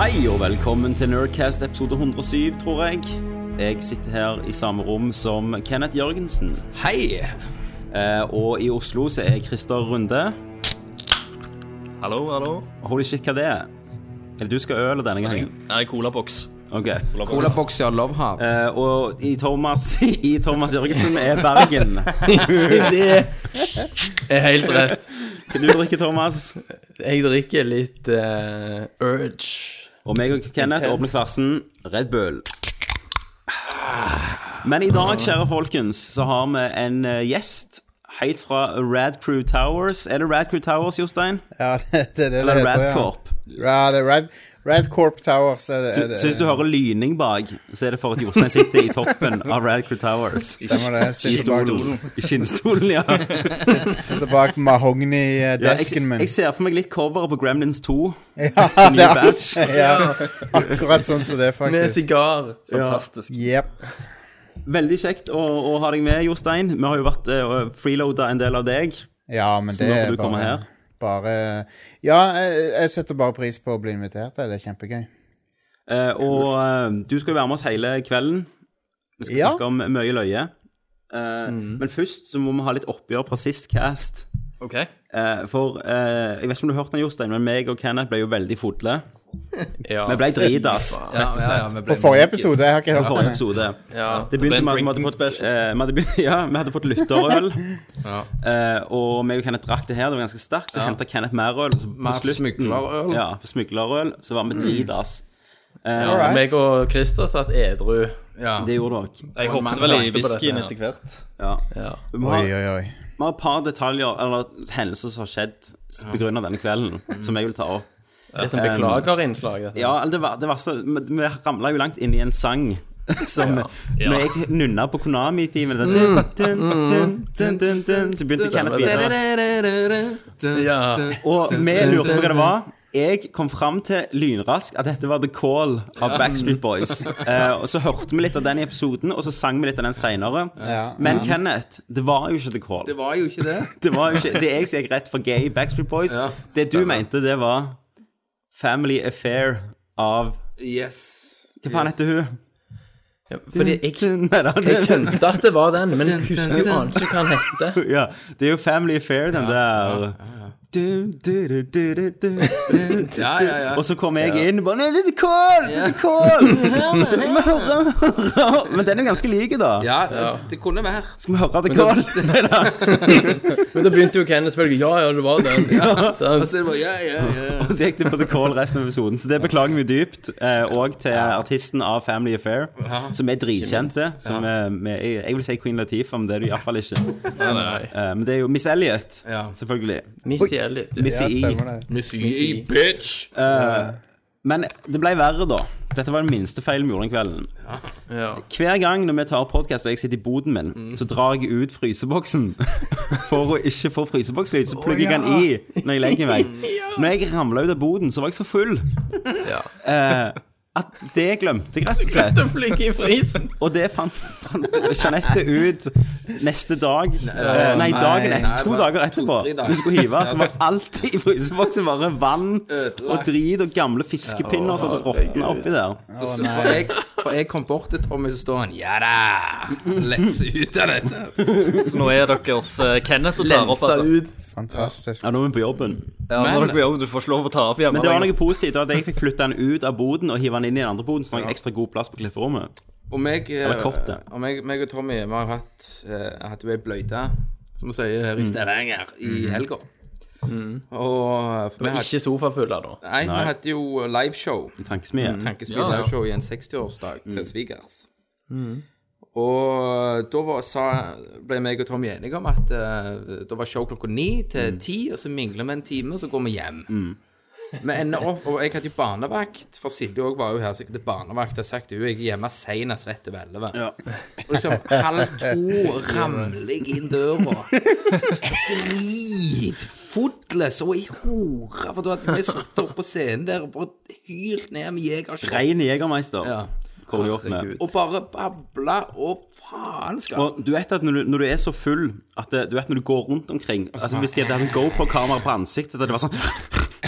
Hei og velkommen til Nerdcast episode 107, tror jeg. Jeg sitter her i samme rom som Kenneth Jørgensen. Hei! Eh, og i Oslo så er Christer Runde. Hallo, hallo. Holy shit, hva det er? Eller du skal øle denne gangen? Nei, colaboks. Ok. Cola Boxer Love Heart. Eh, og i Thomas, i Thomas Jørgensen er Bergen. det, er helt rett. kan du drikke, Thomas? Jeg drikker litt eh, Urge. Og meg og Kenneth Intens. åpner klassen Red Bull. Men i dag, kjære folkens, så har vi en eh, gjest helt fra Rad Crew Towers. Er det Rad Crew Towers, Jostein? Ja, det, det er det Eller det heter, Radcorp? Ja. ja, det er Rad, Radcorp Towers. Er det, er det, Så hvis du hører lyning bak, så er det for at Jostein sitter i toppen av Rad Crew Towers. I Stemmer det. Sitter bak, skinnstolen. I skinnstolen, ja. sitter bak ja jeg, mahogni-desken min. jeg ser for meg litt coveret på Gremlins 2. Ja, Ny det er batch. ja, akkurat sånn som det, er, Med faktisk. sigar. Fantastisk. Jep. Veldig kjekt å, å ha deg med, Jostein. Vi har jo vært uh, freeloada en del av deg. Ja, men Så det nå får er du komme her. bare, bare Ja, jeg, jeg setter bare pris på å bli invitert. Det er kjempegøy. Eh, og eh, du skal jo være med oss hele kvelden. Vi skal Ja. snakke om mye løye. Eh, Mm. Men først så må vi ha litt oppgjør fra sist cast. Ok. Eh, for eh, jeg vet ikke om du hørte den, Jostein, men meg og Kenneth ble jo veldig fotle. Ja. Vi ble dritas ja, ja, ja, vi ble På forrige episode, jeg har ikke på hørt forrige den. jeg. episode. Det ble begynte en med at vi hadde drinking fått, eh, vi hadde begynt, ja, vi hadde fått lytterøl. Ja. Eh, og meg og Kenneth drakk det her, det var ganske sterkt. Så hentet Kenneth mer øl. og Så på Mer smuglerøl. Mm. Ja, for smuglerøl. Så var vi dritas. Alright. Meg og Christer satt edru. Ja. Det gjorde dere. Jeg Og man hoppet vel i lagde på whiskyen dette, etter hvert. Ja. Ja. Vi må ha- Oi, oi, oi. Vi har et par detaljer, eller hendelser som har skjedd begrunnet denne kvelden, som jeg vil ta opp. Litt sånn beklagerinnslag. dette. Ja, eller det, var, det verste Vi, vi ramla jo langt inn i en sang. Som Når jeg nunna på Konami-timen det- dun, dun, dun, dun, dun, dun, Så begynte Kenneth videre. Ja. Og vi lurte på hva det var. Jeg kom fram til lynrask at dette var The Call av Backstreet Boys. Eh, og Så hørte vi litt av den i episoden, og så sang vi litt av den seinere. Ja. Men Kenneth, det var jo ikke The Call. Det var jo ikke det. Det var jo ikke Det jeg som gikk rett for gay Backstreet Boys. Ja, det du mente, det var Family Affair av Yes. Hva faen heter hun? Fordi jeg, Nei, da, jeg det, skjønte at det var den, men jeg husker jo aner ikke hva den hette. ja, det er jo Family Affair, den der du, du, du, du, du, du. Ja, ja, ja. Og så kom jeg inn og bare Nei, det er The Call! Det er The Call! Så skal vi høre Men den er jo ganske lik, da. Ja, det, det kunne være. Skal vi høre The Call? Nei da. Men da begynte jo Kenneth selvfølgelig. Ja, ja, det var den. Ja. Og så er Altså, det bare, ja, ja, ja. Og så gikk det på The Call resten av episoden. Så det beklager vi dypt. eh, Og til artisten av Family Affair, som er dritkjente. Som er, med, jeg vil si Queen Latifah, men det er du iallfall ikke. Nei, nei. Eh, Men det er jo Miss Elliot, Ja. selvfølgelig. E. Misielli. Miss Ja, I. stemmer det. Missy, bitch. Eh, Men det ble verre, da. Dette var den minste feilen vi gjorde den kvelden. Ja. Hver gang når vi tar podkast og jeg sitter i boden min, så drar jeg ut fryseboksen. For å ikke få frysebokslyd, så plugger jeg den i når jeg legger meg. Når jeg ramla ut av boden, så var jeg så full Ja. eh, at det glemte jeg rett og slett. Den flyger i frisen. Og det fant, fant Jeanette ut neste dag. Nei, nei, nei dagen nei, etter. det To var dager etterpå. to-tre dager. Hun skulle hive, så var alt i fryseboksen bare vann og drit og gamle fiskepinner som hadde råtna oppi der. Så, så, for, jeg, for jeg kom bort til Tommy, så står han Ja da! Let's ut av dette. Så nå er deres eh, Kenneth og tar opp, Lensa altså. ut. Fantastisk. Ja, nå er vi på jobben. Ja, Men- når dere blir ung, du får ikke lov å ta opp hjemme. Men det var lenger. noe positivt at jeg fikk flytta den ut av boden og hive den inn i den andre boden, så nå har jeg ekstra god plass på klipperommet. Og meg, eh, Eller kortet. og meg, meg og Tommy vi har hatt, eh, hatt jo ei bløyte, som vi sier her i Stavanger, i helga. Og eh, for vi hadde, Ikke sofafulla, da. nei, vi hadde jo liveshow. Tankesmie. Tankespill liveshow i en 60-årsdag til svigers. Og da var, sa, ble meg og Tommy enige om at eh, da var show klokka ni til ti, og så mingler vi en time, og så går vi hjem. Vi ender opp, og jeg hadde jo barnevakt, for Silje òg var jo her sikkert til barnevakt. Jeg har sagt til henne jeg er hjemme senest rett over elleve. Ja. Og liksom halv to ramler jeg inn døra. Dritfotless og i hore. For da hadde vi sittet oppe på scenen der og bare hylt ned med jegerskjell. Rein jegermeister. Ja. Hvor har du gjort med? Og bare babla og faenskap. Og du vet at når du, når du er så full at eh, Du vet når du går rundt omkring Altså Hvis de hadde hatt en GoPro-kamera på ansiktet at Det var sånn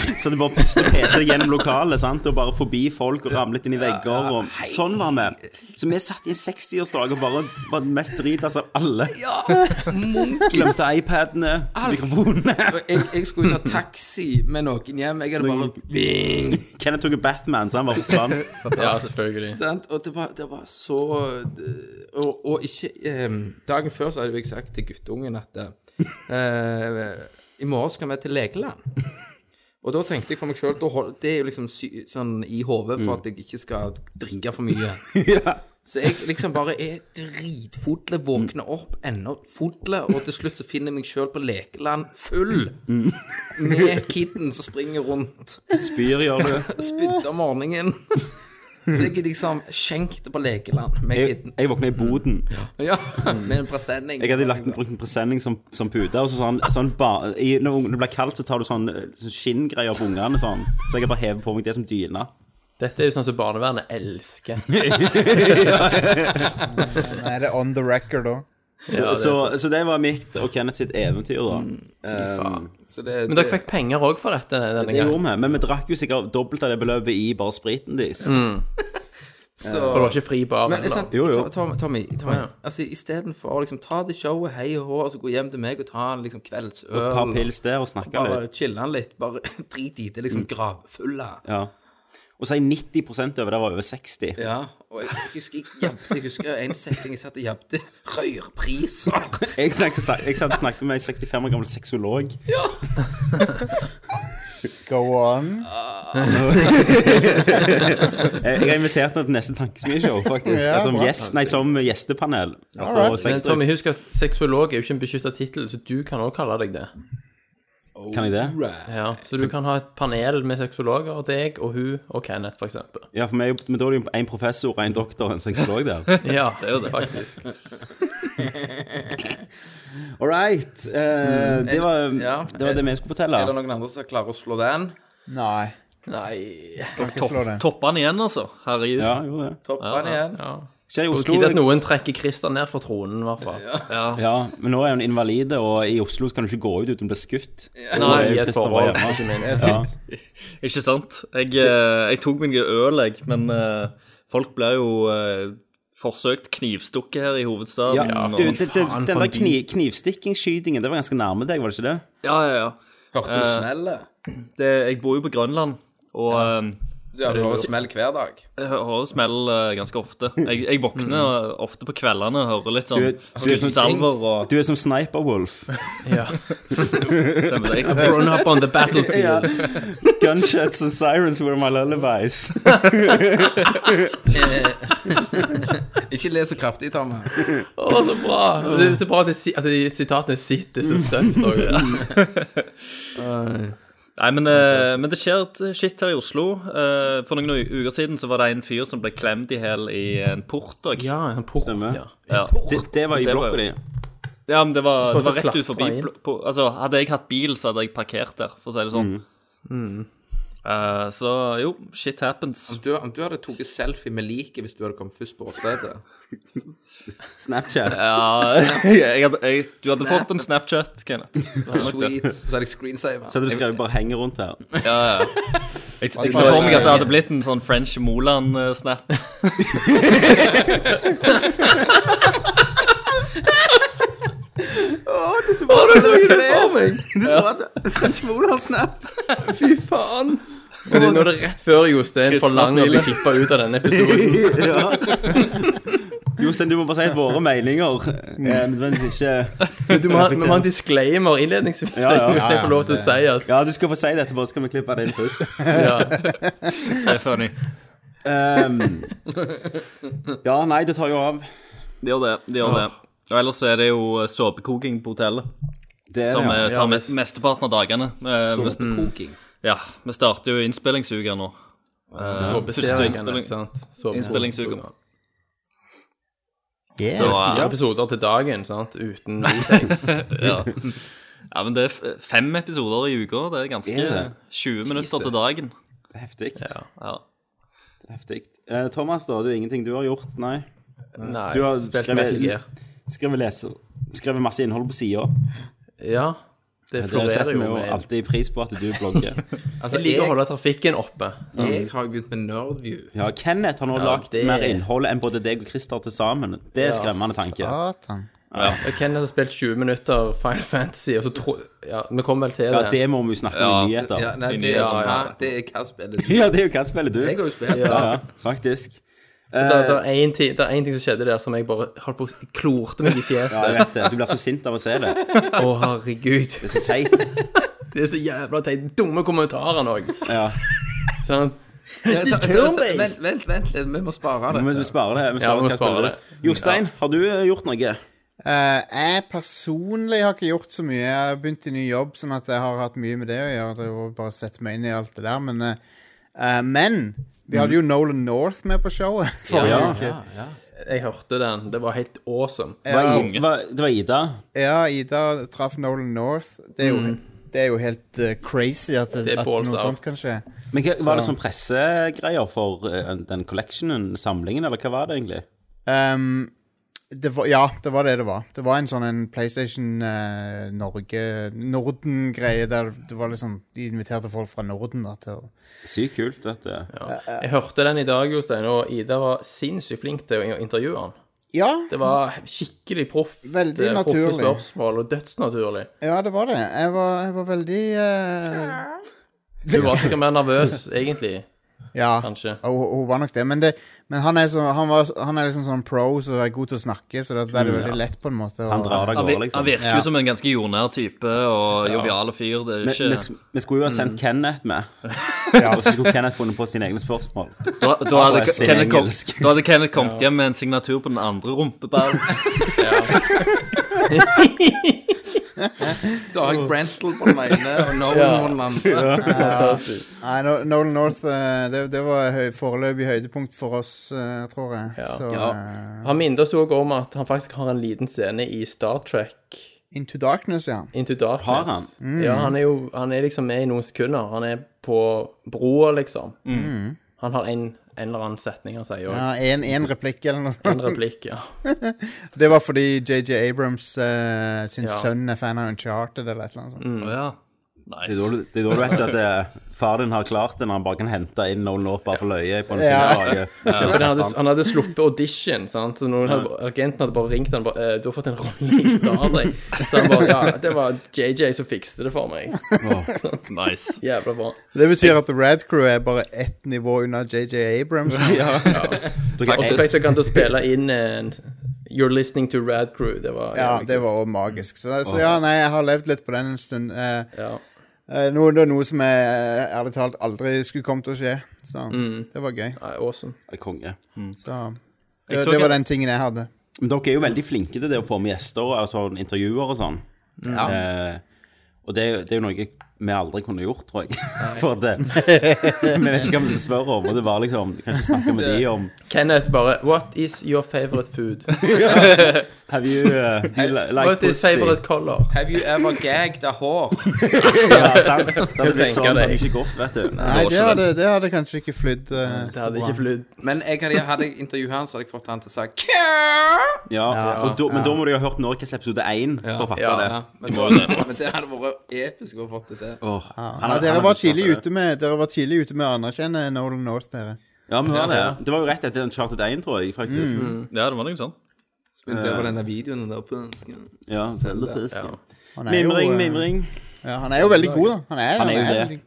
Så det bare puster PC gjennom lokalet sant? og bare forbi folk og ramlet inn i vegger. Og sånn var vi. Så vi satt i en 60-årsdag og bare var den mest dritas av alle. Ja, munkis. Glemte iPadene, mikrofonene. Og Jeg, jeg skulle ta taxi med noen hjem. Jeg hadde bare Kenneth tok en Batman, så han bare forsvant. Ja, selvfølgelig. Sant? Og det var, det var så det- Og, og ikke eh, Dagen før så hadde jeg sagt til guttungen at eh, I morgen skal vi til Legeland. Og da tenkte jeg for meg sjøl Det er jo liksom sy, sånn i hodet for at jeg ikke skal drikke for mye. Så jeg liksom bare er dritfotle, våkner opp ennå fotle, og til slutt så finner jeg meg sjøl på lekeland full med kiden som springer rundt. Spyr gjør du. Spydde om morgenen. Så jeg er liksom skjenkte på lekeland med Jeg, kiden. jeg våkna i boden. Ja, med en presenning. Jeg hadde lagt en, brukt en presenning som, som pute. Og så sånn, sånn ba, i, når ung- det blir kaldt, så tar du sånn, sånn skinngreier på ungene. Sånn. Så jeg har bare hevet på meg det som dyne. Dette er jo sånn som barnevernet elsker. Nei, det er on the record òg. Ja, det er Mm. så, så det var mitt og Kenneth sitt eventyr, da. Um, Så det, Men dere fikk penger òg for dette denne det gangen? gjorde vi. Men vi drakk jo sikkert dobbelt av det beløpet i bare spriten deres. Mm. så, For det var ikke fri bar Men heller. sant, Jo, jo. Tom- Tommy, Tommy, Tommy altså, istedenfor å liksom ta det showet hei og hå, og så gå hjem til meg og ta en liksom, Et par kveldsøl pils der og snakka Bare litt. chille han litt. Bare drit i Mm. det. Liksom gravfulle. Ja. Og så er jeg 90 over der var over 60. Ja. Og jeg husker jeg, jabbte, jeg husker en setting jeg satt og jabbte. Røyrpriser. Jeg snakket, jeg satt og snakket med en 65 år gammel sexolog. Go on. Jeg har invitert henne til neste Tankesmieshow, faktisk. Altså, Ja, som, bra. gjest, nei, som gjestepanel. På Alright. Men sexdrift. Tommy, husk at seksuolog er jo ikke en beskytta tittel, så du kan òg kalle deg det. Kan jeg det? Ja, så du kan ha et panel med sexologer, og deg og hun og Kenneth, for eksempel. Ja, for vi er jo, men da er det jo en professor og en doktor og en sexolog der. Ja, det er jo det. faktisk. All right. eh, det, var, Mm. Ja. det var det vi skulle fortelle. Er det noen andre som klarer å slå den? Nei. Nei Kan ikke Topp, slå det. topper han igjen, altså. Herregud. Ja, jo det. Toppen igjen? ja. Skjer i På Oslo. tide at noen trekker Christer ned fra tronen, i hvert fall. Ja, men nå er hun invalid, og i Oslo så kan du ikke gå ut uten å bli skutt. Så Nei, er jo i et Christer forhold, bare ikke hjemme. minst. Ja. Ikke sant? Jeg, eh, jeg tok meg en øl, jeg, men eh, folk ble jo eh, forsøkt knivstukket her i hovedstaden. Ja, og- du, det, det, faen, den for der en by. kni, knivstikkingsskytingen, det var ganske nærme deg, var det ikke det? ja, ja, ja. Hørte du Eh, smellet? Det, jeg bor jo på Grønland, og eh, Så ja, du hører smell hver dag. jeg hø- hører smell eh, ganske ofte. Jeg, jeg våkner ofte på kveldene og hører litt Du sånn er- du er som- salver og Du er som Sniper-Wolf. Ja. stemmer det. Jeg, Grown up on the battlefield. Gunshots and sirens were my lullabies. Ikke le så kraftig, Thomas. Å, så bra! Det er så bra at, det, si- at de sitatene sitter så støtt òg. Nei, men, eh, men det skjer et shit her i Oslo. Eh, for noen u- uker siden så var det en fyr som ble klemt i hjel i en portdag. Ja, en port. Stemmer. Ja. Ja. Det, det var i Det var blokka di. ja, men det var, det var Og så rett ut forbi klatra inn. blo- på, Altså, hadde jeg hatt bil, så hadde jeg parkert der, for å si det sånn. Eh, så jo, shit happens. Du, om du hadde tatt selfie med liket hvis du hadde kommet først på åstedet Snapchat. Ja, jeg hadde, jeg, du hadde Snap. fått en Snapchat, Kenneth. Sweet. Så hadde jeg screensaver. Så hadde du skrevet 'bare henger rundt her'. Jeg, jeg så for meg at det hadde blitt en sånn French Moland-snap. Du så at French Moland-snap. Men det, nå er det rett før Jostein Kristna forlanger å bli smiler. klippa ut av denne episoden. ja. Jostein, du må bare si at våre meninger er nødvendigvis ikke Men Du må ha, vi må ha en disclaimer innledningsvis. Ja, ja. Hvis jeg får lov til å si at Ja, du skal få si det etterpå, så skal vi klippe det inn først. ja. Det er funny. Ehm, ja, nei, det tar jo av. De gjør det. De gjør det. Og ellers så er det jo eh, såpekoking på hotellet, Det er som det, ja. eh, Ja, tar me- visst. mesteparten av dagene. Eh, hvis- Såpekoking. Ja, vi starter jo innspillingsuka nå. Eh, første innspilling- liksom. innspillingsuke. Innspillingsuke. Så, Fire ja. episoder til dagen, sant? Uten retakes. eh, ja, men det er f- eh, fem episoder i uka. Det er ganske Er det? 20 minutter til Jesus. dagen. Det er heftig. Ja. Ja. Det er heftig. Eh, Thomas, da, det er ingenting du har gjort? Nei. Nei, Du har spilt skrevet- Metal Gear. Skrevet leser. Skrevet masse innhold på sida. Ja. Det Det florerer setter vi jo jo med alltid pris på at du blogger. Altså, Jeg liker å jeg, holde trafikken oppe. jeg har jo begynt med Nerdview. Ja, Kenneth har nå lagt det- mer innhold enn både deg og Christer til sammen. Det er skremmende tanke. Satan. Og Kenneth har spilt 20 minutter Final Fantasy, og så tro... Ja, vi kommer vel til Ja, det. det må vi jo snakke om i nyheter. Ja, nei, det, Ja, ja. hæ? det er hva spillet du Ja, det er jo hva spiller du? Jeg har jo spilt Ja, det. ja, faktisk. Det det er én ti- det er én ting som skjedde der som jeg bare holdt på å klorte meg i Ja, jeg fjeset. vet det. Du blir så sint av å se det. Det Å, herregud. er så teit. Det er så jævla teit. Dumme kommentarer òg. Ja. Sånn. Nei, så- så- Vent, vent, vent litt, vi må spare Men det. vi sparer det. Vi Ja, sparer vi må hva spare spiller det. du? Jostein, har du eh, gjort noe? Eh, jeg personlig har ikke gjort så mye. Jeg har begynt i ny jobb, sånn at jeg har hatt mye med det å gjøre. Det er jo bare å sette meg inn i alt det der. Men, eh, eh, men vi hadde jo Nolan North med på showet forrige Ja. uke. Jeg hørte den. Det var helt awesome. Var Ja. Ida- var- Det var Ida. Ja, Ida traff Nolan North. Det er jo, det er jo helt eh, crazy at, det, Det er at noe balls out. sånt kan skje. Men hva, var det sånn pressegreier for eh, den collectionen, samlingen, eller hva var det egentlig? Ehm, det var, ja, det var det det var. Det var en sånn en PlayStation eh, Norge Norden-greie der det var liksom De inviterte folk fra Norden da, til å Sykt kult, dette. Ja. Jeg hørte den i dag, Jostein, og Ida var sinnssykt flink til å intervjue han. Ja, Det var skikkelig proff. Veldig det- proffe naturlig. spørsmål, og dødsnaturlig. ja det var det. Jeg var, jeg var veldig eh, Hun var sikkert mer nervøs, egentlig. Ja. Kanskje. Og hun, hun var nok det. Men, det, men han, er så, han, var, han er liksom sånn pro som er god til å snakke, så da da er det veldig lett på en måte. å- Han drar av Han, gårde, vir- han liksom. virker jo Ja. som en ganske jordnær type og jovial fyr. Det er Vi, vi, ikke, sk- vi skulle jo ha sendt Kenneth med, og så skulle Kenneth funnet på sine egne spørsmål. da, da, hadde Bare si Kenneth kom, engelsk. da hadde Kenneth kommet hjem med en signatur på den andre rumpeballen. Dag Brentel på den ene og Nolan på den andre. Fantastisk. Nei, No- Nolan North eh, det, det var høy, foreløpig høydepunkt for oss, eh, tror jeg. Ja. Så Ja. eh, Han minnet oss òg om at han faktisk har en liten scene i Star Trek Into Darkness, ja. Into Darkness. Har han? Mm. Ja, han er jo han er liksom med i noen sekunder. Han er på broa, liksom. Han har en, en eller annen setning han sier òg. Ja, en, en replikk eller noe sånt. En replikk, ja. Det var fordi JJ Abrams eh, sin Ja. sønn er fan av Uncharted eller et eller annet sånt. Å ja. Det er da Nice. du- det er da du vet at eh, far din har klart det, når han bare kan hente inn Nolan North bare for løye på en Ja. fingerlage. For han, hadde, han hadde sluppet audition, sant? så noen hadde, agenten hadde bare ringt han bare, eh, 'Du har fått en rolle i Star Trek.' Så han bare 'Ja, det var JJ som fikste det for meg'. nice. Jævla bra. Det betyr at The Rad Crew er bare ett nivå unna JJ Abrams. Dere Og så elsker- fikk dere han til å spille inn en 'You're Listening to Rad Crew'. Det var Ja, jævlig det var også magisk. Så, så ja, nei, jeg har levd litt på den en stund. Eh, kult. ja. eh, noe, det er noe som jeg eh, ærlig talt aldri skulle komme til å skje. Så det var gøy. Nei, Awesome. Nei, Konge. Så Jeg så det, det ikke- var den tingen jeg hadde. Men dere er jo veldig flinke til det å få med gjester og altså, intervjuer og sånn. Eh, og det, er jo- det er jo noe vi aldri kunne gjort, tror jeg. For det. Vi vet ikke hva vi skal spørre om, og det var liksom Vi kan ikke snakke med de om Kenneth bare 'What is your favorite food?' Have you uh, do you li- like What is pussy? favorite color? Have you ever gagged a hår? Ja, sant. Det hadde blitt tenker sånn, det hadde det. ikke gått, vet du. Nei, var det ikke hadde, det hadde kanskje ikke flydd. eh, Det så hadde bra. ikke flydd. Men jeg hadde, hadde jeg intervjuet han, så hadde jeg fått han til å si «Kjæ!» Ja, og da, men da må du jo ha hørt Norges episode 1 for å fatte Ja. det. ja, men, da, men det hadde vært episk å ha fått det til. Åh, han- Ja, dere han var hadde tidlig ikke ute med Dere var tidlig ute med å anerkjenne Nolan North, dere. det. Ja, men var Ja, ja. det. det var jo rett etter Uncharted 1, tror jeg, faktisk. Ja, det var noe sånn. Så begynte jeg på den der videoen der på ønsken. Ja, Selv det. Zelda-fisk. Han er jo, Mimring, eh, mimring. Ja, han er jo veldig god, da. Han er, Han er jo det.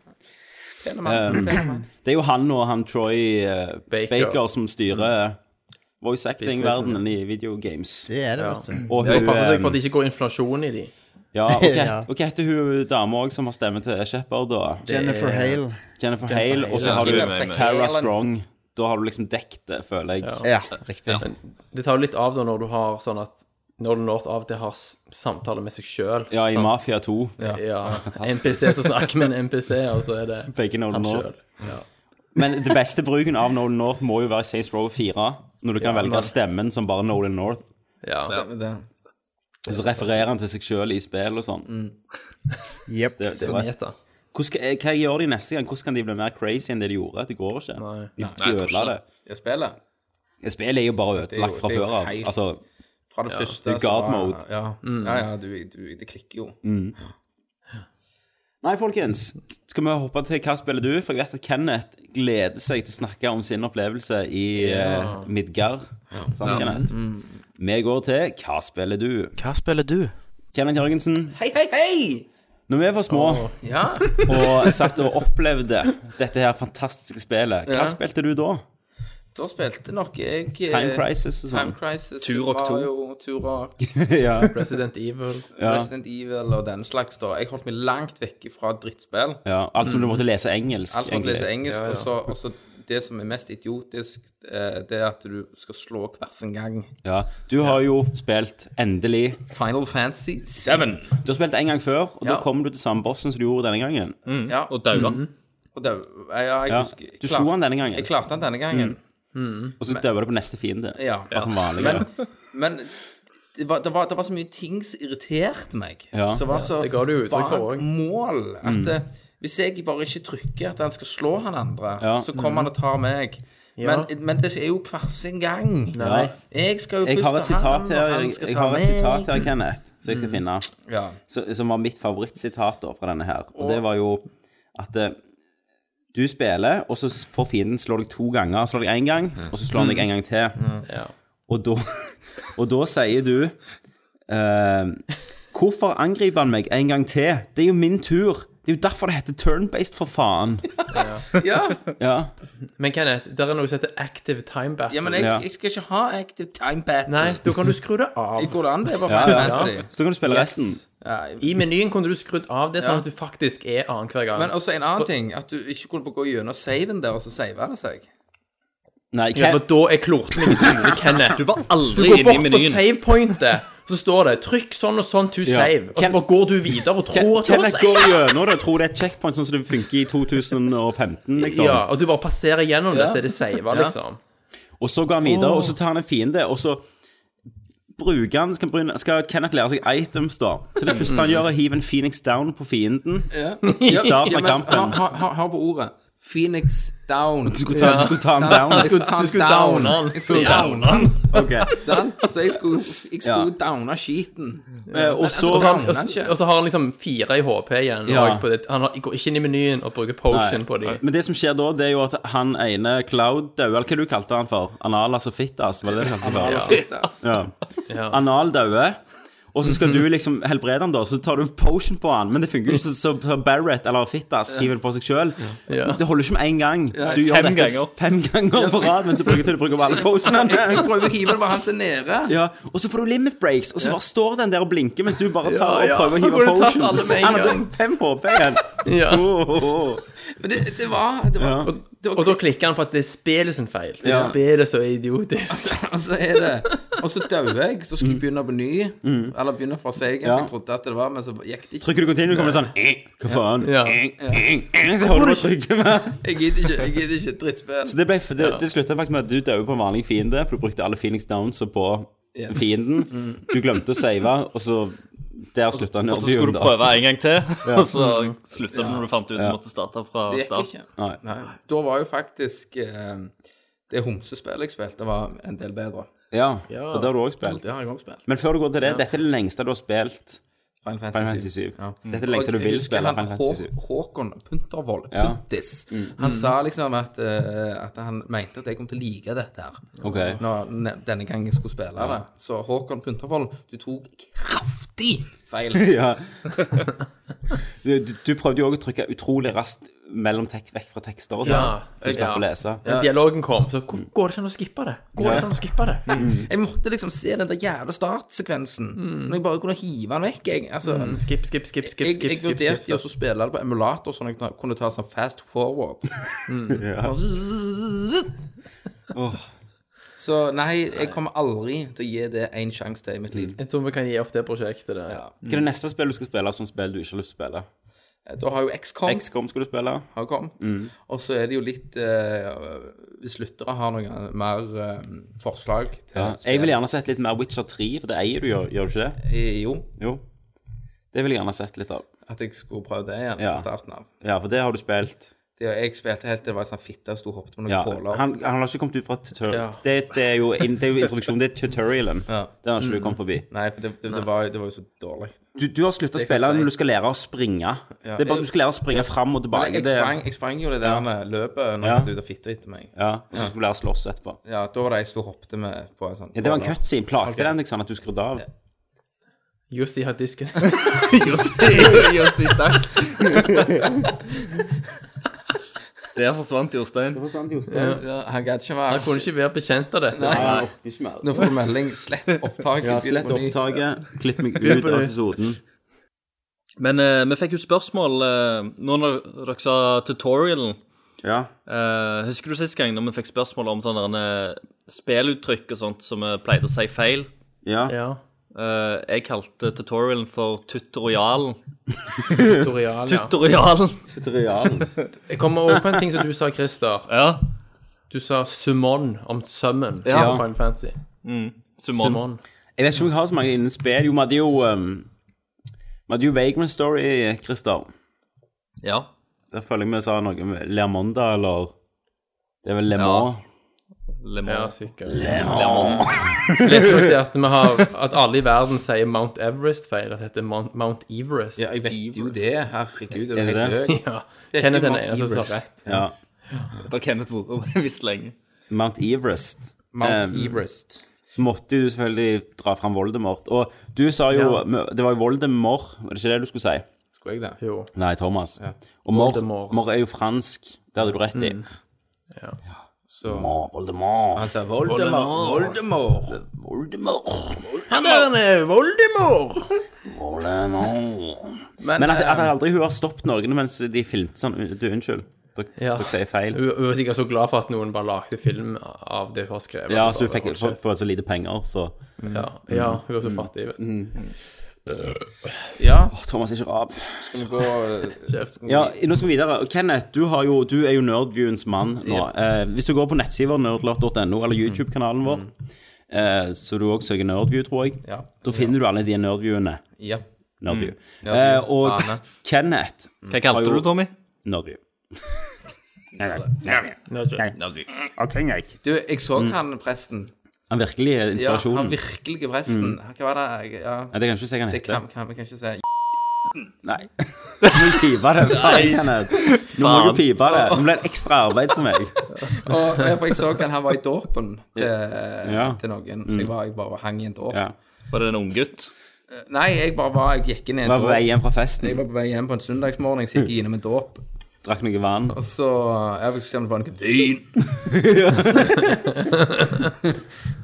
veldig- Det er jo han og han Troy eh, Baker. Baker. Mm. som styrer eh, voice acting-verdenen i videogames. Det er det, vet du. Og Det hun, passer seg eh, for at det ikke går inflasjon i de. ja, og Ja. hva- og hva heter hun dama òg som har stemme til Shepherd? da? Jennifer Hale. Jennifer Hale. Og så ja. har du Jennifer Hale. Tara Strong. Da har du liksom dekt det, føler jeg. Ja, riktig. Men det tar jo litt av da når du har sånn at Nolan North av og til har s- samtaler med seg sjøl. Ja, i Mafia 2. Ja, NPC som snakker med en NPC, og så er det Begge Nolan han North. sjøl. Ja. Men det beste bruken av Nolan North må jo være Saints Row 4. Når du kan velge men- stemmen som bare Nolan North. Ja. Men det. Og så refererer han til seg sjøl i spill og sånn. Mm. Jep. Det, det Så var meta. Hvordan skal, hva gjør de neste gang? Hvordan kan de bli mer crazy enn det de gjorde? Det går ikke. Nei. De, de Nei, jeg tror ødela ikke det. Jeg spiller. Spillet er jo bare er jo- ødelagt fra det er jo før av. helt- Altså, Fra det første det er så god var- mode. Ja, ja, ja du, du, det klikker jo. Nei, folkens, skal vi hoppe til hva spiller du? For jeg vet at Kenneth gleder seg til å snakke om sin opplevelse i eh, Midgard. Sant, Kenneth? Vi går til hva spiller du? Hva spiller du? Kenneth Jørgensen, Hei, hei, hei! når vi var små Ja, og sagt og opplevde dette her fantastiske spillet, hva Ja. spilte du da? da spilte nok jeg eh, Time Crisis og sånn? Time Crisis, Turok Super 2. Mario, Turok, ja. Resident Evil. Ja. Resident Evil og den slags. da Jeg holdt meg langt vekke fra drittspill. ja. Alt som du måtte lese engelsk, Alt man leser egentlig. engelsk, og så- og så det som er mest idiotisk, eh, det er at du skal slå hver sin gang. Ja. Du har jo spilt, endelig Final Fantasy 7. Du har spilt en gang før, og da Ja. Mm. kom du til samme bossen som du gjorde denne gangen. Ja, Og daua. og det, ja, jeg Ja. husker jeg Du klarte- slo han Mm. denne gangen. Jeg klarte han denne gangen. Og så døde du på neste fiende. Ja. Bare som vanlig. Men, men det, var, det, var, det var så mye ting som irriterte meg. Ja. Mm. Som var så det ga du jo uttrykk for vag også. mål. At eh, hvis jeg bare ikke trykker at han skal slå han andre, Ja. Mm. så kommer han og tar meg. Men, men det er jo hver sin gang. Ja. Jeg skal jo Jeg har et først ta sitat han, her, og jeg, han skal jeg ta har et meg. Mm. sitat her, Kenneth, som jeg skal finne, Ja. så, som var mitt favorittsitat da fra denne her. Og det var jo at eh, du spiller, og så får fienden slå deg to ganger. Slår deg én gang, og så slår han deg en gang til. Ja. Og da, og da sier du eh, Hvorfor angriper han meg en gang til? Det er jo min tur. Det er jo derfor det heter turn-based, for faen. Ja. Ja. Men Kenneth, der er noe som heter active time battle. ja, men jeg, Ja. jeg skal ikke ha active time battle. Nei, da kan du skru det av. Går det an? Det er bare Final Fantasy. Så da kan du spille resten. Ja. I menyen kunne du skrudd av det, sånn at du faktisk er annenhver gang. Men altså, også en annen ting, at du ikke kunne gå gjennom saven der, og så save det seg. Nei, ja, Ken, for da er klorten min tydelig, Kenneth. Du var Du aldri går inne i bort på menyen. savepointet, så står det 'trykk sånn og sånn to save', og så Ken- bare går du videre og tror at du har Kenneth går save. gjennom det og tror det er et checkpoint sånn som det funker i 2015, liksom. Ja, og du bare passerer gjennom det, Ja. så er det sava, Ja. liksom. Og så går han videre, og så tar han en fiende, og så bruker han Skal, bruke- skal Kenneth lære seg items, da? Så det første han gjør, er å hive en Phoenix down på fienden. I starten av kampen. Hør på ordet. Phoenix down. Du skulle ta, du skulle ta han down. Jeg skulle ta du skulle downe han. Jeg skulle downe han. Ok. Eh, sant? Så jeg skulle, jeg skulle Ja. downe skiten. Eh, Og Og så så- Og så- Og så har han liksom fire i HP igjen. Ja. og På det. Han har, går ikke inn i menyen og bruker potion på de. Men det som skjer da, det er jo at han ene Cloud dauer, eller hva du kalte han for? Analas og Fittas, var det det du kalte han for? Fett, ass. Ja. Anal dauer. Og så skal du liksom helbrede han da, så tar du potion på han, men det funker jo ikke, så- så Barrett eller Fittas hiver det på seg sjøl. Det holder ikke med én gang. Du gjør fem dette ganger. fem ganger på rad, men så bruker du til å bruke opp alle Jeg, jeg potionene. prøver å hive det bare han som er nede. Ja, og så får du limit breaks, og så bare står den der og blinker mens du bare tar og ja. prøver å Da hive kunne du tatt potions. alle med en Han har gang. dømt fem HP igjen. Ja. Oh, oh, oh. Men det, det var, det var, det var Og da klikker han på at det er spillet sin feil. Det er Ja. spillet som er idiotisk. Og så er det Og så dauer jeg, så skulle jeg Mm. begynne på ny. Eller begynne fra seg igjen, for jeg trodde at det var, men så gikk det ikke. Trykker du continue, kommer det sånn eh, Hva faen? Ja. Eh, eh, eh, Så holder du på å trykke med. Jeg gidder ikke, jeg gidder ikke drittspill. Så det, ble, det, det slutta faktisk med at du døde på en vanlig fiende, for du brukte alle Phoenix Downs på Yes. fienden. Du glemte å save, og så Der slutta Mm. Og så skulle nerdbyen, du da. prøve en gang til, og så slutta du når du fant ut du måtte starte fra Det gikk start. ikke. Nei. Nei. Da var jo faktisk eh, det homsespillet jeg spilte, var en del bedre. Ja, og det har du òg spilt. Det har jeg også spilt. Men før du går til det, dette er det lengste du har spilt. Final Final Fantasy Fantasy 7. 7. Dette er det lengste du vil spille. Final Fantasy 7. Håkon Puntervold, Ja. Mm. Puntis, han sa liksom at, eh, at han mente at jeg kom til å like dette her. Ok. Når ne- denne gangen jeg skulle spille det. Så Håkon Puntervold, du tok kraftig feil. Ja. Du, du, du prøvde jo òg å trykke utrolig raskt mellom tekst, vekk fra tekster og sånn. Ja. Du slapp å lese. Men dialogen kom, så hvor- går det ikke an å skippe det? Går det ikke an å skippe det? Jeg måtte liksom se den der jævla startsekvensen. Mm. Når jeg bare kunne hive den vekk, jeg. Altså, Mm. Skip, skip, skip, skip, jeg, skip, jeg skip, vurderte skip, jo også å spille det på emulator, sånn at jeg ta- kunne ta sånn fast forward. Mm. Bare zzzz. Så nei, jeg kommer aldri til å gi det en sjanse til i mitt Mm. liv. Jeg tror vi kan gi opp det prosjektet der. Ja. Hva er det neste spill du skal spille som spill du ikke har lyst til å spille? Da har jo XCOM XCOM skal du spille. har kommet, Mm. og så er det jo litt eh, Hvis lyttere har noen mer eh, forslag til Ja. Jeg vil gjerne sett litt mer Witcher 3, for det eier du, gjør, gjør du ikke det? Eh, Jo, Jo. Det vil jeg gjerne sett litt av. at jeg skulle prøve det igjen Ja. fra starten av. Ja, for det har du spilt. Det, jeg spilte helt til det var en sånn fitte som sto og hoppet på noen Ja, påler. han, han har ikke kommet ut fra tutorial. Ja. Det, det, er jo, det er jo introduksjonen, det er tutorialen. Ja. Den har ikke du kommet forbi. Nei, for det, det, det, var, jo- det var jo så dårlig. Du, du har slutta å Det kan spille jeg si. når du skal lære å springe. Det er bare Du skal lære å springe fram og Men tilbake. jeg, Det, sprang, jeg sprang jo det der med løpet når Ja. jeg var ute og fitta etter meg. ja, og så skal du lære å slåss etterpå. Ja, da var det jeg sto og hoppet med på en sånn Ja, det var en påle. cutscene. Plagde Ok. den deg sånn at du skrudde av? Jussi har disken. Jossi stakk. Der forsvant Jostein. Ja, han gadd ikke Han være kunne ikke være bekjent av dette. Ja, jeg orker ikke mer. Nå får du melding. Slett opptaket. Ja, begynn slett på ny. opptaket. Klipp meg ut av episoden. Men eh, vi fikk jo spørsmål eh, nå når dere sa tutorialen. Ja. Eh, husker du sist gang når vi fikk spørsmål om sånne derne spilluttrykk og sånt som vi pleide å si feil? ja. Ja. Eh, jeg kalte tutorialen for tutorialen. Tutorial, ja. Tutorialen! Tutorialen. Jeg kommer over på en ting som du sa, Christer. Ja. Du sa summon om summon ja. Ja. i Final Fantasy. Summon. Summon. Jeg vet ikke om jeg har så mange innen spill. Jo, vi hadde jo um, Vi hadde jo Vagrant Story, Christer. Ja. Der føler jeg vi sa noe med Lermonda, eller Det er vel Lemon. Lemon. Ja, sikkert. Leste dere det at, vi har, at alle i verden sier Mount Everest feil? At det heter Mount, Mount Everest? Ja, jeg vet jo det. Herregud, Er er det du det? helt høy? Ja. Det Hvem heter er den Mount ene som sa Everest. rett? Ja. Det har Kenneth vært over visst lenge. Mount Everest. Mount Eh, Everest. Så måtte jo du selvfølgelig dra fram Voldemort. Og du sa jo Det var jo Voldemort, var det ikke det du skulle si? Skulle jeg det? Jo. Nei, Thomas. Og Mort, Voldemort. Mort er jo fransk. Det hadde du rett i. Så Mort, Voldemort. han sa Voldemort. Voldemort. Voldemort. Han er Voldemor! Voldemort. Men, Men at, eh, at jeg aldri hun har stoppet noen mens de filmte sånn Du, unnskyld. Dere, Ja. dere sier feil. Hun hun var sikkert så glad for at noen bare lagde film av det hun har skrevet. Ja, Bare, så hun fikk hold for, kjeft. for så lite penger, så sånn- ja, ja, hun Mm. var så fattig, vet du. ja, Åh, Thomas er ikke rap. skal vi gå eh, Kjeft. Ja, nå skal vi videre. Og Kenneth, du, har jo, du er jo Nerdviewens mann nå. Eh, hvis du går på nettsider nerdlot.no Mm-hmm. eller YouTube-kanalen vår, eh, så du også søker Nerdview, tror jeg, Ja. da finner du alle de nerdviewene. Ja. Nerdview. Nerdview. Eh, og Vane. Kenneth Hva kalte Har jo- du Tommy? Nerdview. Ok, greit. Du, jeg så han presten. Han virkelig er Ja, Mm. inspirasjonen. Mm. han virkelige presten. Hva var det? Ja, Nei, det kan jeg ikke si hva han det heter. kan, kan vi kanskje si. Nei. Nå piper det. Faen, Kenneth. Nå må du pipe det. Nå blir det ekstra arbeid for meg. Og jeg, for jeg så han, han var i dåpen til, eh, Ja. Mm. til noen, så jeg, var, jeg bare hang i en dåp. Ja. Var det en unggutt? Nei, jeg bare var, jeg gikk inn i en Var på dåp. vei hjem fra Jeg festen, var på vei hjem på en søndagsmorgen, så gikk jeg innom en dåp. drakk noe vann. Og så Jeg fikk se om det var noe vin.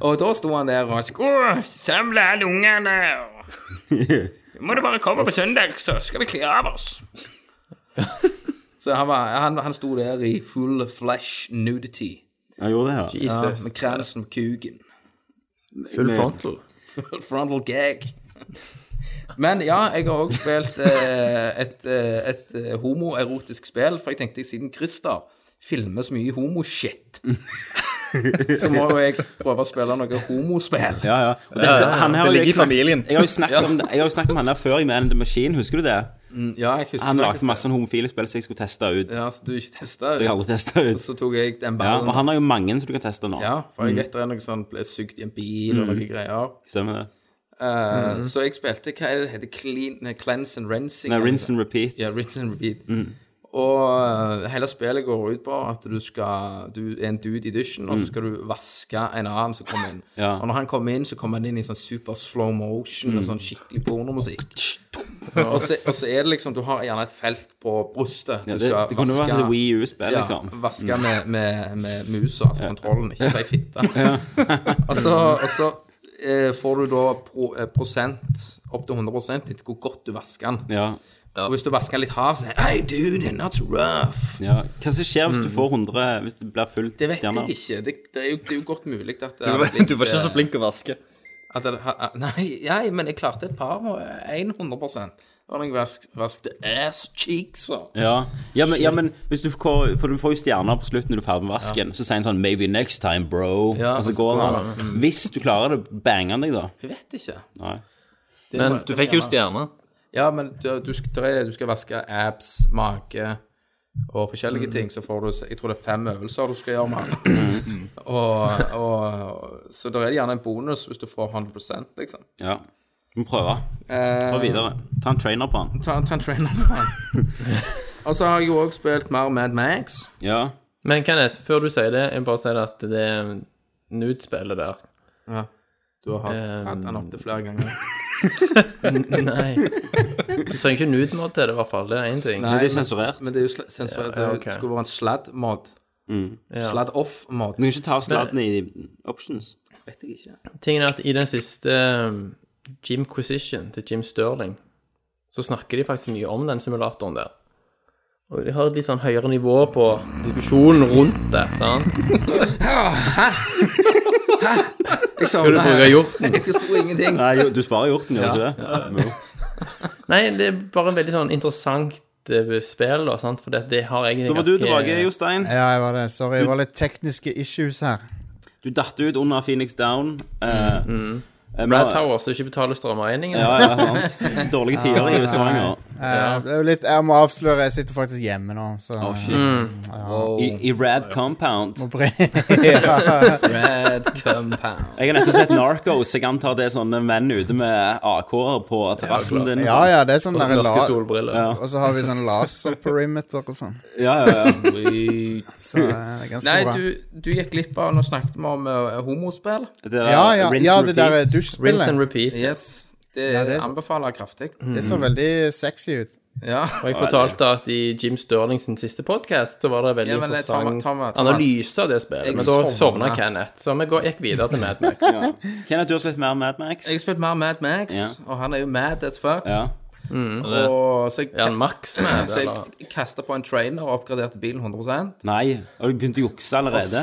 og da sto han der og sånn, Gå, samle alle ungene. Må du bare komme på søndag, så skal vi kle av oss. Så han, var, han, han sto der i full flesh nudity. Han gjorde det, ja. Ja, Jesus. med kransen på kuken. Mm. Full frontal. Frontal gag. Men ja, jeg har også spilt eh, et, eh, et eh, homoerotisk spill, for jeg tenkte siden Christer filmer så mye homoshit, så må jo jeg prøve å spille noe homospill. Ja, ja. Og dette, han her har Det jo ligger jeg i familien. Jeg har jo snakket, om, det- jeg har jo snakket om han der før i Man in the Machine, husker du det? Ja, jeg husker Han lagde faktisk masse sånne homofile spill som jeg skulle teste ut. det. Ja, så du ikke testa Så jeg har aldri testa ut. Så tok jeg den Ja, ballen. og han Mm. har jo mange som du kan teste nå. Ja, for jeg vet det er noe sånn ble sugd i en bil Mm. og noen greier. Stemmer det? Eh, Så jeg spilte hva er det det heter, clean, nei, cleanse and rinsing. Nei, eller rinse and noe. repeat. Ja, rinse and repeat. Mm. Og eh, hele spillet går ut på at du skal Du er en dude i dusjen, og så skal du vaske en annen som kommer inn. Mm. Ja. Mm. Og når han kommer inn, så kommer han inn i sånn super slow motion og sånn skikkelig pornomusikk. og, så, og så er det liksom Du har gjerne et felt på brystet. Du Ja, det, det kunne jo vært et Wii U-spill, liksom. ja, vaske med, med, med musa, altså kontrollen, ikke si fitte. og så, og så eh, får du da pro, eh, prosent, opp til 100 etter hvor godt du vasker den. Ja, Og hvis du vasker den litt hardt, så er det, Hey dude, that's rough. ja. Hva som skjer hvis du får 100 Hvis det blir fullt Det vet stjerner? jeg ikke. Det, det, er jo, det er jo godt mulig at det Du hadde var, blitt, du var ikke eh, så flink å vaske. at det, ha- nei, nei, men jeg klarte et par, og eh, 100 Og jeg vask, vaskte ass cheeks og Ja, ja, men, ja men hvis du får, For du får jo stjerner på slutten når du er ferdig med vasken. Så sier han sånn 'Maybe next time, bro'. Ja, og og så så går går han. Hvis du klarer det, banger han deg, da. Jeg vet ikke. Nei. Det Men var- du det var fikk jo gjerne- stjerne. Ja, men du, du, skal, du skal vaske abs, mage og forskjellige ting, så får du se- Jeg tror det er fem øvelser du skal gjøre med han. og, og, så det er gjerne en bonus hvis du får 100 liksom. Ja. Vi prøver. Prøv Eh, videre. Ta en trainer på han. ta, ta en trainer på han. og så har jeg jo òg spilt mer Mad Max. Ja. Men Kenneth, før du sier det, jeg bare sier at det er nude-spillet der. Ja. Du har Eh, hatt han opp til flere ganger. Nei. Du trenger ikke nude-mod til det, i hvert fall. Det er én ting. Men det er sensurert. Men det er jo sl- sensurert. Ja, ja, Det ok. skulle vært en sladd-mod. Ja. Sladd-off-mod. Du kan ikke ta sladden i options. Vet jeg ikke. Tingen er at i den siste um, Gymquisition til Jim Sterling, så snakker de faktisk mye om den simulatoren der. Og de har et litt sånn høyere nivå på diskusjonen rundt det, sant? Jeg Skal du savner bruke her. hjorten? Jeg forsto ingenting. Nei, jo, du sparer hjorten, gjør du ikke det? Jo. Nei, det er bare en veldig sånn interessant eh, spill, da, sant? For det, det har egentlig Da var du tilbake, Jostein. Ja, jeg var det. Sorry, det var litt tekniske issues her. Du datt ut under Phoenix Down. eh, eh, men- Brad Tower, som ikke betaler strømregningen. Ja, ja, sant. Dårlige tider i Stavanger. Eh, det er jo litt, jeg må avsløre, jeg sitter faktisk hjemme nå, så Oh, shit. I, I Rad Compound. ja. Red compound. Jeg har nettopp sett Narcos. Jeg antar det er sånne menn ute med AK-er på terrassen din. ja, ja, det er sånn der la... Mørke solbriller. Ja. Og så har vi sånn laserperimeter og sånn. Ja, ja, ja. Så eh, det er ganske Nei, bra. du, du gikk glipp av Nå snakket vi om eh, homospill. Det der, Ja, ja, rinse ja, and det repeat. der Rinse and douche-spillet. repeat. Yes. Det, Ja, det er Mm. så- anbefaler jeg kraftig. Det så veldig sexy ut. Ja. Og jeg fortalte at i Jim Stirling sin siste podkast så var det veldig Ja, men det- Thomas- interessant Thomas- Thomas. analyse av det spillet. Jeg Men da sovna. sovna Kenneth, så vi går- gikk videre til Mad Max. Kenneth, du har spilt mer Mad Max? Jeg har spilt mer Mad Max, Ja. og han er jo mad as fuck. Ja. Og så jeg, Er han Max med? så eller? jeg kasta på en trainer og oppgraderte bilen 100 Nei. Har du begynt å jukse allerede?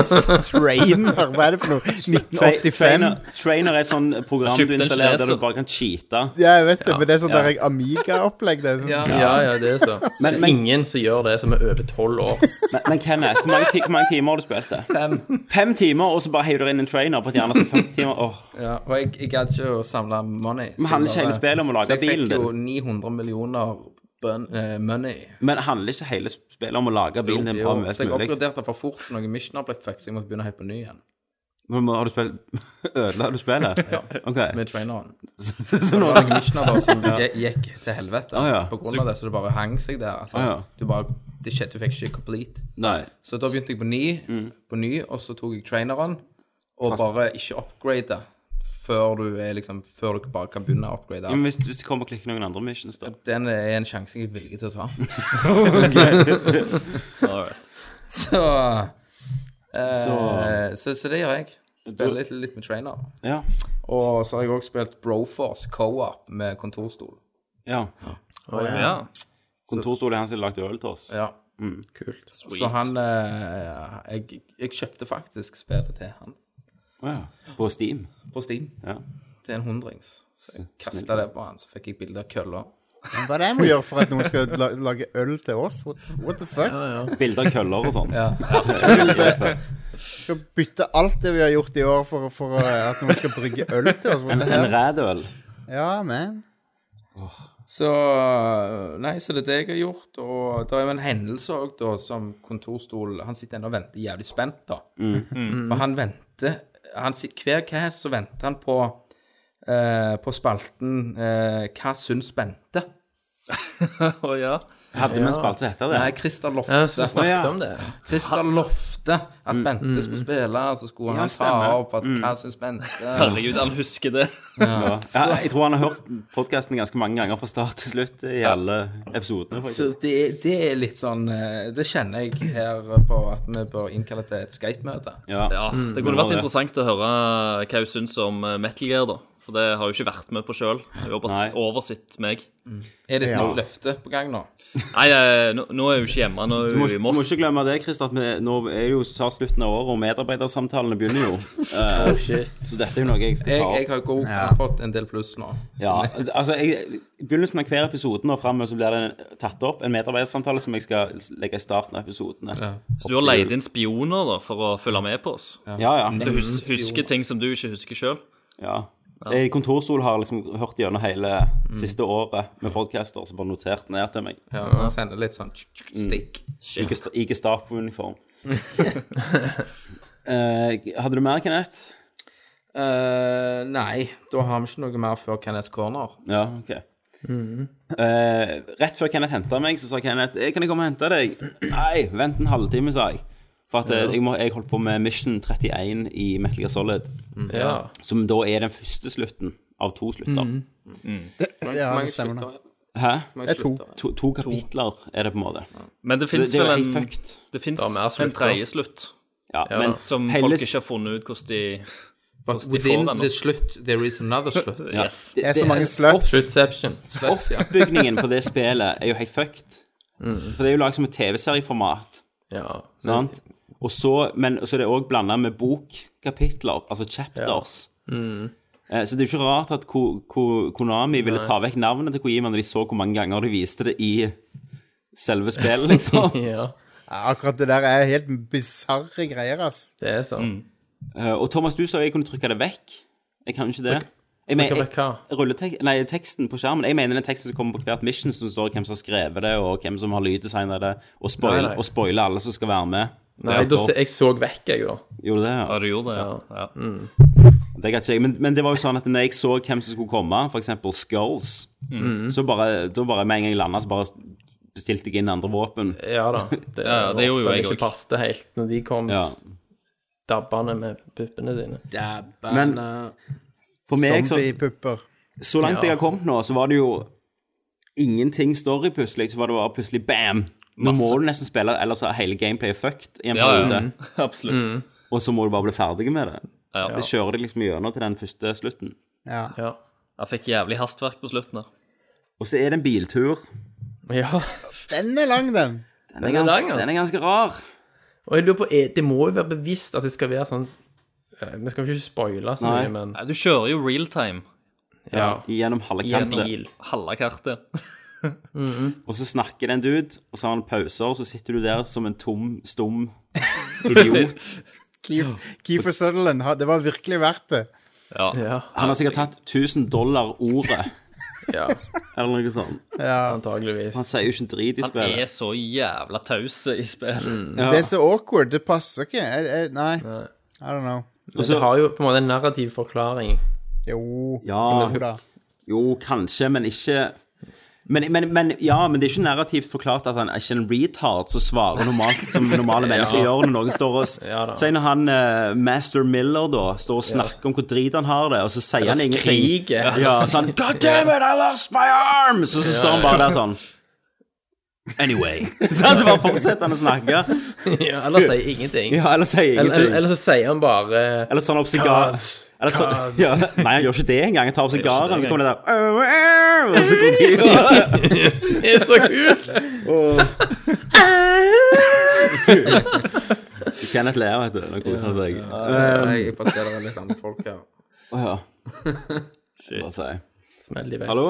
Trainer, hva er det for noe? Tra- 1985? Trainer, trainer er et sånn program Jeg du kjøpte en installerer der kineser. du bare kan cheate. Ja, jeg vet det, men det er sånn Ja. der jeg Amiga-opplegg. Det er sånn. Ja. Ja, ja, det er så. Men, Men- men- ingen som gjør det som er over tolv år. Men, men Kenneth, hvor mange, ti hvor mange timer har du spilt det? Fem. Fem timer, og så bare heiver du inn en trainer på et hjerne som er 50 timer. Åh, Ja, og jeg, jeg gadd ikke å samle money. Men handler ikke hele så jeg bare- spillet om å lage bilen Så jeg fikk jo din? 900 millioner bun, eh, money. Men handler ikke hele spillet om å lage bilen din Jo, bra mest så jeg mulig? oppgraderte for fort, så noen missioner ble fucked, så jeg måtte begynne helt på ny igjen. Men må- Har du spilt Ødela du spillet? Ja. Ok. Med traineren. Så Det nå var noen missioner da som ge- gikk til helvete Å, Ah, ja. på grunn av det, så det bare hang seg der. Altså. Å, ja. Du bare det skjedde, Du fikk ikke complete. Nei. Så da begynte jeg på ny, på ny og så tok jeg traineren, og bare ikke upgrade før du er liksom Før du bare kan begynne å upgrade. Ja, Men hvis, hvis det kommer og klikker noen andre missions, da? Den er en sjanse jeg er villig til å ta. så, eh, Så- så. så det gjør jeg. Spiller litt, litt med trainer. Ja. Og så har jeg også spilt Broforce co-op med kontorstol. ja. Ja. Kontorstolen er han som har lagd øl til oss. Ja. Kult. Så han eh, jeg, jeg kjøpte faktisk spillet til han Ja. På Steam. på Steam. Ja. Til en hundrings. Så jeg kasta det på han, så fikk jeg bilde av kølla. Hva er det jeg må gjøre for at noen skal la lage øl til oss? What, what the fuck? Bilder av køller og sånn. Vi skal bytte alt det vi har gjort i år for, for eh, at noen skal brygge øl til oss. What En, the en hell? rædøl. Ja, man. Så Nei, så det er det jeg har gjort. Og det er jo en hendelse òg, da, som kontorstol Han sitter ennå og venter jævlig spent, da. Mm. For han venter han sitter, Hver cast så venter han på eh, på spalten eh, 'Hva syns Bente?' Å ja. Hadde vi en spalte som heter det? Nei, Christer Ja, så Lofte. Mm. vi snakket Å, ja. om det. Christer Lofte. At Bente skulle spille, så skulle han stemmer. ta opp at 'Hva syns Bente?' Herregud, han husker det. Ja. Ja, jeg tror han har hørt podkasten ganske mange ganger fra start til slutt i alle episodene. faktisk. Så det, det er litt sånn eh, Det kjenner jeg her på at vi bør innkalle til et Skype-møte. Ja. Ja, Mm. Det det kunne var vært det. interessant å høre hva hun syns om eh, Metal Gear, da. For det har hun ikke vært med på sjøl. Hun har bare Nei. s- oversitt meg. Er det et Ja. nytt løfte på gang nå? Nei, eh, nå, nå er hun ikke hjemme, nå Du er må, hun ikke- du i må Moss. ikke glemme det, Christer, at vi, nå er jo snart slutten av året, og medarbeidersamtalene begynner jo. Eh, Oh, shit. Så dette er jo noe jeg skal Jeg, ta jeg opp. har god, jeg har fått en del pluss nå. Ja, altså, jeg, I begynnelsen av hver episode nå fremme, så blir det tatt opp en medarbeidersamtale som jeg skal legge i starten av episodene. Så du har leid inn spioner da, for å følge med på oss. Ja, Mm. ja. Så hus husker ting som du ikke husker sjøl. ja. Jeg, kontorstol har liksom hørt gjennom hele siste året med podcaster, så bare notert ned til meg. Ja, Sender litt sånn tsk, tsk, stikk. I gest- I Gestapo-uniform. Eh, hadde du mer, Kenneth? Eh, nei, da har vi ikke noe mer før Kenneth Corner. Ja, ok. Eh, rett før Kenneth henta meg, så sa Kenneth «Eh, 'Kan jeg komme og hente deg?' Nei, vent en halvtime, sa jeg. For at eh, jeg, må, jeg holdt på med Mission 31 i Metal Gear Solid, Ja. som da er den første slutten av to slutter. Ja, Hvor det mange stemmer det. slutter- Hæ? hvor mange er to. slutter? To, to kapitler er det på en måte. Men det Så det, fins det vel er jo en helt fucked. Det fins er mer en slutt, da. tredje slutt, Ja, Ja, men som hele folk s- ikke har funnet ut hvordan de But Hvordan de får within den, da. the slutt, there is another slutt. ja. Yes. Det, er så mange opp- sluts. Sluttception. Slutt, ja. Oppbygningen på det spillet er jo helt fucked. For det er jo laget som et TV-serieformat. Ja. Sant? Og så, men så er det òg blanda med bokkapitler, altså chapters. Eh, Så det er jo ikke rart at Ko Ko Konami ville ta vekk navnet til Kojima når de så hvor mange ganger de viste det i selve spillet, liksom. ja. Ja, akkurat det der er helt bisarre greier, ass. Det er sånn. Eh, Og Thomas, du sa jeg kunne trykke det vekk. Jeg kan ikke det. Jeg Hva mener, vet hva? rulletek nei, teksten på skjermen. Jeg mener den teksten som kommer på hvert mission, som står hvem som har skrevet det, og hvem som har lyddesignet det, og spoil- Nei, nei. og spoile alle som skal være med. Nei, da, Derfor- se- jeg så vekk, jeg, da. Gjorde det, ja. Ja, du gjorde det, ja. ja. Det kan ikke jeg, men, men det var jo sånn at når jeg så hvem som skulle komme, f.eks. Skulls, så bare, da bare med en gang jeg landa, så bare bestilte jeg inn andre våpen. Ja da. Det, ja, det gjorde jo ofte jeg ikke også. passet helt når de kom Ja. dabbende med puppene sine. Dabba, Men- na. For meg, så, Zombiepupper. så langt jeg har kommet nå, så var det jo ingenting story plutselig. Så var det bare plutselig bam! Nå må du nesten spille, ellers er hele gameplayet fucked i en ja, ja. periode. Absolutt. Og så må du bare bli ferdig med det. Ja. Det kjører deg liksom gjennom til den første slutten. Ja. Ja. Jeg fikk jævlig hastverk på slutten der. Og så er det en biltur. ja. Den er lang, den. Den er, Den er gans, lang, ass. den er ganske rar. Og jeg lurer på, er, det må jo være bevisst at det skal være sånn eh, Vi skal jo ikke spoile så Nei. mye, men Nei, du kjører jo real time. ja. Gjennom halve I en kartet. bil. Halve kartet. Og så snakker det en dude, og så har han pauser, og så sitter du der som en tom, stum idiot. Keefer Sutherland, ha- det var virkelig verdt det. Ja. Ja, Han har sikkert tatt 1000 dollar ordet, ja eller noe sånt. Ja. Han antageligvis. sier jo ikke en drit i Han spillet. er så jævla taus i spill. Ja. Det er så awkward. Det passer ikke. Jeg, jeg, nei. I don't know. Men det har jo på en måte en narrativ forklaring. Jo. Ja, jo da. jo, kanskje, men ikke men, men, men, ja, men det er ikke narrativt forklart at han er ikke en retard som svarer normalt som normale mennesker gjør når noen står og s- Ja da. Si når han eh, Master Miller da står og snakker om hvor drit han har det, og så sier han ingenting. Skriker. Ja, sånn God damn it, I lost my arm! Så, så står han bare der sånn Anyway. Så altså bare fortsetter han å snakke. Ja, eller sier ingenting. Ja, eller sier Eller, eller, ingenting. eller så sier han bare Eller så tar han opp sigar. Kaz, Eller så, kaz. ja, nei, han gjør ikke det engang. Han tar opp sigaren, så kommer det der «Au, au», Og så går tida. Det er så kult! Kenneth ler, vet du. Nå koser han seg. Nei, Eh, Jeg passerer litt andre folk her. Å ja. Bare si. Smell de vekk. Hallo?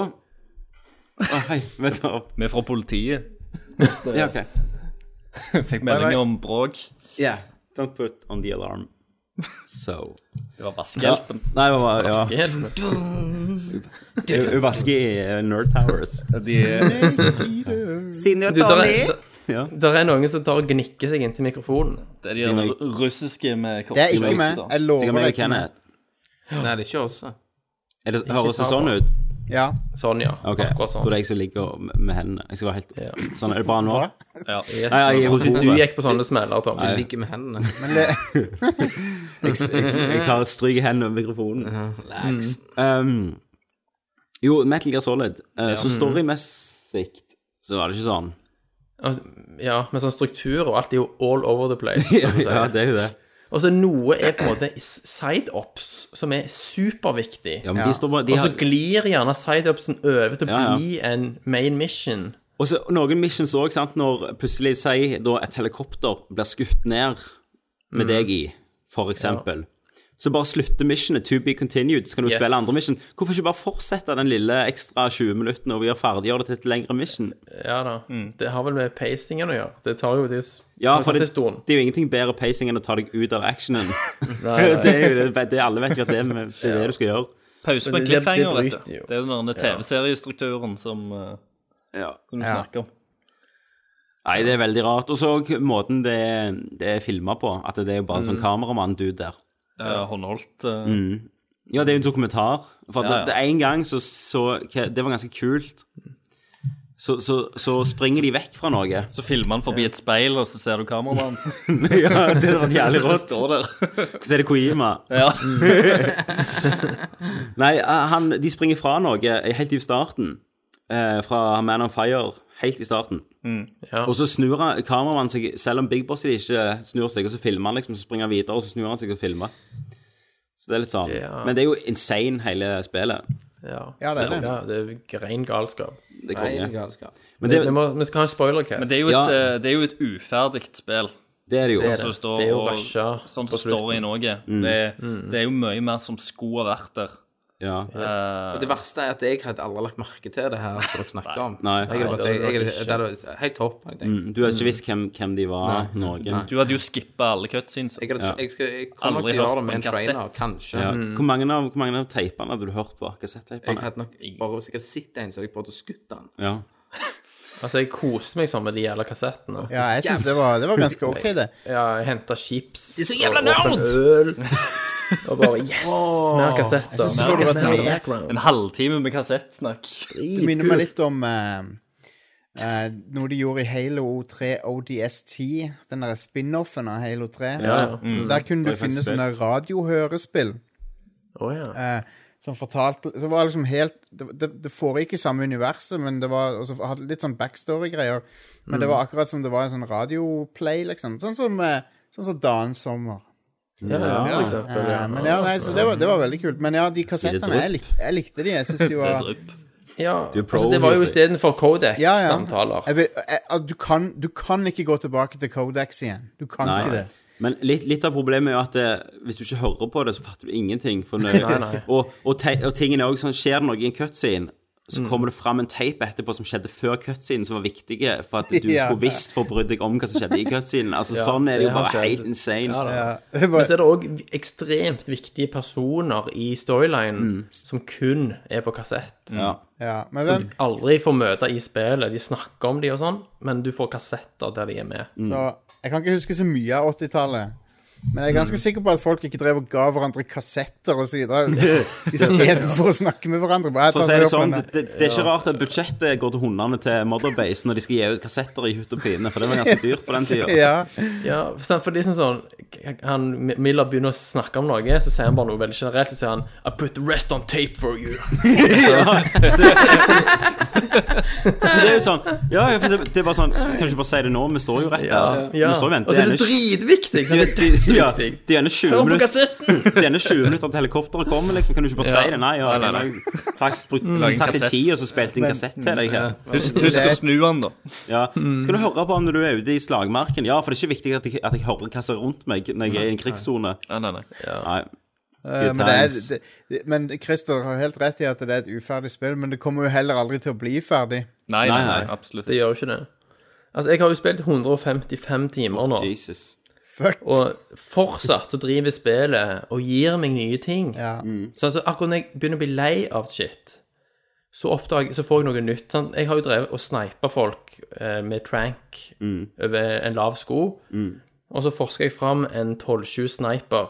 Å, hei. Vi tar opp. Vi er fra politiet. Ja, OK. Fikk melding om bråk. Yeah. Don't put on the alarm. So Det var vaskehjelpen. Nei, det var ja. Helt- Hun vasker i eh, Nerd Towers. Senior Du, der er, Ja. der, der er noen som tar og gnikker seg inntil mikrofonen. Det er de Siden jeg- ru- russiske med Det er ikke Sikkert meg. da. Jeg lover Sikkert meg deg og ikke meg. Kenneth. Nei, det er ikke oss. Er det, høres det sånn ut? Ja. Sånn, ja. Ok, Akkurat Da er sånn. det jeg som ligger med- med hendene. Jeg skal være helt Ja. Sånn, er det bra nå? Ja. Yes. Nei, jeg gir Jeg tror ikke ordet. du gikk på sånne smeller, Tom. Jeg ligger med hendene. Jeg, jeg, jeg tar stryker hendene over mikrofonen. Mm. Um, jo, Metal Gear Solid. Uh, så storymessig så var det ikke sånn. Altså, Ja, men sånn struktur og alt er jo all over the place. som du sier. ja, det er jo det. Og så noe er på en måte side-ups, som er superviktig. Ja, men de står bare de Og så har- glir gjerne side-upsen over til å Ja, ja. bli en main mission. Og så noen missions òg, sant, når plutselig sier da et helikopter blir skutt ned med deg i, for eksempel. Så bare slutter missionet. To be continued. Så kan du Yes. spille andre mission. Hvorfor ikke bare fortsette den lille ekstra 20 minuttene og vi gjør ferdiggjør det til et lengre mission? Ja da. Det har vel med pacingen å gjøre. Det tar jo det Ja, for det, det stund. det er jo ingenting bedre pacing enn å ta deg ut av actionen. det er jo det, det alle vet jo at det, er- det er det du skal gjøre. Pause på Men en det- det- det cliffhanger, vet bryter du. jo. Det er jo den der TV-seriestrukturen som, eh, Ja. som du Ja. snakker om. Nei, det er veldig rart. Og så også måten det, det er filma på. At det er jo bare Mm. en sånn kameramann-dude der. Eh, håndholdt. eh, Mm. Ja, det er jo en dokumentar. For Ja, ja. det- det en gang så, så Det var ganske kult. Så, så, så springer de vekk fra noe. Så filmer han forbi et speil, og så ser du kameramannen. ja, det var jævlig Så rått. står der. Så er det Koima. Ja. Nei, eh, han, de springer fra noe helt i starten. Eh, fra Man on Fire, helt i starten. Ja. Og så snur han, kameramannen seg, selv om Big Boss ikke snur seg, og så filmer han liksom, så springer han videre, og så snur han seg og filmer. Så det er litt sånn. Ja. Men det er jo insane, hele spillet. Ja. Ja, det er det. Ja, det er ren galskap. Det er Nei, det er konge. galskap. Men det, vi, må, vi skal ha en spoilercast. Men det er jo et, Ja. ja. det er jo et uferdigt spill. det er det jo. Det er Som det. står, Det er jo og- rushet Sånn på som slutten. Mm. storyen òg er. Det, er- det er jo mye mer som skulle ha vært der. Ja. Og det verste er at jeg hadde aldri lagt merke til det her som dere snakker om. Nei. jeg hadde Nei, bare det tenkt, hadde jeg, dere hadde- det hadde helt topp. hadde Jeg, tenkt. Mm, Du har ikke visst hvem, hvem de var, noen. Nei. Du hadde Mm. jo skippa alle cutscenes. jeg, hadde, jeg, skal, jeg kommer nok Aldri til å hørt gjøre det på med en en trainer, kassett. kanskje. Ja. Hvor mange av, hvor mange av teipene hadde du hørt på? Mm. Jeg Kassetteipene? hadde nok bare sikkert sett en, så hadde jeg prøvd å skutte den. Ja. Altså, jeg koste meg sånn med de jævla kassettene. Ja, jeg syns det, var- det var ganske OK, det. Ja, jeg henta chips er så jævla og åpen nerds! øl. Og bare Yes! Mer kassetter. Så du at det- En halvtime med kassettsnakk. Det minner meg litt om eh, eh, noe de gjorde i Halo 3 ODST, den der spin-offen av Halo 3. Ja, Der kunne du Det er finne faktisk sånne radiohørespill. Å ja. eh, som fortalte Så var det liksom helt Det, det, det foregikk i samme universet, men det var og så hadde litt sånn backstory-greier. Men det var akkurat som det var en sånn radioplay, liksom. Sånn som, eh, sånn som Dan Sommer. ja. For eksempel. Eh, Ja. men ja, nei, så det var, det var veldig kult. Men ja, de kassettene, drypp? jeg, lik, jeg likte de. Jeg synes de Det er var drypp. ja. Du er pro Altså, det var jo music. istedenfor Ja, ja. Kodek-samtaler. jeg vil, jeg, at du, kan, du kan ikke gå tilbake til Codex igjen. Du kan Nei. ikke det. Men litt, litt av problemet er jo at det, hvis du ikke hører på det, så fatter du ingenting. For nøye. nei. Og, og, te, og tingen er også sånn, skjer det noe i en cutscene, så kommer det fram en teip etterpå som skjedde før cutscenen, som var viktige for at du Ja. skulle visst for å bry deg om hva som skjedde i cutscenen. Altså, Ja, sånn er det jo det har bare skjedd. helt insane. Ja, da. Det Men er så bare, er det òg ekstremt viktige personer i storylinen som kun er på kassett. Ja. ja, men hvem, Aldri får møte i spillet. De snakker om de og sånn, men du får kassetter der de er med. Mm. så, jeg kan ikke huske så mye av 80-tallet. Men jeg er Mm. ganske sikker på at folk ikke drev og ga hverandre kassetter osv. Istedenfor å snakke med hverandre. Bare, For å si jeg det tar sånn, meg opp det, det, det er ikke rart at budsjettet går til hundene til Motherbase når de skal gi ut kassetter i hutt og pine, for det var ganske dyrt på den med tida. det. Ja, Ja, for sant, for det er som sånn han, Miller begynner å snakke om noe, så sier han bare noe veldig generelt. Så sier han I put the rest on tape for you. Men Det er jo sånn Ja, ja, for det det er bare sånn Kan du ikke bare si det nå? Vi står jo rett der. Vi står og Og venter. det er gjerne- dritviktig! de, Sant? de, Det er de, ja, dritviktig. de er gjerne 20 Hør på minutter kassetten! Det er gjerne 20 minutter til helikopteret kommer, liksom. Kan du ikke bare Ja. si det? Nei, ja, nei, Takk, Mm. bruk, tatt litt kassett. tid, og så spilte jeg en kassett til deg her. Husk, husk å snu han, da. Ja. Mm. Skal du høre på om du er ute i slagmarken? Ja, for det er ikke viktig at jeg, at jeg hører hva som er rundt meg når jeg er i en krigssone. Nei, nei, nei. Nei. Eh, Good men, det er, times. det, det- men Christer har helt rett i at det er et uferdig spill, men det kommer jo heller aldri til å bli ferdig. Nei, nei, nei, Nei, nei. absolutt Det ikke. gjør jo ikke det. Altså, jeg har jo spilt 155 timer nå, Jesus. Fuck. og fortsatt så driver spillet og gir meg nye ting. Ja. Mm. Så altså, akkurat når jeg begynner å bli lei av shit, så, oppdag, så får jeg noe nytt. Sant? Jeg har jo drevet og sneipa folk eh, med trank over en lav sko. Og så forsker jeg fram en 12-20 sniper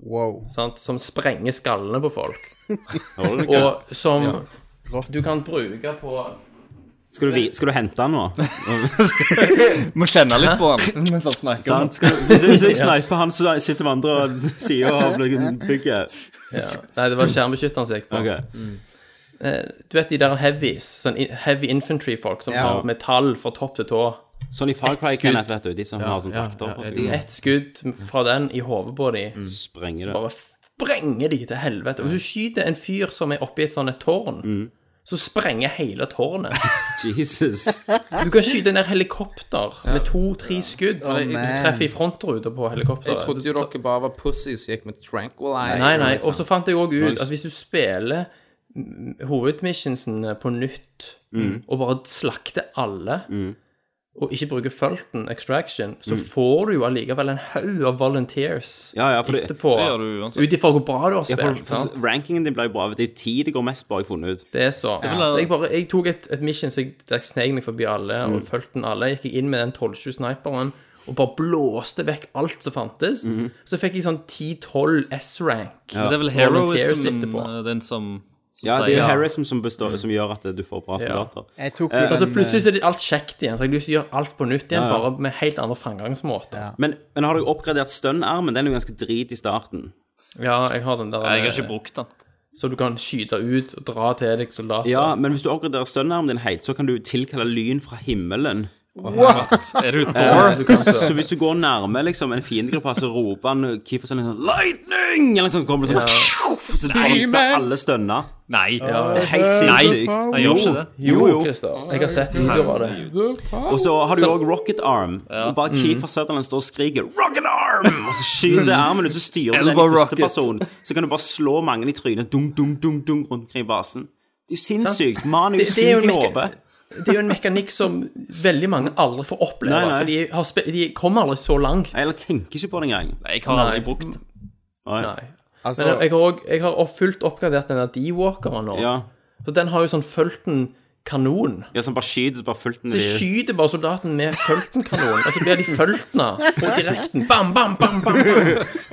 Wow. sant, som sprenger skallene på folk. Hører du ikke? Og som du kan bruke på Skal du, vi- skal du hente han nå? Må kjenne litt på han. mens han snakker om Sant? Skal du, hvis, hvis jeg sniper han, så sitter vi andre og sier av bygget. ja. Nei, det var skjermbeskytteren som gikk på. Ok. Du vet de der heavies, sånn i- heavy infantry-folk som Ja. har metall fra topp til tå. Sånn i Far Cry, Ett skudd. Kenneth, vet du. De som har sånn trakter på seg. Ett skudd fra den i hodet på de. Sprenger det. bare sprenger de til helvete. Og hvis du skyter en fyr som er oppi et sånt et tårn, så sprenger hele tårnet. Jesus. Du kan skyte ned helikopter med to-tre skudd. det- hvis man. du treffer i frontruta på Jeg helikopteret. trodde jo dere bare var pussies som gikk med tranquilizer. Nei, nei. liksom. Og så fant jeg òg ut at hvis du spiller mm, hovedmissionsene på nytt og bare slakter alle og ikke bruker Fulton Extraction, så får du jo allikevel en haug av volunteers Ja, ja, for det- etterpå. Det gjør du uansett. Ut ifra hvor bra du har Ja, spilt. for, sant? for rankingen din ble jo bra. Det er jo ti det går mest på, har jeg funnet ut. Det er så. ha- så jeg, bare, jeg tok et, et mission så jeg, der jeg sneik meg forbi alle Mm. og fulgte den alle. Jeg gikk inn med den 12-20 sniperen og bare blåste vekk alt som fantes. Mm. Så fikk jeg sånn 10-12 S-rank. Men det er vel Volunteers heroism, etterpå. eh, den som, som Ja, det er jo sier Harrison som, består, som gjør at du får bra soldater. Jeg tok Så altså, den, eh, plutselig så er det alt kjekt igjen. Så jeg har lyst til å gjøre alt på nytt igjen, bare med helt andre framgangsmåter. Ja. Men, men har du oppgradert stønnarmen? Den er jo ganske drit i starten. jeg har den der eh, Nei, Jeg har ikke brukt den. Så du kan skyte ut og dra til deg soldater. Ja, men hvis du oppgraderer stønnarmen din helt, så kan du tilkalle lyn fra himmelen. Er du Thor? Du kan så- Så hvis du går nærme liksom, en fiendegruppe, så roper han Keefer sånn Lightning! Eller sånn, kommer det sånn Så kommer det sp- alle stønna. Nei, Det er helt sinnssykt. han gjør ikke det. Jo, Christer. Jeg har sett videoer av det. Og så har du jo òg Rocket Arm. Og Mm. bare Keefer Sutherland står og skriker 'Rocket Arm!' Og så skyter Mm. armen ut, så styrer du den i Elbow første rocket. person. Så kan du bare slå mange i trynet dunk, dunk, dunk, dunk rundt omkring i basen. Det er jo sinnssykt. Mannen er jo Det- det er jo syk i en mekka- hodet. Det er jo en mekanikk som veldig mange aldri får oppleve. Nei, nei. For de, har spe de kommer aldri så langt. Eller tenker ikke på det engang. Nei, Jeg har aldri brukt den. Nei. Nei. altså, Men jeg har, også, jeg har opp- fullt oppgradert den der D-walkeren nå. Ja. Så den har jo sånn Fulton-kanon. ja, som bare skyter, så bare fulgte den Det i skyter bare soldaten med Fulton-kanon, og så blir de Fultona på direkten. Bam, bam, bam, bam.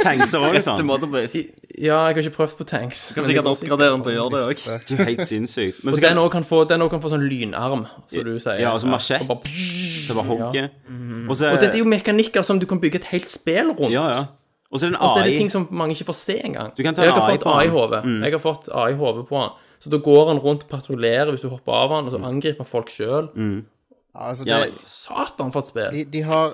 tankser òg, liksom. Motherbase. Ja, jeg har ikke prøvd på tanks. Kan sikkert oppgradere den til å gjøre det òg. Det er jo helt sinnssykt. Men Og så den kan òg kan, få- den også kan få sånn lynarm, som du sier. Ja, og så machette. Og bare- det bare hogge. Og så Og dette er jo mekanikker som du kan bygge et helt spill rundt. Ja, ja. Og så er det en Og så er det AI. ting som mange ikke får se engang. Du kan ta jeg en har AI på fått Mm. han. AI-hode. Jeg har fått AI-hode på han. Så da går han rundt og patruljerer hvis du hopper av han, og Mm. så angriper han folk sjøl. altså Ja, det, Satan, for et spill! de, de har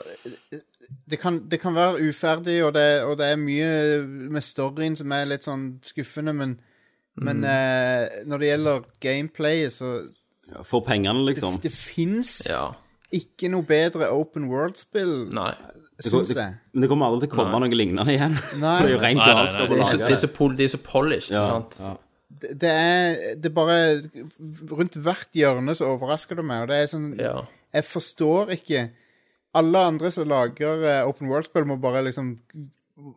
det kan, det kan være uferdig, og det, og det er mye med storyen som er litt sånn skuffende, men, men Mm. eh, når det gjelder gameplayet, så For pengene, liksom. Det fins Ja. ikke noe bedre open world-spill, Nei. syns jeg. Men det kommer aldri til å komme noe lignende igjen. Nei. For det er jo rent Nei, nei, nei, galskap å det Det er så, lage det det. er så, pol, det er så polished, sant? Det, det er det er bare Rundt hvert hjørne så overrasker det meg, og det er sånn Ja. Jeg forstår ikke Alle andre som lager eh, open world-spill, må bare liksom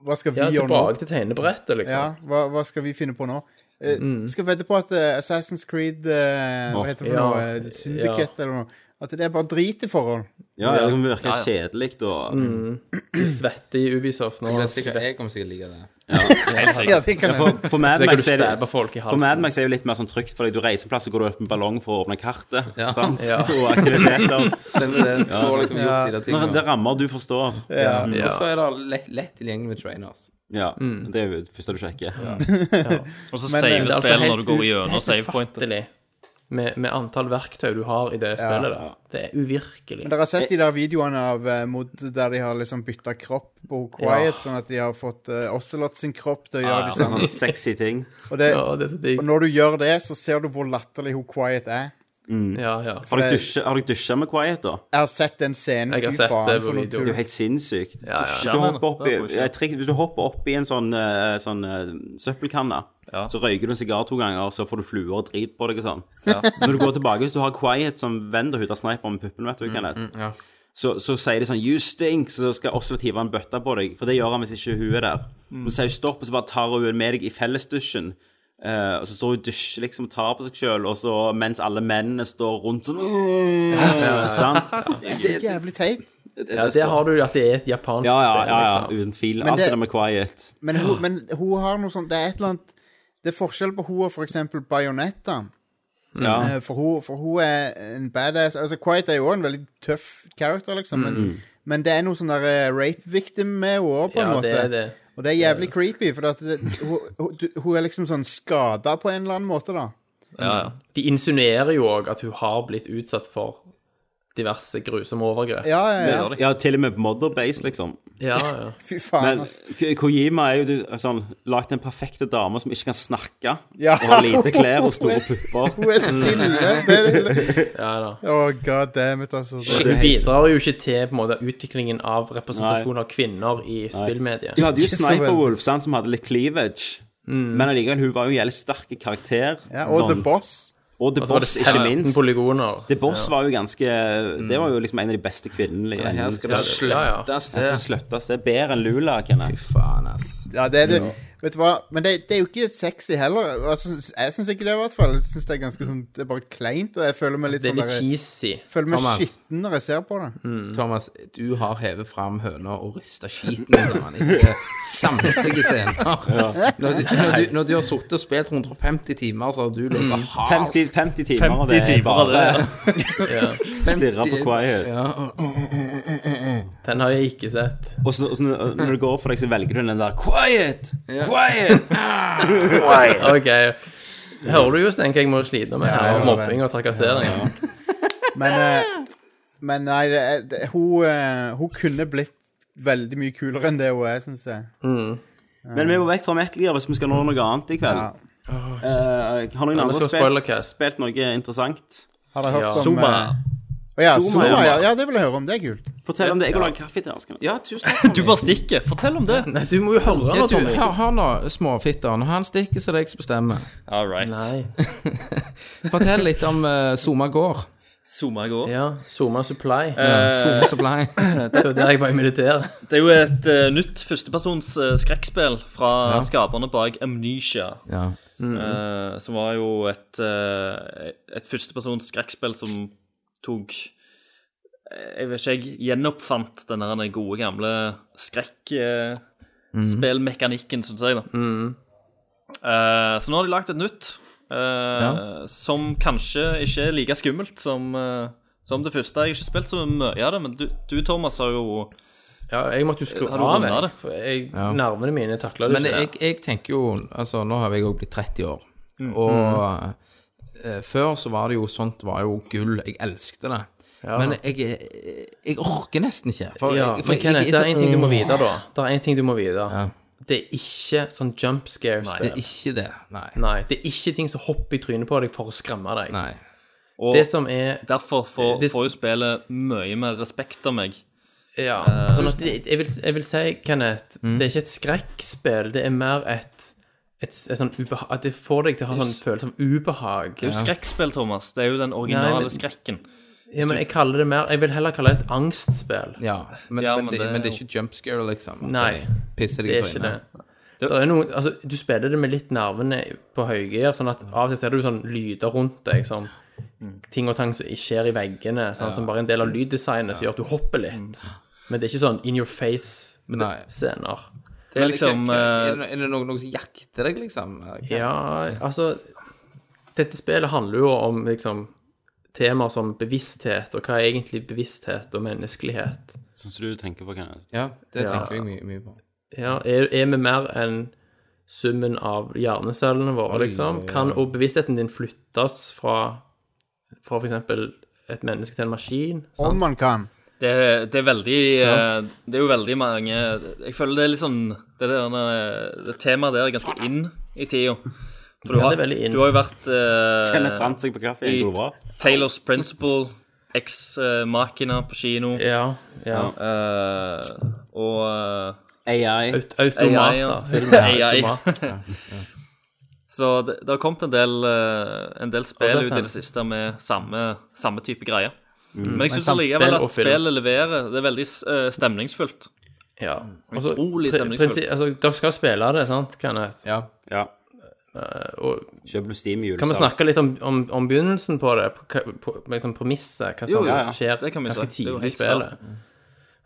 Hva skal vi ja, gjøre nå? tilbake til tegnebrettet, Ja, liksom. hva, hva skal vi finne på nå? Eh, Mm. Skal vedde på at eh, Assassin's Creed eh, Hva Åh. heter det Ja, for noe? Syndiket eller noe? At det er bare drit i forhold. Ja, det kan virke kjedelig og Mm. De svetter i Ubisoft nå. Det er sikkert jeg kommer sikkert like det. Helt Ja, sikkert. det kan jeg. For, for Mad Der kan du Max er det stabbe folk i For Mad halsen. Max er jo litt mer sånn trygt, fordi du reiser en plass, så går du opp med ballong for å åpne kartet. Ja. Sant? Ja. Og aktiviteter. Stemmer det. Du får liksom gjort de der Når det tingene. rammer du forstår. Ja. Ja. Og så er det lett, lett tilgjengelig med trainers. Ja, Mm. Det er jo det første du sjekker. Og så saver Men, eh, det er altså spillet helt når du går u- det er gjennom helt savepointet. ufattelig med, med antall verktøy du har i det spillet der. Det er uvirkelig. Men dere har Eh, sett de der videoene av eh, Mod der de har liksom bytta kropp på Quiet, sånn at de har fått eh, Ocelot sin kropp til å gjøre de samme. Sånn sexy ting. Og, det, Ja, det er så digg. og når du gjør det, så ser du hvor latterlig hun Quiet er. Ja, ja. Har dere dusja- har dere dusja med Quiet, da? Jeg har sett den scenen, Jeg har fy sett det faen. på For noe video. Det er tull. jo helt sinnssykt. ja, ja. Hvis du, hopper opp i, Ja, men, det er jeg, trekk- hvis du hopper opp i en sånn, eh, sånn eh, søppelkanne, Ja. så røyker du en sigar to ganger, så får du fluer og drit på deg og sånn. Så når du går tilbake, hvis du har Quiet som venn og hun tar sniper med puppen, Mm, vet du, Kenneth, så, så sier de sånn 'You stink', så skal Oslo hive en bøtte på deg, for det gjør han hvis ikke hun er der. Mm. Og Så sier hun stopp, og så bare tar hun med deg i fellesdusjen. eh, og så står hun og dusjer liksom og tar på seg sjøl, og så mens alle mennene står rundt sånn Sant? Det, det, det, Jævlig teit. det, Ja, der har du jo at det er et japansk ja, ja, spill, ja, liksom. ja, uten tvil. Alt det- det der med quiet. Men hun, men hun har noe sånt Det er et eller annet Det er forskjell på hun og for eksempel Bajonetta. Ja. Eh, For, hun, for hun er en badass Altså, Quiet er jo også en veldig tøff character, liksom, men, men det er noe sånn der eh, rape victim med henne også, på en Mm. Ja, måte. det er det. Og det er jævlig creepy, for at det, hun, hun, du- hun er liksom sånn skada på en eller annen måte, da. Ja, ja. De insinuerer jo òg at hun har blitt utsatt for diverse grusomme overgrep. Ja, ja, ja. Ja, til og med på Motherbase, liksom. Ja, ja. Fy faen, altså. Men ass. K- Kojima er jo du, sånn, lagt den perfekte dame som ikke kan snakke, Ja. og har lite klær og store pupper. Hun er stille. Det er litt- ja da. Åh, god damn it, altså. Det, Hun bidrar jo ikke til på en måte, utviklingen av representasjon av kvinner i spillmediet. Du hadde jo Ikke så Sniperwolf, sant, som hadde litt cleavage, men allikevel, hun var jo en jævlig sterk karakter. Sånn. Sånn. ja, og The Boss. Og The Og så var det Boss, ikke 15 minst. polygoner. The Boss var jo ganske Mm. Det var jo liksom en av de beste kvinnelige Her skal det Mm, Ja, ja. slettes Det skal til. sløttes. Det er bedre enn Lula, Kenneth. Faen, ass. Ja, det er det. Vet du hva? Men det, det er jo ikke sexy heller. Altså, jeg syns ikke det, i hvert fall. Jeg synes Det er ganske sånn, det er bare kleint, og jeg føler meg litt Altså, Det er litt sånn der, cheesy. føler meg Thomas. skitten når jeg ser på det. Mm. Thomas, du har hevet fram høna og rista skiten ut av den etter samtlige scener. Når, du, når, du, når du har sittet og spilt 150 timer, så har du Mm. ligget hardt. 50, 50 timer, og 50 det er timer av bare det. stirre på quiet. Ja, og- og- Den har jeg ikke sett. Og så, og så når- når du går for deg, så velger du den der Quiet! Quiet! OK. Hører du, Jostein, hva jeg må slite med jeg her? hører Mobbing og trakassering. Men, eh, men nei, det, er- det, hun, eh, hun kunne blitt veldig mye kulere enn det hun er, syns jeg. Men vi må vekk fra Metal Gear hvis vi skal nå noe annet i kveld. Ja. Eh, har noen Ja, vi andre skal spilt, spoilercast. spilt noe interessant? Har dere hørt Ja. om Zuma. eh, ja, Zuma, Zuma, ja. ja. ja, det vil jeg høre om. Det er kult. Fortell om det. Jeg går og lager kaffe til dere. Eh, skal dere. ja, tusen takk. Du bare stikker. Fortell om det. Nei, du må jo høre Ja, nå, du, Tommy. hør, hør nå, småfitter. Når han stikker, så er det jeg som bestemmer. All right. Nei. Fortell litt om uh, Soma gård. Zooma går. Ja. Zuma Supply. Ja, Soma Supply. Det er jo der jeg var i militæret. Det er jo et eh, nytt førstepersons eh, skrekkspill fra skaperne bak Amnesia. Ja. Mm. eh, som var jo et, eh, et førstepersons skrekkspill som tok eh, Jeg vet ikke, jeg gjenoppfant den der den gode, gamle Mm. skrekkspillmekanikken, uh, syns jeg, da. Mm. Eh, så nå har de lagd et nytt eh, som kanskje ikke er like skummelt som, eh, som det første. Jeg har ikke spilt så mye av det, men du, du Thomas, har jo Ja, jeg måtte jo skru Har du av, rundet jeg. det? For jeg, nervene mine takla det Men jeg, ikke. jeg tenker jo Altså, nå har jeg òg blitt 30 år. Mm. Og eh, før så var det jo sånt var jo gull. Jeg elsket det. Men jeg, er- jeg orker nesten ikke. For, Ja, jeg, for men Kenneth, jeg- sånn, det er en ting du må Åh, vite, da. Det er en ting du må vite. Det er ikke sånn jump Det er scare-spill. ikke det. Nei. Nei, det er ikke ting som hopper i trynet på deg for å skremme deg. Nei. og, Det som er Derfor får, Det- får jo spillet mye mer respekt av meg. Ja. sånn at det- jeg, vil, jeg vil si, Kenneth, Mm. det er ikke et skrekkspill. Det er mer et, et, s- et sånn ubehag At det får deg til å ha sånn følelse av ubehag. Det er jo skrekkspill, Thomas. Det er jo den originale Nei, men- skrekken. Ja, men jeg kaller det mer Jeg vil heller kalle det et angstspill. Ja, men, Ja, men, men det, det er men det er jo- ikke jump scare, liksom. at Nei, jeg Pisser deg Det i er ikke det. trynet. Det er noe, altså, du spiller det med litt nervene på høygir, sånn at av og til ser du sånn lyder rundt deg, sånn ting og tang som ikke skjer i veggene, sant, som bare er en del av lyddesignet som gjør at du hopper litt. Men det er ikke sånn in your Nei. face-scener. Det er liksom Men eh, er, det, er det noen, noen som jakter deg, liksom? Ja, altså Dette spillet handler jo om liksom temaer som bevissthet, og hva er egentlig bevissthet og menneskelighet? Sånn som du tenker på, Kenneth. Ja, det Ja. tenker jeg mye, mye på. Ja, er, er vi mer enn summen av hjernecellene våre, liksom? Mm, Kan, og bevisstheten din flyttes fra, fra f.eks. et menneske til en maskin? Om Sant? man kan. det, det er veldig eh, Sant. Det er jo veldig mange Jeg føler det er litt sånn Det, der, eh, det temaet der er ganske inn i tida. For du Ja, har, det er veldig inn. du har jo vært Kenneth eh, brant seg på kaffe. i Går det bra? Taylors Principle, eks-makina på kino Ja. ja. eh, og eh, AI. Aut automater. AI, ja. Filmen er AI. automater. Så det, det har kommet en del, eh, en del Har du spill sett ut i den? Mm. det siste med samme, samme type greier. Men jeg syns samt allikevel spill at og film. spillet leverer. Det er veldig eh, stemningsfullt. Ja. Altså, Utrolig pri- stemningsfullt. prinsi- Altså, dere skal spille det, sant, Kenneth? Ja. Ja. Og Kjøp du Steam i kan vi julesalg? snakke litt om, om, om begynnelsen på det? På, hva- på, liksom premisset? Hva som Jo, ja, ja. skjer Det kan vi ganske si. Det er jo tidlig i helt klart. spillet?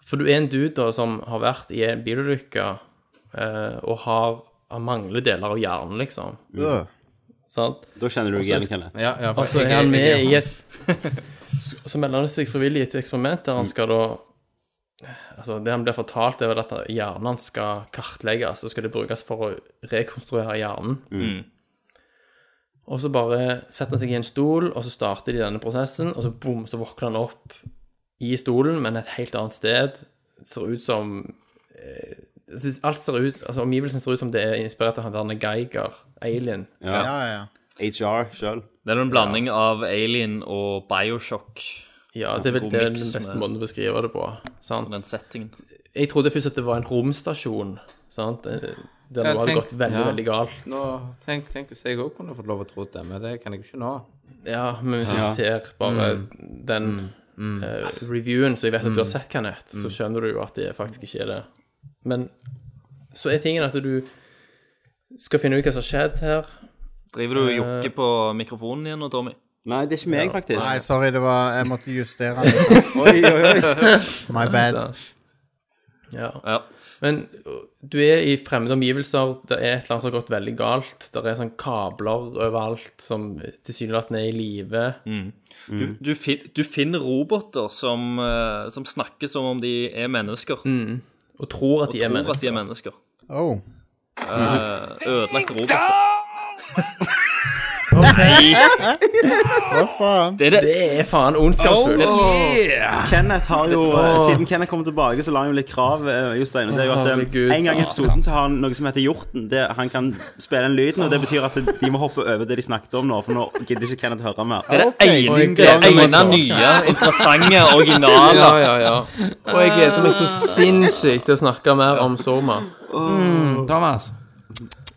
For du er en dude da som har vært i en bilulykke eh, og har han mangler deler av hjernen, liksom. Øh. Sant? Da kjenner du deg igjen, så- Kenneth. Ja, ja, for Og så jeg- er han jeg- jeg- med i et så- Så melder han seg frivillig i et eksperiment der han Mm. skal da Altså, det han blir fortalt, er vel at hjernen hans skal kartlegges, og skal det brukes for å rekonstruere hjernen. Mm. Og så bare setter han seg i en stol, og så starter de denne prosessen, og så bom, så våkner han opp i stolen, men et helt annet sted. Ser ut som eh, Alt ser ut Altså, omgivelsen ser ut som det er inspirert av han der Geiger, alien. Ja. Ja, ja, ja. HR sjøl. Det er en blanding av Alien og Bioshock, Ja, det er vel god det er mix den beste med- måten å beskrive det på. Sant? den settingen. Jeg trodde først at det var en romstasjon. Sant? Eh, Der Ja, nå har det tenk- gått veldig, ja. veldig galt. Nå, tenk, tenk hvis jeg òg kunne fått lov å tro det, men det kan jeg jo ikke nå. Ja, Mm. men hvis du ser bare den eh, reviewen som jeg vet at du har sett, Kenneth, så skjønner du jo at det faktisk ikke er det. Men så er tingen at du skal finne ut hva som har skjedd her. Driver du Eh. og jokker på mikrofonen igjen nå, Tommy? Nei, det er ikke meg, faktisk. Nei, sorry, det var Jeg måtte justere den. Oi, oi, oi. My bad. Ja. Ja. Men ø, du er i fremmede omgivelser, det er et eller annet som har gått veldig galt. Det er sånn kabler overalt som tilsynelatende er i live. Mm. Du, du, fin, du finner roboter som, eh, som snakker som om de er mennesker. Og tror at Mm. de er Tror at de mennesker. er mennesker. Oh. Eh, Ødelagt roboter. Hva faen? Det er det. Det er faen ondskapsfullt. Kenneth har jo eh, Siden Kenneth kommer tilbake, så la han jo litt krav, eh, Jostein. og Det er jo at Herregud. eh, En gang i episoden så har han noe som heter Hjorten. Det, han kan spille den lyden, og det betyr at de må hoppe over det de snakket om nå, for nå gidder ikke Kenneth høre mer. Det er Ok, det ene, jeg det gleder meg ene så. nye, interessante, originale. Ja, ja, ja. Og jeg gleder meg så sinnssykt til å snakke mer om Soma. Thomas,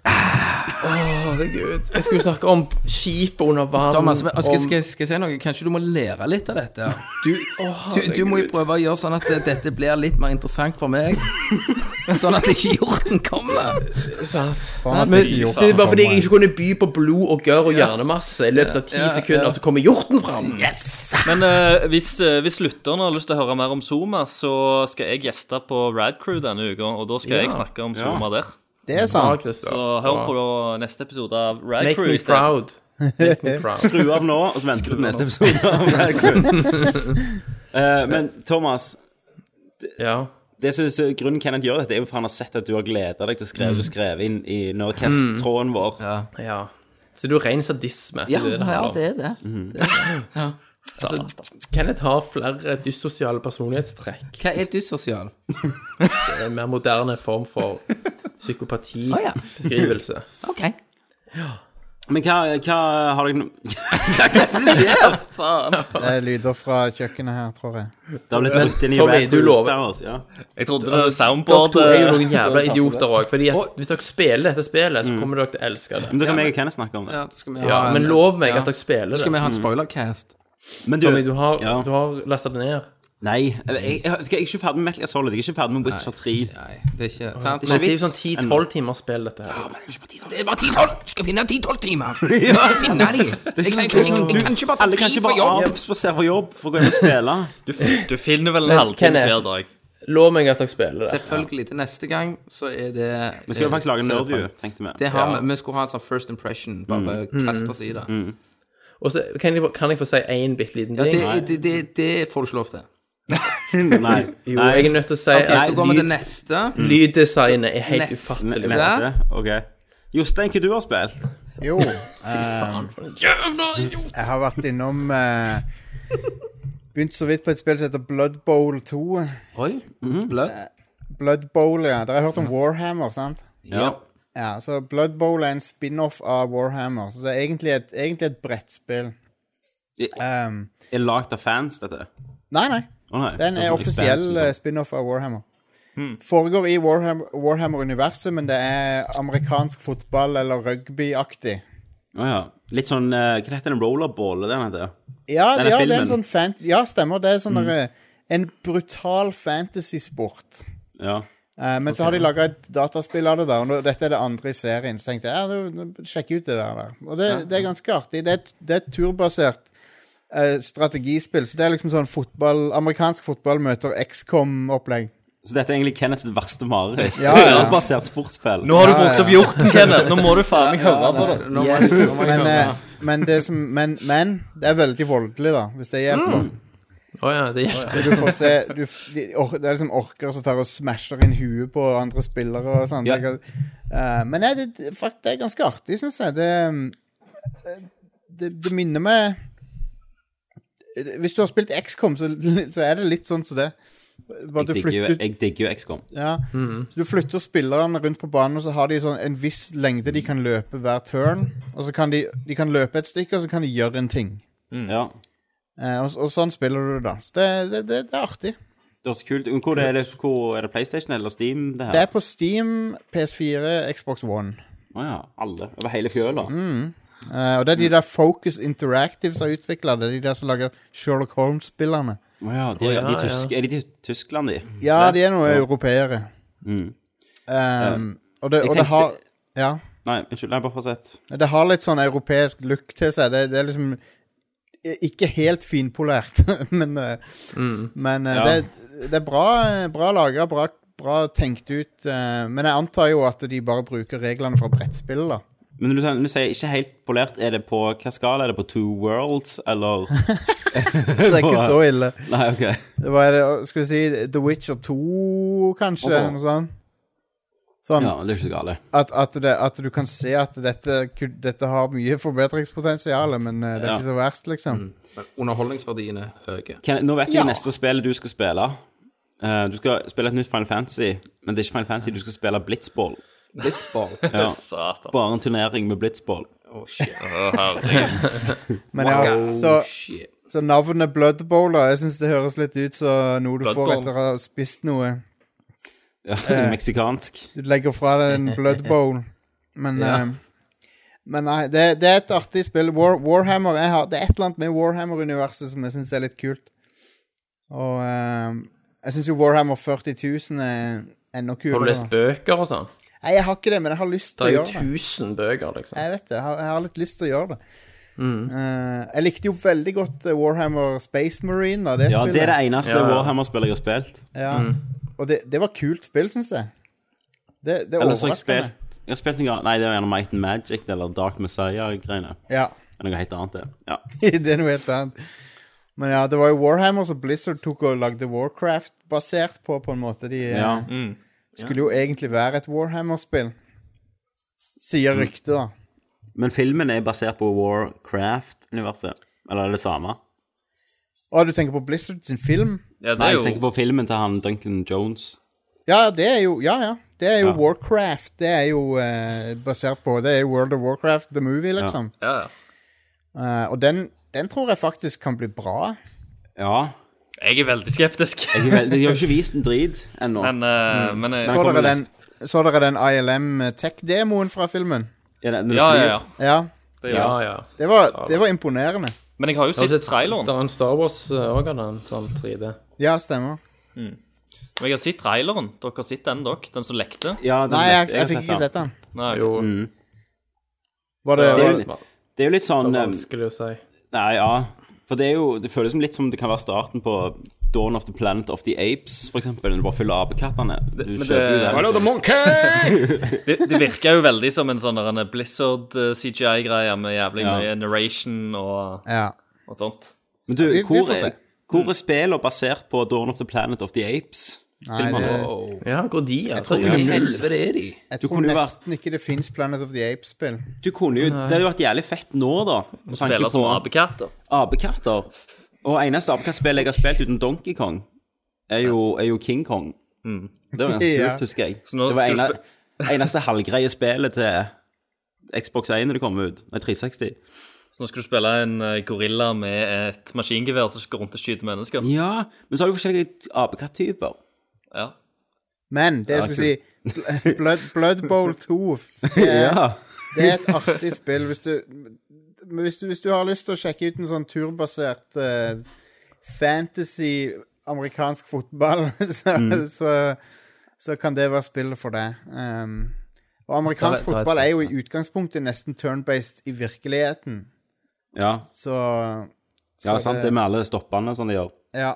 Herregud. Jeg skulle snakke om skipet under vann. Thomas men, altså, skal, skal, om- skal jeg si noe? Kanskje du må lære litt av dette? Du, du, du må jo prøve å gjøre sånn at det- dette blir litt mer interessant for meg. Sånn at ikke hjorten kommer. Faen, at Men ikke gjort det er bare fordi jeg kommer. ikke kunne by på blod og gørr og hjernemasse i løpet av ti Ja, ja. sekunder, og så kommer hjorten fram. Yes! Men eh, hvis, eh, hvis lytterne har lyst til å høre mer om Zuma, så skal jeg gjeste på Radcrew denne uka, og da skal jeg snakke om Zuma der. Det er sant. Christer. Så hør på neste episode av Make Radcrew me i stedet. proud. Make me proud. Skru av nå, og så venter du til neste episode. av Mad Crew. Eh, men Thomas, Ja. det som som- grunnen Kenneth gjør dette, er jo for han har sett at du har gleda deg til å skrive, du skrev inn i Norcast-tråden vår. ja. Så det er jo ren sadisme. Ja, det er det her, ja, da. det Mhm. er det. altså, Kenneth har flere dyssosiale personlighetstrekk. Hva er dyssosial? Det er En mer moderne form for psykopati Å, ja. Beskrivelse OK. Men hva, hva har dere no- Det er lyder fra kjøkkenet her, tror jeg. Det har blitt brukt inn i Tommy, Red du Bull lover. Towers, ja. Jeg trodde det var Dere soundboard. to er jo eh, noen jævla idioter òg. Hvis dere spiller dette spillet, Mm. så kommer dere til å elske det. Men da kan meg og Kenneth snakke om det. Ja, da skal vi ha Ja, en- men lov meg at dere Da spiller skal vi det. ha en spoilercast. Men Tommy, du har, Ja. du har lasta det ned. Nei, jeg, jeg, jeg, jeg er ikke ferdig med Metal Gear Solid. Jeg er ikke ferdig med Witcher 3. Nei, det er ikke sant? Det ikke er jo vits sånn 10-12 timer spill, dette Ah, her. Det var 10-12! Skal finne 10-12 timer! Jeg skal finne de! Jeg, jeg, jeg, jeg, jeg kan ikke bare Alle ta kan fri ikke fra bare jobb! avspasere fra jobb for å gå inn og spille. Du, du finner vel en Men, halvtime Kenneth. hver dag. Lov meg at dere spiller det. Selvfølgelig. Til neste gang så er det Vi skal jo Mm. faktisk lage en så er det nerdview, poeng. tenkte vi. Det har vi. Vi skulle ha en sånn first impression. Bare kaste oss i det. Mm. Og så kan jeg, kan jeg få si én bitte liten Ja, det, det, ting? det, det får du ikke lov til. Nei. Jo, Nei. Mm. jeg er nødt til å si Ok, så går vi til at lyd, neste. lyddesignet er helt Nesten. Ne- ufattelig. Neste. OK. Jostein, hva du har spilt? Jo. eh, jeg har vært innom eh, Begynt så vidt på et spill som heter Blood Bowl 2. Oi. Mm-hmm. Bløtt. Blood Bowl, ja. Dere har hørt om Warhammer, sant? Ja. Ja, så Blood Bowl er en spin-off av Warhammer. Så det er egentlig et, egentlig et brettspill. Um, Er lagd av fans, dette? nei, nei. Å nei. Altså, Den er offisiell eh, spin-off av Warhammer. Hmm. Foregår i Warham- Warhammer-universet, men det er amerikansk fotball- eller rugby-aktig. Å ja. Litt sånn eh, Hva heter den rollerball? Den heter Ja, Den er ja det er en filmen. sånn fan... Ja, stemmer. Det er sånn der, eh, en brutal fantasy-sport. Ja. Eh, men så har de laga et dataspill av det, der, og nå- dette er det andre i serien. Så tenkte jeg ja, nå- nå- sjekk ut det der. der. Og det, det er ganske artig. Det er, et- det er et turbasert eh, strategispill. Så det er liksom sånn fotball, amerikansk fotball møter XCOM-opplegg. Så dette er egentlig Kenneths verste mareritt. Ja, ja. Basert sportsspill. Nå har du brukt opp hjorten, Kenneth. Nå må du faen meg høre på det. Nå må jeg- nå må jeg Men, høre. eh, men, det som, men, men det er veldig voldelig, da, hvis det hjelper. Mm. Å ja, det hjelper. Du får se du, f- de, or, Det er liksom orker som tar og smasher inn huet på andre spillere og sånn. Ja. Jeg kan- eh, men nei, det, det- fuck, det er ganske artig, syns jeg. Det, um, det, det minner meg Hvis du har spilt XCOM, så, så er det litt sånn som det. Bare Jeg du digger jo, flytter, jeg digger jo XCOM. ja, du flytter spillerne rundt på banen, og så har de sånn en viss lengde de kan løpe hver turn. Og så kan de, de kan løpe et stykke, og så kan de gjøre en ting. Ja. Eh, og, og sånn spiller du det, da. Så det, det, det, det er artig. Det høres kult ut. Hvor er det, hvor er det PlayStation eller Steam, det her? Det er på Steam, PS4, Xbox One. Å ja. Alle. Over hele fjøla. Eh, og det er de der Focus Interactive som har utvikla det. Det er De der som lager Sherlock Holmes-spillene. Å ja, de, ja, de ja. tysk, Er de i Tyskland, de? Mm. Ja, de er noe europeere. Um, og det, Jeg og det har tenkte- Ja. Nei, unnskyld. Nei, bare fortsett. Det har litt sånn europeisk look til seg. Det, det er liksom ikke helt finpolert, men, eh, men eh, Ja. det, det er bra, bra laga, bra, bra tenkt ut. eh, Men jeg antar jo at de bare bruker reglene fra brettspill, da. Men når du, sier- når du sier ikke helt polert, er det på hva skala? Er det på Two Worlds, eller Det er ikke så ille. Nei, OK. Det var, skal vi si The Witcher 2, kanskje? Åh. Noe sånt. Sånn. Ja, det er ikke så galt. At, at, det, at du kan se at dette, ku- dette har mye forbedringspotensial, men eh, det er Ja. Mm. ikke så verst, liksom. Men underholdningsverdiene høye. Ken, nå vet jeg neste spill du skal spille. Eh, du skal spille et nytt Final Fantasy, men det er ikke Final Fantasy, du skal spille Blitzball. Blitzball. Ja. Satan. Bare en turnering med Blitzball. Å, Oh, shit. Å, herregud. Men ja, så, Å, shit. så navnet Blood Bowler, jeg syns det høres litt ut som noe du Blood får Bowl. etter å ha spist noe. Ja, Meksikansk. Du legger fra deg en Blood Bowl. Men, Ja. eh, men nei, det, det er et artig spill. War, Warhammer jeg har, Det er et eller annet med Warhammer-universet som jeg syns er litt kult. Og eh, jeg syns jo Warhammer 40 000 er enda Har du kulere. lest bøker og sånn? Nei, jeg har ikke det, men jeg har lyst Det til å er jo gjøre det. 1000 bøker, liksom. Jeg vet det. Jeg har, jeg har litt lyst til å gjøre det. Mm. Eh, jeg likte jo veldig godt eh, Warhammer Space Marine. Da, det Ja, spillet. det er det eneste Ja, ja. Warhammer-spillet jeg har spilt. Ja. Mm. Og det, det var kult spill, syns jeg. Det, det Eller så har jeg overrasker meg. spilt Jeg har spilt noe Nei, det er gjerne Might and Magic eller Dark Messiah-greiene. Ja, Det er Noe helt annet, det. Ja. det er noe helt annet. Men ja, det var jo Warhammer som Blizzard tok og lagde Warcraft basert på, på en måte. De eh, ja. skulle jo egentlig være et Warhammer-spill. Sier Mm. ryktet, da. Men filmen er basert på Warcraft-universet. Eller er det samme? Å, du tenker på Blizzard sin film? Ja, det Nei, er jeg tenker jo på filmen til han Duncan Jones. Ja, det er jo Ja, ja. Det er jo Ja. Warcraft. Det er jo eh, basert på Det er jo World of Warcraft, the movie, liksom. Ja, ja. Eh, og den, den tror jeg faktisk kan bli bra. Ja. Jeg er veldig skeptisk. Jeg er veldig- De har jo ikke vist en drit ennå. Men, eh, men jeg, Så kommer dere den, så dere den ILM Tech-demoen fra filmen? Ja, det- når du ja, ja, flyr. ja. Ja. Det, Ja, gjør jeg. ja. Det var, det var imponerende. Men jeg har jo Jeg har sett sett traileren. Star- Star Wars òg hadde en sånn 3D. Ja, stemmer. Men jeg har sett traileren. Dere har sett den, dere? Den som lekte? Ja, det er Nei, så jeg, lett. jeg fikk har ikke sett den. Nei, Jo, Var det, Mm. Det er var, jo, det er jo litt sånn eh, vanskelig å si. Nei, ja. For det er jo Det føles som litt som det kan være starten på Dawn of the Planet of the Apes, for eksempel. Når du bare fyller apekattene. Du men kjøper jo det- den. Hello, the monkey! Det, det virker jo veldig som en sånn der, en eh, Blizzard-CGI-greie med jævlig Ja. mye narration og, ja. og sånt. Men du, vi hvor får se. Mm. er, hvor er spillene basert på Dawn of the Planet of the Apes? Nei, Filmer det, nå. Wow. Ja, hvor de er. Hvor i helvete er de? jeg Du tror kunne jo nesten ikke det fins Planet of the Apes-spill. Du kunne jo, Det hadde jo vært jævlig fett nå, da. Å Spiller som apekatter. apekatter. Og eneste apekattspill jeg har spilt uten Donkey Kong, er jo, er jo King Kong. Det var ganske Ja. kult, husker jeg. Mm. nå Det var skal du ene, eneste halvgreie spillet til Xbox 1 når det kom ut. Nei, 360. Så nå skal du spille en eh, gorilla med et maskingevær som går rundt og skyter mennesker. Ja, men så har du forskjellige apekattyper. Ja. Men det jeg Ja, skulle si Bl- Blood, Blood Bowl 2 det er, Ja. det er et artig spill. Hvis du, men hvis du, hvis du har lyst til å sjekke ut en sånn turbasert eh, fantasy amerikansk fotball, så, så, Mm. så kan det være spillet for deg. Um, og Da- amerikansk da er fotball er jo i utgangspunktet nesten turn-based i virkeligheten, Ja, så ja sant, det med alle stoppene og sånn de gjør. Ja.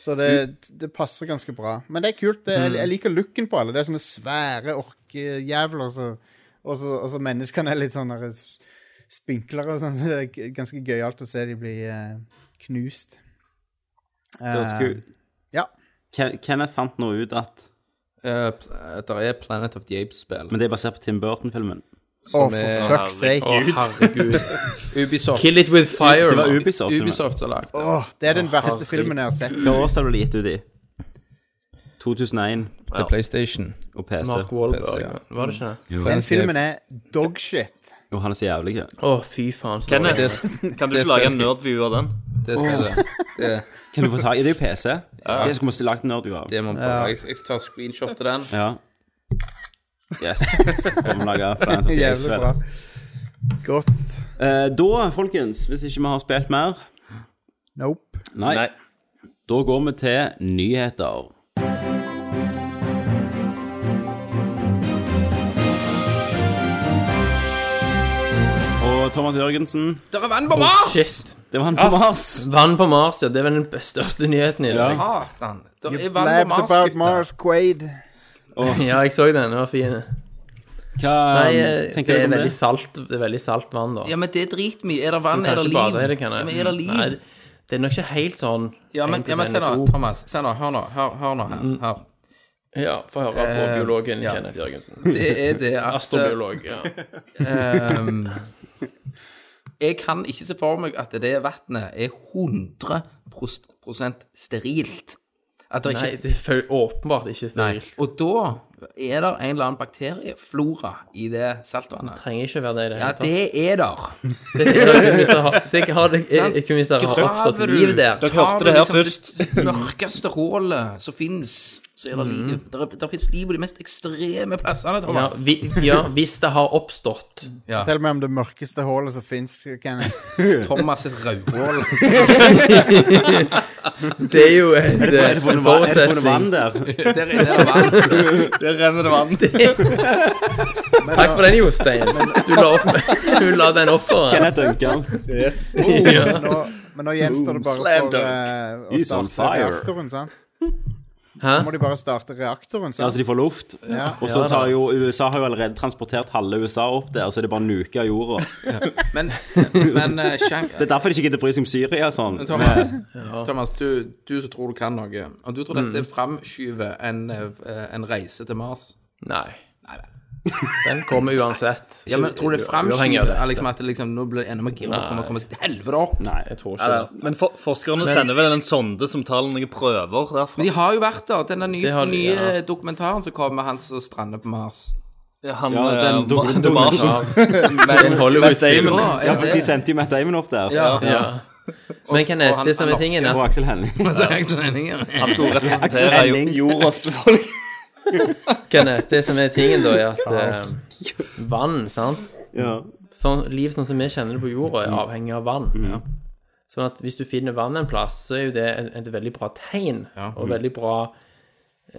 Så det, det passer ganske bra. Men det er kult. Det, jeg, jeg liker looken på alle. Det er sånne svære orkejævler. så- Og så og så menneskene er litt sånn der s- spinklere og sånn. så Det er g- ganske gøyalt å se de bli eh, knust. Eh, Det høres kult. ja. Ken- Kenneth fant nå ut at Eh, pl- der er Planet of the Apes-spill. Men det er basert på Tim Burton-filmen. Å, for er- fuck's sake. Å, herregud. Ubisoft, Kill it with fire. Det var man. Ubisoft. filmen. Ubisoft som har lagt det. Åh, det er den verste filmen jeg har sett. Hva årstid ble det gitt ut i? 2001 Til PlayStation. og PC. Mark Wahlberg, var det ikke det? Den filmen er dogshit. Jo, han er så jævlig. Å, fy faen. så dårlig. Kenneth, Det- kan du det ikke lage spillet- en nerdview av den? Det spillet. Det, Kan du få tak i det i PC? Det skulle vi lagt nerd av. det må bare jeg, jeg tar screenshot til den. Ja. Yes. Får vi lage Final Fantasy-spill. Jævlig bra. Godt. Eh, da, folkens, hvis ikke vi har spilt mer Nope. Nei. Nei. Da går vi til nyheter. Og Thomas Jørgensen, Der er vann på Mars! Shit. det var han på Mars. Vann på Mars, ja. Det er vel den største nyheten i dag. Satan. Der er vann på Blabbed Mars, about gutter. Mars Quaid. Ja, jeg så den. Den var fin. Hva um, Nei, eh, det tenker er du om veldig det? salt, det er veldig salt vann, da. Ja, men det er dritmye. Er det vann? Er det Kanskje liv? bade i det, kan Ja, jeg. men er det liv? Nei, det er nok ikke helt sånn Ja, men, ja, men se nå, Thomas. Se nå. Hør nå. Hør, hør nå Mm. her. her. Ja, få høre på Eh, biologen ja. Kenneth Jørgensen. Det er det at eh, Astrobiolog. ja. ehm, eh, Jeg kan ikke se for meg at det vannet er 100 sterilt. At det Nei, ikke det er føl- åpenbart ikke sterilt. Og da er det en eller annen bakterieflora i det saltvannet. Trenger ikke være det i det Ja, hele tatt. det er der. Det er kun hvis det har- det er- har det er- Sant? er kun hvis det har oppstått Graver du, liv der. tar hørte du det her liksom først. Det mørkeste hullet som fins, så er det Mm. liv. Der, er- der fins liv på de mest ekstreme plassene, Ja, Thomas. vi, ja, hvis det har oppstått. Ja. Fortell meg om det mørkeste hullet som fins. Er Thomas sitt rødhål. Det er jo en, Er det funnet vann- er det funnet vann der? Der inne er det vann. Der renner det vann. Takk for den, Jostein. Du la, opp, du la den opp for Kenneth Duncan. Oh. nå, men nå gjenstår det bare Slam for eh, å He's on starte fire. reaktoren, sant? Hæ? Nå må de bare starte reaktoren, Ja, så sant? Altså, de får luft. Og så tar jo USA har jo allerede transportert halve USA opp der, så det er bare nuker av jorda. Men, men eh, Shank, Det er derfor de ikke gidder bry seg om Syria og sånn. Thomas, Thomas du, du som tror du kan noe, om du tror Mm. dette framskyver en, eh, en reise til Mars Nei. Den kommer uansett. Ja, men Tror du det Uavhengig av framskyver det. er liksom at det liksom, nå blir det enda mer gira på å komme- komme seg til helvete opp? Nei. Jeg tror ikke Ja, det. ja. Men for, forskerne sender vel en sonde som tar noen prøver derfra. Men de har jo vært der. Den der nye, Det har de, nye ja. dokumentaren som kom med han som strander på Mars. Ja, Han, Ja, eh, den duk- Ma- duk- Mars. Men Hollywood-film. Ja, Ja, er for det de det? sendte jo Matt Damon opp der. Ja. Ja. Men og Kenneth, han- det som han er tingen, Og er at Aksel Hennie. Så jeg som meninger. Han skulle Aksel representere jo- Henning. jordas folk. Kenneth, det som er tingen, da, er at eh, vann, sant Ja. sånn, Liv sånn som vi kjenner det på jorda, er avhengig av vann. Sånn at hvis du finner vann en plass, så er jo det et, et veldig bra tegn, og veldig bra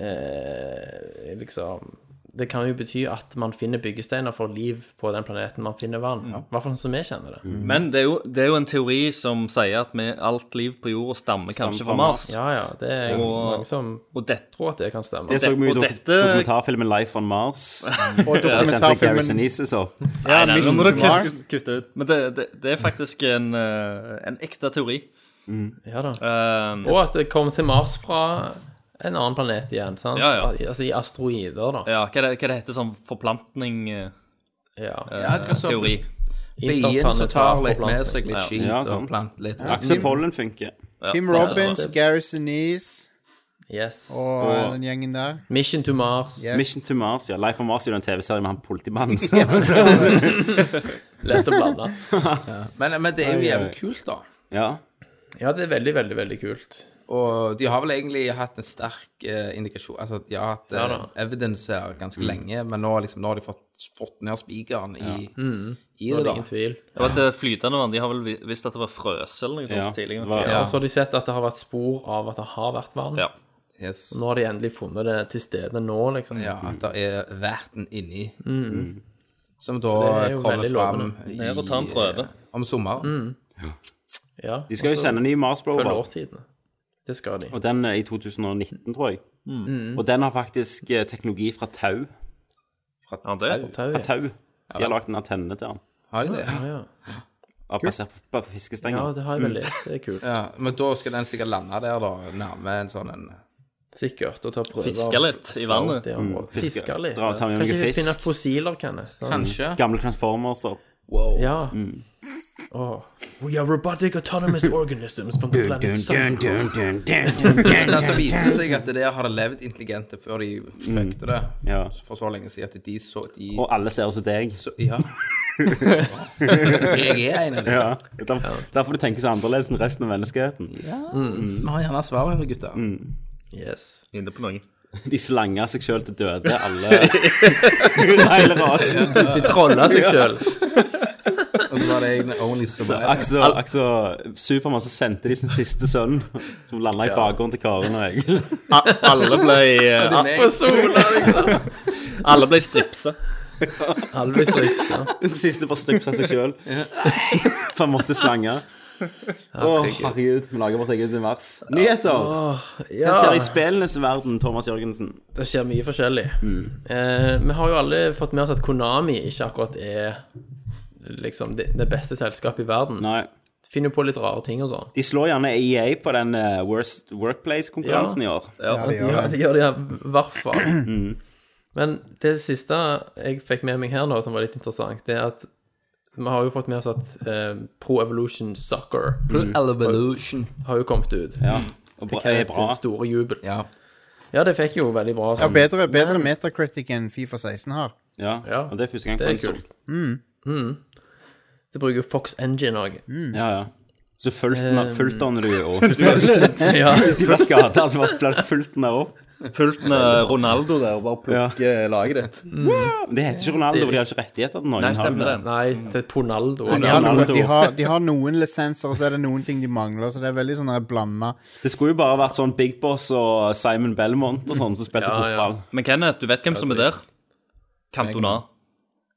eh, Liksom Det kan jo bety at man finner byggesteiner for liv på den planeten man finner vann. I hvert fall sånn som vi kjenner det. Men det er, jo, det er jo en teori som sier at vi, alt liv på jorda stammer kanskje fra fra Mars. Ja, ja, det er jo Og- mange som Og dette tror at det kan stemme. Det så vi i og dok dette- dokumentarfilmen Life on Mars. Og Der sendte Gary dokumentarfilmen Sinise opp. Nei, nei, nå må Mission du kutte- Mars. kutte ut. Men det, det, det er faktisk en, eh, en ekte teori. Ja da. Um, Og at det kom til Mars fra en annen planet igjen, sant? Ja, ja. Al- Altså i asteroider, da. ja, hva, er det, hva er det heter sånn eh, forplantning-teori? Ja. Eh. Ja, hva så- Bien som tar litt med seg litt skit Ja, og sant. plant litt. Aksel Pollen funker. Tim Robbins, Gary Sinise Yes. og eh, den gjengen der. Mission to Mars. Mission to Mars, ja. Life on Mars er jo en TV-serie med han politimannen. så- Lett å blande. Men, men det er jo jævlig kult, da. Ja. Ja, det er veldig, veldig, veldig kult. Og de har vel egentlig hatt en sterk eh, indikasjon Altså de har hatt eh, evidence her Mm. ganske lenge, men nå, liksom, nå har de fått, fått ned spikeren i, Mm. i Det det, Mm. er da. ingen tvil. Det var et flytende vann. De har vel vi- visst at det var frøse eller noe sånt ja. tidligere. Det var, Ja. Og så har de sett at det har vært spor av at det har vært vann. Ja. Yes. Nå har de endelig funnet det til stede nå, liksom. Ja, at det er verten inni. Mm. Som da Mm. det er jo kommer veldig fram lovende. i, eh, Ned og ta en prøve. om Mm. sommeren. Ja, De skal jo og så sende en ny Mars Følge Rover, årstidene. Det skal de. og den er i 2019, tror jeg. Mm. Mm. Og den har faktisk eh, teknologi fra tau. Fra, Ja, det. Tau, Fra ja. tau. De har lagd en antenne til den. Har de det? Ja, Ja, Basert på- på ja, fiskestenger. det har jeg vel lest. Det er kult. Ja, men da skal den sikkert lande der, da. Nærme en sånn en Sikkert. Og ta prøver. Fiske litt i vannet. Mm. Fiske- Fiske litt. dra og ta med Kanskje noe vi fisk. Mm. finner fossiler, Kenneth. Sånn. Kanskje. Gamle Transformers og Wow. Ja. Åh. We are robotic autonomous organisms from the planet Sun. Så altså, viser det seg at det der har det levd intelligente før de fuckte det Ja. for så lenge siden at de så de, Og alle ser også deg. så, Ja. jeg er en av dem. Ja. Derfor, derfor du tenker så annerledes enn resten av menneskeheten. Vi har gjerne svar her, gutter. Yes. Inne på noen. De slanger seg sjøl til døde, alle hele rasen. De trolla seg sjøl. Og så var det en only survivor. Akso, akso Supermann som sendte de sin siste sønn, som landa i bakgården til Karen og Egil. Alle ble, eh, Det er meg. alle ble stripsa. Alvis dripsa. Den siste for å stripse seg sjøl. For han måtte slange. Å, herregud. Vi lager vårt eget univers. Nyheter! Hva skjer i spillenes verden, Thomas Jørgensen? Det skjer mye forskjellig. Mm. Eh, vi har jo alle fått med oss at Konami ikke akkurat er liksom det, det beste selskapet i verden. Nei. De finner jo på litt rare ting og sånn. De slår gjerne EA på den eh, Worst Workplace-konkurransen i år. Ja, de gjør, de gjør det i hvert fall. Mm. Men det siste jeg fikk med meg her nå, som var litt interessant, det er at vi har jo fått med oss at eh, Pro Evolution Soccer Evolution. har jo kommet ut. Ja. Og bra, Helt er bra. Sin store jubel. Ja. Ja, det fikk jo veldig bra Ja, sånn bedre, bedre Metacritic enn Fifa 16 har. Ja. Ja. Og det er første gang Det på er en sol. kult. Det bruker jo Fox Engine òg. Ja, ja. Så fulgte Eh. den- fulgte han du jo. Hvis de var skada, så var fulgte han opp. Fulgt med Ronaldo der og bare Ja. plukke eh, laget ditt. Men det heter ikke Ronaldo, for de har ikke rettigheter til Nei, Norge. har de stemmer det. Nei, Mm. til Ponaldo. De Ja, har, noen, Ronaldo. de, har, de har noen lisenser, og så er det noen ting de mangler. Så det er veldig sånn blanda. Det skulle jo bare vært sånn Big Boss og Simon Belmont og sånn som spilte Ja, ja. fotball. Men Kenneth, du vet hvem som er der? Cantona.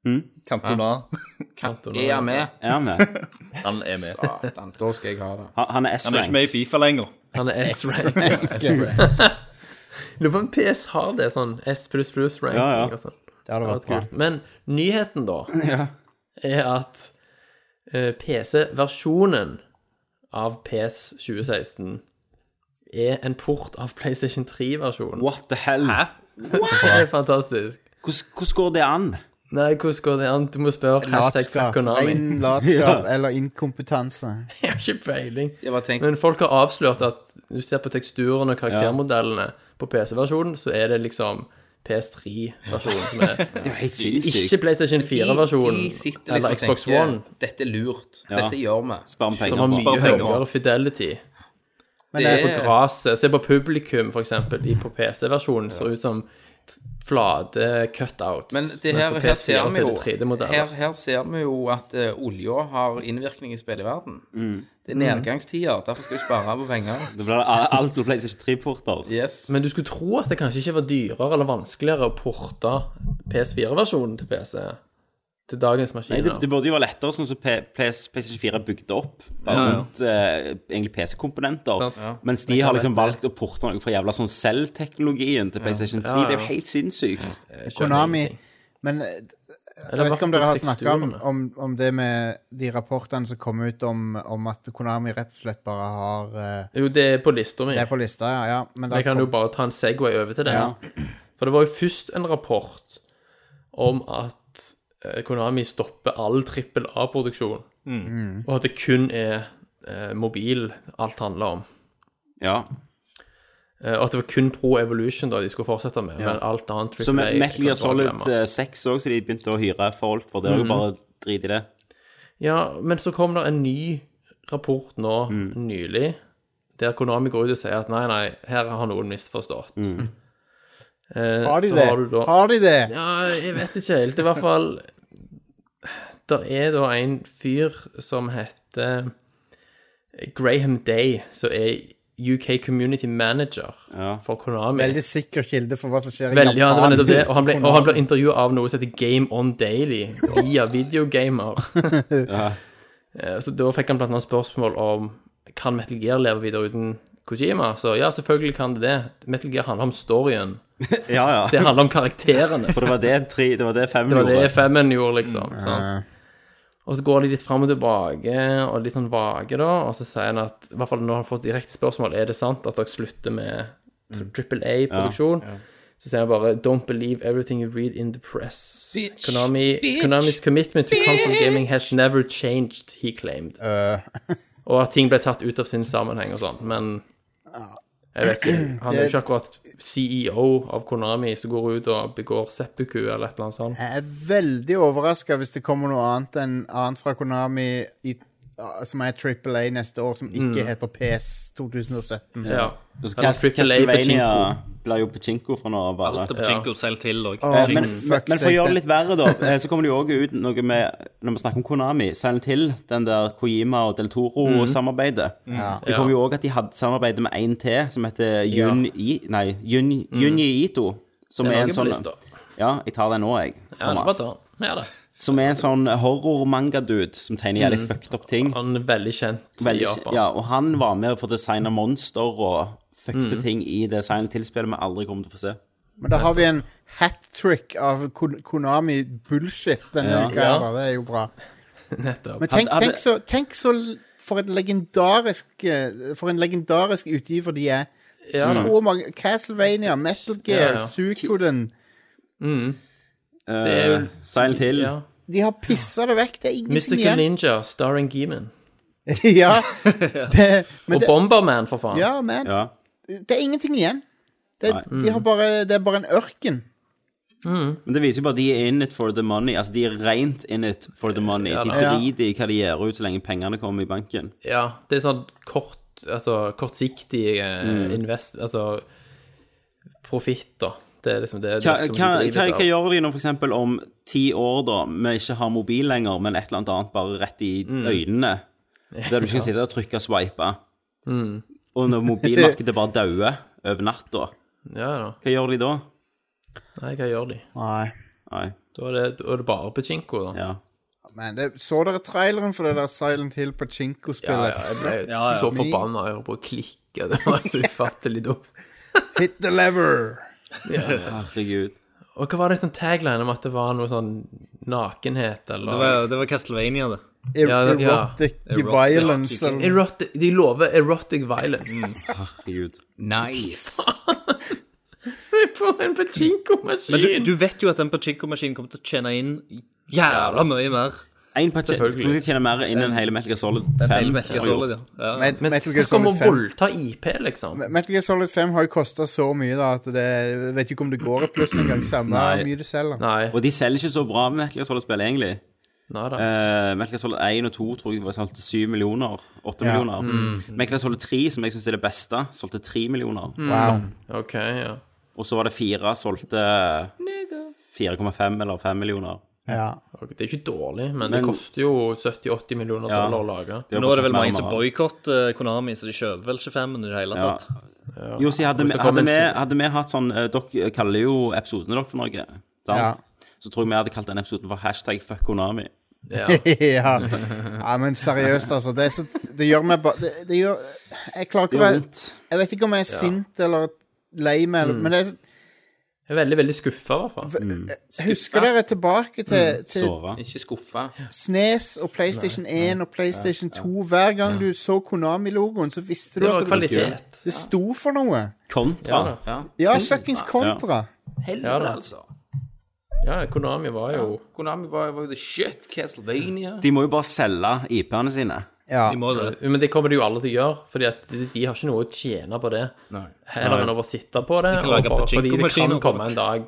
Mm. Cantona. Er jeg med? Er han med? Han er med. Satan, da skal jeg ha det. Han, han er Han er ikke S-rank. med i Fifa lenger. Han er S-rank. Lurer på om PS har det, sånn S pluss pluss ranking Ja, ja. og sånn. Det hadde Det vært hadde bra. vært kult. Men nyheten, da, er at eh, PC-versjonen av PS 2016 er en port av PlayStation 3-versjonen. What the hell? Det er fantastisk. Hvordan hvordan går det an? Nei, hvordan går det an? Du må spørre hashtag fuck Latskap. Konami. Ren latskap eller inkompetanse. Jeg har ikke peiling. Jeg bare tenkte Men folk har avslørt at du ser på teksturen og karaktermodellene på PC-versjonen, så er det liksom PS3-versjonen som er Det er jo helt Ikke sinnssykt. PlayStation De- de 4-versjonen sitter liksom eller og Xbox tenker, One, Dette er lurt. Ja. Dette gjør vi. Spar om som har penger. mye Spar penger. høyere fidelity. Men Det det, På er- graset. Se på publikum, for eksempel. De på PC-versjonen ser ut som t- flate cutouts. Men det her, mens på her PS4 ser vi er jo det 3D-modeller. her, her ser vi jo at eh, olja har innvirkning i spillet i verden. Mm. Det er nedgangstider. Derfor skal vi spare på penger. Det blir alt blir PlayStation 3-porter. Yes. Men du skulle tro at det kanskje ikke var dyrere eller vanskeligere å porte PS4-versjonen til PC til dagens Nei, det, maskiner. det burde jo være lettere, sånn som P- PS PlayStation 4 er bygd opp bare rundt eh, egentlig PC-komponenter. Sant. Ja. Mens de har liksom valgt å porte noe fra jævla sånn selvteknologien til PlayStation 3. Det er jo helt sinnssykt. Jeg skjønner Konami ingenting. Men eh, jeg Eller vet ikke vakker om dere har snakka om, teksturene. om, om det med de rapportene som kom ut om, om at Konami rett og slett bare har eh, Jo, det er på lista mi. Det er på lista, ja. ja. Men det Jeg kan kom- jo bare ta en Segway over til det. For det var jo først en rapport om at eh, Konami stopper all trippel A-produksjon, Mm. Mm. og at det kun er eh, mobil alt handler om. Ja. Eh, og at det var kun Pro Evolution da de skulle fortsette med, men alt annet Så med AAA Metal Gear kan du bare Solid glemme. eh, 6 òg, så de begynte å hyre folk for det. Mhm. Og bare drit i det. Ja, men så kom det en ny rapport nå Mm. nylig, der Konami går ut og sier at nei, nei, her har noen misforstått. Eh, Mm. Har de så det? har du da Har de det? Ja, jeg vet ikke helt. I hvert fall Der er da en fyr som heter Graham Day, som er UK Community Manager Ja. for Konami. Veldig sikker kilde for hva som skjer i Veldig, ja, det var Japan. nettopp det. Og han ble, og han ble Konami. intervjua av noe som heter Game On Daily, via videogamer. Eh, Så da fikk han blant annet spørsmål om kan Metal Gear leve videre uten Kojima. Så ja, selvfølgelig kan det det. Metal Gear handler om storyen. Ja, ja. Det handler om karakterene. For det var det, tre, det, var det fem Det var gjorde. det femmen gjorde, liksom. sant? Og så går de litt fram og tilbake, og litt sånn vage, da. Og så sier han at I hvert fall når han har fått direkte spørsmål er det sant at dere slutter med trippel A-produksjon. Så sier han bare Don't believe everything you read in the press. Konami, Konami's commitment to console gaming has never changed, he claimed. og at ting ble tatt ut av sin sammenheng og sånn, men jeg vet ikke. Han er jo ikke akkurat CEO av Konami som går ut og begår seppuku eller et eller annet sånt. Jeg er veldig overraska hvis det kommer noe annet enn annet fra Konami i, som er Triple A neste år, som ikke heter PS 2017. Ja. Husk, Han har triple A Castlevania Pachinko. blir jo Pachinko fra nå av. alle. Alt er Pachinko selv til og Åh, Men, Mm. men, Fuck men for å sake. gjøre det litt verre, da, eh, så kommer det jo òg ut noe med Når vi snakker om Konami, Silent Hill, den der Kojima og Del Mhm. Toro-samarbeidet. Mm. Det kom jo òg at de hadde samarbeid med en til, som heter Jun I, Nei, Jun, Mm. Junji Ito. Som Det er, er en noe på sånn lista. Ja, jeg tar den nå, jeg. Ja, det Thomas. var da. Ja, det. som er en sånn horror-manga-dude som tegner Mm. jævlig fucked up ting. Han er veldig kjent i Veldig, Japan. ja, og han var med for å designe monster og Mhm. fuckte ting i det Silent Hill-spillet vi aldri kommer til å få se. Men da har vi en hat trick av Kon Konami bullshit denne Ja. uka. Ja. her, da. Det er jo bra. Nettopp. Men tenk, Hadde- tenk så, tenk så l- for, et legendarisk, eh, for en legendarisk utgiver de er. Ja, da. Så mange Castlevania, Metal Gear, Ja, ja. Suikoden Uh, er Eh, jo- Silent Hill. Mm. Ja. De har pissa det vekk. Det er ingenting Mystical igjen. Ninja, starring Geeman. ja. det, men Og det, Bomberman, for faen. ja, men Ja. det er ingenting igjen. Det, Nei. de har Mm. bare, det er bare en ørken. Men det viser jo bare at de er in it for the money. Altså, de er rent in it for the money. de da. driter i hva de gjør ut så lenge pengene kommer i banken. Ja, det er sånn kort, altså, kortsiktig eh, Mm. invest... Altså profitt, da. Det er liksom det Hva, som hva, drives hva, av. hva gjør de nå, for eksempel, om ti år, da, vi ikke har mobil lenger, men et eller annet annet bare rett i Mm. øynene? Der du ikke kan sitte og trykke og swipe. Mm. Og når mobilmarkedet bare dauer over natta, Ja da. hva gjør de da? Nei, hva gjør de? Nei. Nei, Da er det, da er det bare pachinko, da. ja. Men det, så dere traileren for det der Silent Hill Ja, ja, Pachinko-spillet? jeg ble Ja, ja. så forbanna av å klikke. Det var så ufattelig dumt. Hit the lever! Herregud. Og hva var det den tagline om at det var noe sånn nakenhet, eller Det var, det var Castlevania, det. Er, Ja, ja. erotic violence. eller- Erotic, de lover erotic violence Herregud. Nice. på en Men du, pachinko-maskin. du vet jo at den Pachinko-maskinen kommer til å tjene inn jævla mye mer En patient Selvfølgelig. Hvordan skal jeg tjene mer innen en hele Metal Gear Solid 5? enn hele Metal Gear har gjort? Solid, ja. ja. Met- Men Metal Gear snakk sånn om å Solid 5. voldta IP, liksom. Metal Gear Solid 5 har jo kosta så mye da, at det jeg vet ikke om det går i pluss engang. Samme Nei. hvor mye det selger. Nei, Og de selger ikke så bra med Metal Gear Solid-spill, egentlig. nei da. Eh, Metal Gear Solid 1 og 2 tror jeg var solgt til 7 millioner. 8 Ja. Mm. millioner. Metal Gear Solid 3, som jeg syns er det beste, solgte 3 millioner. Mm. Wow. OK, ja. Og så var det 4 solgte 4,5 eller 5 millioner. Ja. Ok, Det er ikke dårlig, men, det Men- koster jo 70-80 millioner Ja. dollar å lage. har Nå er bare det vel mange tatt som mer og mer. boikotter Konami, så de kjøper vel ikke femmen i det hele Ja. tatt. Josi, hadde, vi- Hvis det kommer hadde, en vi- side- hadde vi hatt sånn eh, Dere kaller jo episodene dere for noe, sant? Ja. Så tror jeg vi hadde kalt den episoden for hashtag fuck Konami. Ja. ja. ja, men seriøst, altså. Det, er så, det gjør meg bare det, det gjør Jeg Det klarer ikke å gjør være vondt. Jeg vet ikke om jeg er sint eller lei meg, Mm. eller, men det, er- Jeg er veldig, veldig skuffa, i hvert fall. husker dere tilbake til, Mm. til Sove. Ikke skuffa. Snes og PlayStation 1 og PlayStation 2. Hver gang du så Konami-logoen, så visste du Det at var det, kvalitet. det sto for noe. Ja, Kontra. da. Ja. Ja, fuckings kontra. Ja, Helvete, da. altså. ja Konami var jo Konami var var jo the shit. Castlevania. De må jo bare selge IP-ene sine. Ja. De må det. Men det kommer de jo alle til å gjøre, Fordi at de, de har ikke noe å tjene på det. Nei. Heller enn å bare sitte på det, kan og lage bare fordi det kan pachinko-maskiner på komme en dag.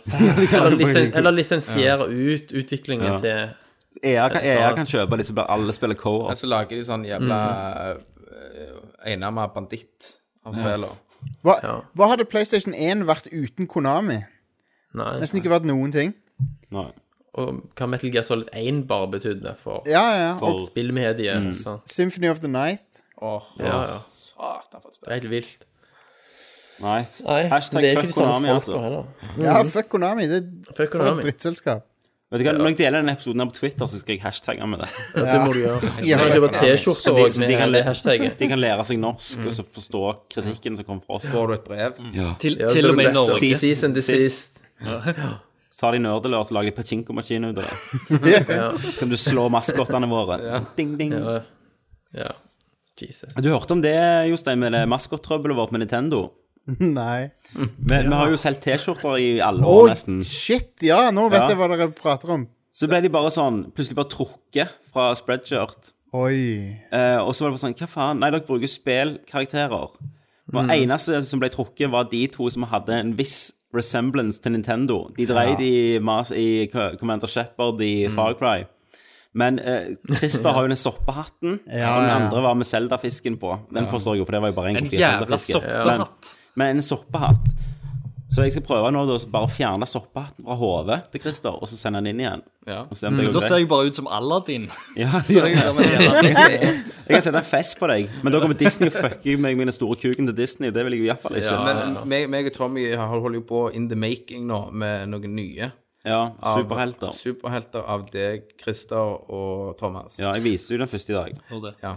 Eller, lisen, eller lisensiere ut utviklingen Ja. til EA E kan, EA kan kjøpe disse, bare alle spiller co-op. Altså- Og så lager de sånn jævla eh, enarmet banditt av spiller. Hva, Ja. hva hadde PlayStation 1 vært uten Konami? Nei. Nesten ikke vært noen ting. Nei. Og hva Metal Gear Solid 1 bare betydde for Ja, ja. ja. For spillmediet. sant? Symphony of the Night. Åh, Ja, ja. satan for et Det spill. er helt vilt. Nei. Nei, men Hashtag det er ikke fuck de samme Konami, folka altså. heller. Ja, fuck Konami. Det er Fuck for et Konami. drittselskap. Vet du hva, Når jeg deler denne episoden her på Twitter, så skal jeg hashtagge med det. Ja, det må du gjøre. Ja. Du kan kjøpe T-skjorte de- òg så de med kan hele le- hashtagget. De kan lære seg norsk og så forstå kritikken som kommer fra oss. Får du et brev? Til, til og med i Norge. Sist- Season the sist. sist. Så tar de nerdelørt og lager de pachinko-maskiner ut av det. Så kan du slå maskottene våre. Ding, ding. Ja. Jesus. Du hørte om det, Jostein, med det maskottrøbbelet vårt med Nintendo? Nei. Vi, vi har jo solgt T-skjorter i alle Å, år, nesten. shit! Ja, nå vet Ja. jeg hva dere prater om. Så ble de bare sånn plutselig bare trukket fra spreadshirt. Oi. Eh, og så var det bare sånn Hva faen? Nei, dere bruker spillkarakterer. Og eneste som ble trukket, var de to som hadde en viss resemblance til Nintendo. De dreide i, Mas i Co- Commander Shepherd i Far Cry. Men eh, Christer har jo den soppehatten, og den ja, ja. andre var med Zelda-fisken på. Den forstår jeg jo, for det var jo bare en En kopi av jævla Zelda-fisken. soppehatt. Men en soppehatt. Så jeg skal prøve nå da, å bare fjerne soppehatten fra hodet til Christer, og så sende den inn igjen. Ja. Og se om det Men går Mm, Da ser greit. jeg bare ut som Aladdin. Ja, Så jeg der med en jævla- Jeg kan sette en fest på deg, men da kommer Disney og fucker meg med den store kuken til Disney. Det vil jeg i hvert fall ikke. Men meg, meg og Tommy har- holder jo på in the making nå med noen nye. Ja, av- superhelter. Superhelter av deg, Christer og Thomas. Ja, jeg viste jo den første i dag. Og det. Ja.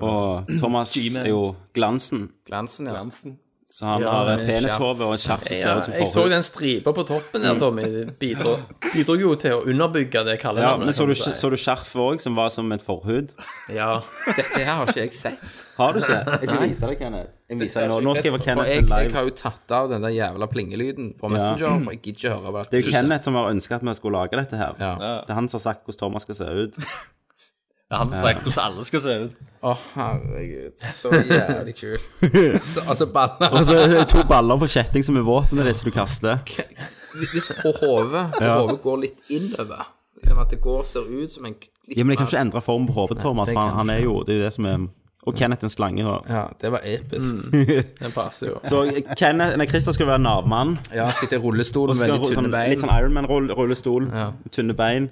Og Thomas er jo glansen, Glansen, ja. Hansen. så han har et med penishode og en skjerf som Ja, ser ut som jeg så forhud. den stripa på toppen der, Tommy. Det bidro, bidro jo til å underbygge det Mm. Ja, kallenavnet. men så kan du, man si. så du skjerfet òg, som var som et forhud? Ja. Dette her har ikke jeg sett. Har du ikke? Jeg skal vise deg, Kenneth. Jeg viser deg nå. nå skal jeg For være Kenneth jeg, til jeg live. har jo tatt av den der jævla plingelyden på Messenger, for jeg gidder ikke høre hva Det er jo Kenneth som har ønska at vi skulle lage dette her. Ja. Det er han som har sagt hvordan Thomas skal se ut. Det er han som sier hvordan alle skal se ut. Å, herregud. Så jævlig kult. Så, altså, banna Altså, to baller på kjetting som er våpenet ditt som du kaster. Hvis på hodet Ja. hodet går litt innover, liksom at det går ser ut som en litt Ja, men jeg kan mer- ikke endre form på hodet, Thomas. det For han, kan han er jo det er jo det som er Og Kenneth er en slange. da. Ja, det var episk. Mm. Den passer jo. Så eh, Kenneth, nei, Christer skal være navmann. Ja, sitter i rullestol Og med skal, veldig sånn, litt tynne bein. sånn Ironman-rullestol. Ja. Tynne bein.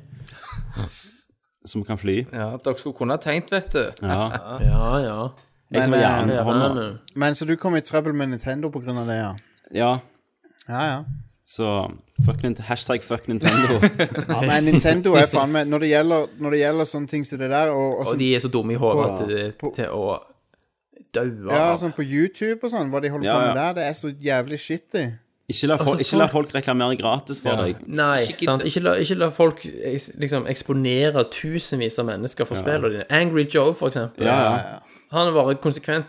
Som kan fly. Ja, dere skulle kunne ha tegnet, vet du. Ja. Ja, ja. Jeg som er hjernen i hånda. Gjerne. Men så du kom i trøbbel med Nintendo på grunn av det, ja? Ja, Ja, ja. så fuck Nint hashtag fuck Nintendo. Ja, men Nintendo er faen meg når, det gjelder- når det gjelder sånne ting som det der, og, og, Og sånn, de er så dumme i hodet at det På- til å daue ja, av. altså, sånn på YouTube og sånn, hva de holder Ja, på ja. med der, det er så jævlig shitty. Ikke la, folk, Altså, ikke la folk- folk reklamere gratis for Ja. deg. Nei, Ikke sant? gitt- Ikke, la, ikke la folk eh, liksom, eksponere tusenvis av mennesker for spillene dine. Angry Joe, for eksempel. Ja, ja. Han bare konsekvent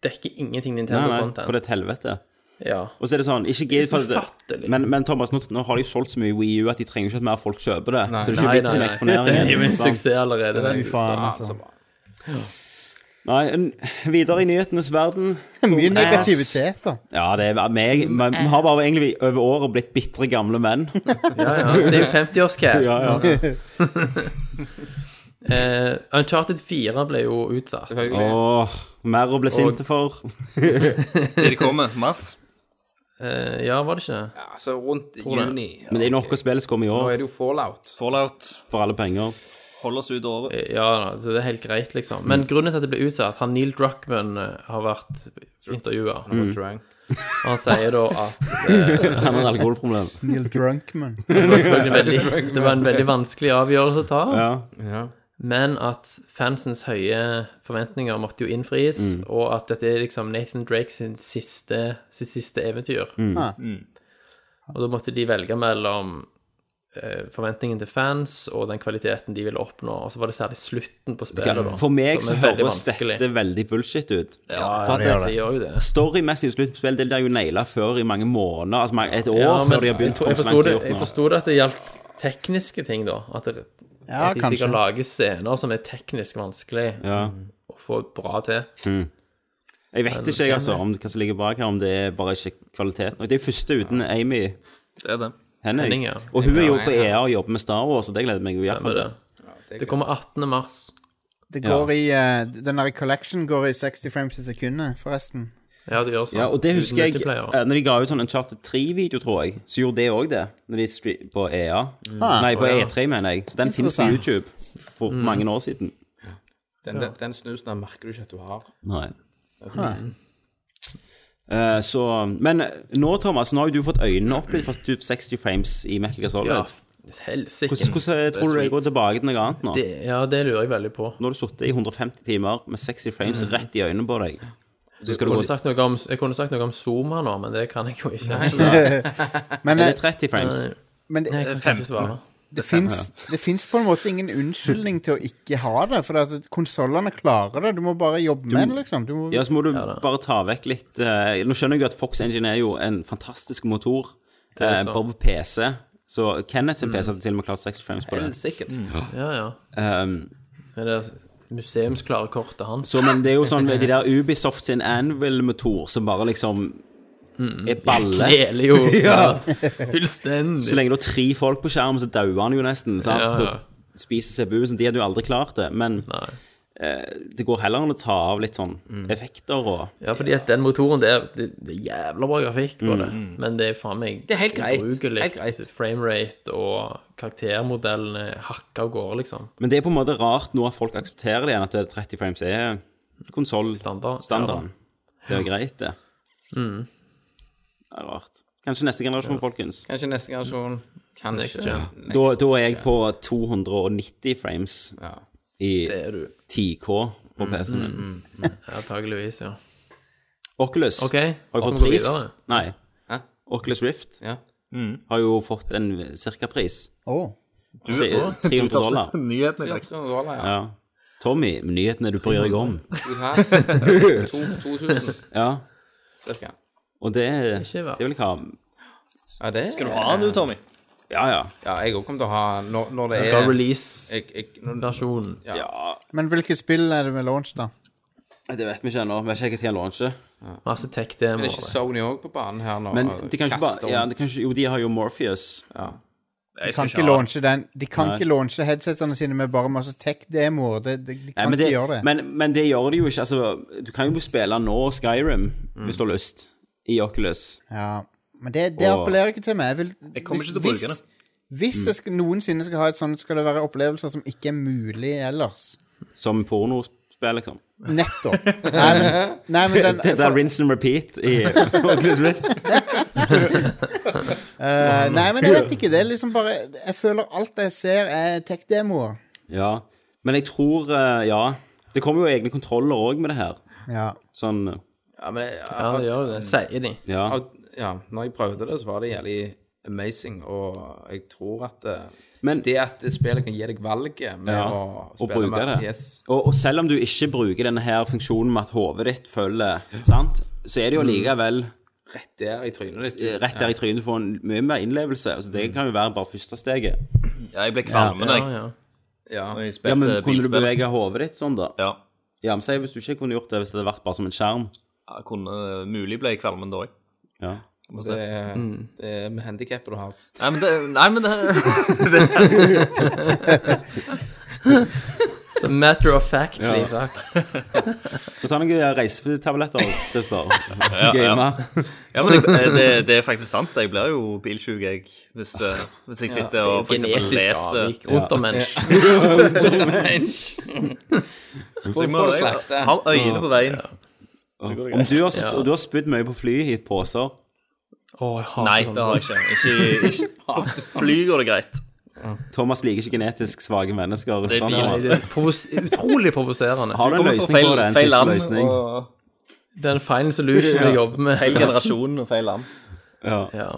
dekker ingenting Nei, nei, for Nintendo-content. det er et helvete. Ja. Og så er det sånn, ikke gidd for det. Ufattelig. Men, men Thomas, nå, nå har de jo solgt så mye Wii U at de trenger ikke at mer folk kjøper det. så det er Nei, ikke vits med nei, nei. Det er jo eksponeringen. en sant? suksess allerede. Det er den. faen, så- altså. så bra. Nei, en, videre i nyhetenes verden. Ass. Mye negativitet, da. Ja, det er meg. men Vi har bare egentlig over året blitt bitre gamle menn. Ja, ja. Det er jo 50-årscast. Ja, ja. Eh, Uncharted 4 ble jo utsatt. Selvfølgelig. Åh, mer å bli sinte for. Til de kommer. Mars. Eh, ja, var det ikke det? Ja, så Altså, rundt juni. Ja. Men det er nok å spille som kommer i Nå er år, det jo fallout. Fallout. for alle penger. Hold oss ut året. Eh, Ja, da, så det er helt greit, liksom. Men Mm. grunnen til at det ble utsatt Han Neil Druckman eh, har vært intervjua. Mm. Drunk. Han sier da at Han har et alkoholproblem. Neil Drunkman. det var, selvfølgelig en veldig, det var en veldig vanskelig avgjørelse å ta, Ja. Ja. men at fansens høye forventninger måtte jo innfris, Mm. og at dette er liksom Nathan Drake sin siste, sitt siste eventyr. Mm. Mm. Ah. Og da måtte de velge mellom eh, forventningen til fans og den kvaliteten de ville oppnå, og så var det særlig slutten på spillet. da, For meg så som er veldig høres vanskelig. dette veldig bullshit ut. Ja, For at det gjør det. Det gjør jo det. Storymessig sluttspill, det blir jo naila før i mange måneder, altså mange- et år Ja, men før de har jeg, begynt. tror- jeg hvor langt forstod de det, har gjort jeg nå. forstod det at det gjaldt tekniske ting, da. At, det, Ja, at de kanskje. sikkert lager scener som er teknisk vanskelig Ja. å få bra til. Jeg vet ikke jeg, altså, om hva som ligger bak her, om det er bare ikke kvalitet nok. Det er første uten Amy Det er det. Henning. Henning, ja. Og hun er jo på Ja, ja. EA og jobber med Star Wars, så det gleder jeg meg jo i hvert Stemmer fall det. til. er Det kommer 18. mars. Det går i eh, Den der collection går i 60 frames i sekundet, forresten. Ja, det gjør sånn. Ja, og det Uten husker jeg multiplayer. eh, Når de ga ut sånn Uncharted 3-video, tror jeg, så gjorde det òg det. Når de stre- på EA. Nei, på Å, ja. Mm. E3, mener jeg. Så den fins på Interessant. YouTube for mange år siden. Den, den, den snusen der merker du ikke at du har. sånn Nei. Eh, så Men nå, Thomas, nå har jo du fått øynene opp litt for 60 frames i Metal Gear Solid. Ja, Hvordan- helsike. Hvordan eh, tror du det går tilbake til noe annet nå? Det- Ja, det lurer jeg veldig på. Nå har du sittet i 150 timer med 60 frames Mm. rett i øynene på deg. Så skal Jeg du gå kunne, sagt noe om, jeg kunne sagt noe om Zoom her nå, men det kan jeg jo ikke. Men, Er eh, det 30 frames? Nei, men det, jeg kan ikke svare. det fins det fins på en måte ingen unnskyldning til å ikke ha det, for at konsollene klarer det. Du må bare jobbe med det, liksom. Du må, Ja, så må du bare ta vekk litt eh, Nå skjønner jeg jo at Fox Engine er jo en fantastisk motor, eh, så. Mm. bare på PC. Så Kenneth sin PC hadde til og med klart 60 frames på det. Sikkert. Ja, ja. Um, Det er museumsklare kortet hans. så, men det er jo sånn med de der Ubisoft sin Anvil-motor som bare liksom Mm. er balle. Kneler jo Ja. Så fullstendig. lenge det er tre folk på skjerm, så dauer han jo nesten. Sant? Ja, ja. Så spiser CPU-en. De hadde jo aldri klart det. Men eh, Nei. Mm. det går heller an å ta av litt sånn effekter og Ja, fordi at den motoren der, det, det er jævla bra grafikk på det, men det er faen meg Det er helt greit, ubrukelig. helt greit. Framerate og karaktermodellene hakker av gårde, liksom. Men det er på en måte rart nå at folk aksepterer det igjen, at det er 30 frames er Standard. konsollstandarden. Mm. Det er greit, det. Det er rart. Kanskje neste generasjon, folkens. Kanskje neste generasjon. Kanskje. Next gen. Next Da, da er jeg gen. på 290 frames Ja. Mm, i Det er du. 10K på PC-en min. Antageligvis, ja. Oculus OK. har jo vi fått går pris. videre? Mm. Nei. Hæ? Oculus Rift Ja. har jo fått en cirka-pris. Åh. Tre- 300 dollar. Nyhetene i dag. 400 dollar, ja. Ja. Tommy, nyhetene du bryr deg om. To her. To- 2000, Ja, cirka. og det, Ikke verst. det vil jeg ha. Ja, det Skal du ha den, du, Tommy? Ja, ja. Ja, jeg òg kommer til å ha Når, når det Skal er jeg, release-versjonen. jeg, når, Men hvilke spill er det med launch, da? Det vet vi ikke ennå. Vi vet ikke når den launcher. Masse Er det ikke tech-demoer. Sony òg på banen her nå? Men og de kan ikke kaster bare om? ja, de kan ikke, Jo, de har jo Morpheus. Jeg Kan skal ikke ikke ha den. launche den. De kan ikke launche headsetene sine med bare masse tech-demoer. De, de, de kan Eh, men, ikke det, gjøre det. men, men det gjør de jo ikke. Altså, du kan jo spille nå Skyrim, hvis du har lyst, i Oculus. Ja, men det, det Og- appellerer ikke til meg. Jeg, vil, Jeg kommer ikke til å bruke det. Hvis jeg skal, noensinne skal ha et sånt, skal det være opplevelser som ikke er mulig ellers. Som pornospill, liksom. Nettopp. Nei, men, nei, men den, Det er rinse and repeat i Oculus Rift. eh, nei, men jeg vet ikke. Det er liksom bare Jeg føler alt jeg ser, er tech-demoer. Ja. Men jeg tror eh, Ja. Det kommer jo egne kontroller òg med det her. Ja. Sånn Ja, men jeg, Ja, det gjør jo det. Sier de. Ja. at- ja, når jeg prøvde det, så var det jævlig amazing, og jeg tror at eh, Men- det at det spillet kan gi deg valget med Ja, å og spille bruke med det. Yes. Og, og selv om du ikke bruker denne her funksjonen med at hodet ditt følger, sant, så er det jo allikevel Rett der i trynet ditt. eh, rett der i trynet du får en mye mer innlevelse. Altså, det kan jo være bare første steget. Ja, jeg ble kvalm når Ja, jeg- ja. Ja. når Ja, jeg spilte men kunne du eh, bilspill. bevege hodet ditt sånn, da? Ja. Ja, men si hvis du ikke kunne gjort det hvis det hadde vært bare som en skjerm. Jeg kunne mulig ble jeg kvalmen da òg. Ja. Det, er- eh, Mm. det er med handikappet du har. Nei, men det, nei, men det Så matter of factly sagt. Få ta noen eh, reisetabletter til spørre. Ja, Ja, men det, eh, det, det er faktisk sant. Jeg blir jo bilsjuk, jeg, hvis, eh, hvis jeg sitter og for eksempel Genetisk leser avvik. Untermensch. Så jeg må Får du jeg slakte? ha øyne på veien. Om du har, og du har spydd mye på fly i poser Å, jeg hater Nei, sånne det har jeg ikke. ikke, ikke. sånn. På fly går det greit. Thomas liker ikke genetisk svake mennesker. Det er Sånn, bil. Thomas. Nei, det er provos utrolig provoserende. har du en kommer løsning fra feil- på det? En feil siste land, løsning? Det er en final solution vi jobber med. Feil generasjon og feil land. Ja. Ja.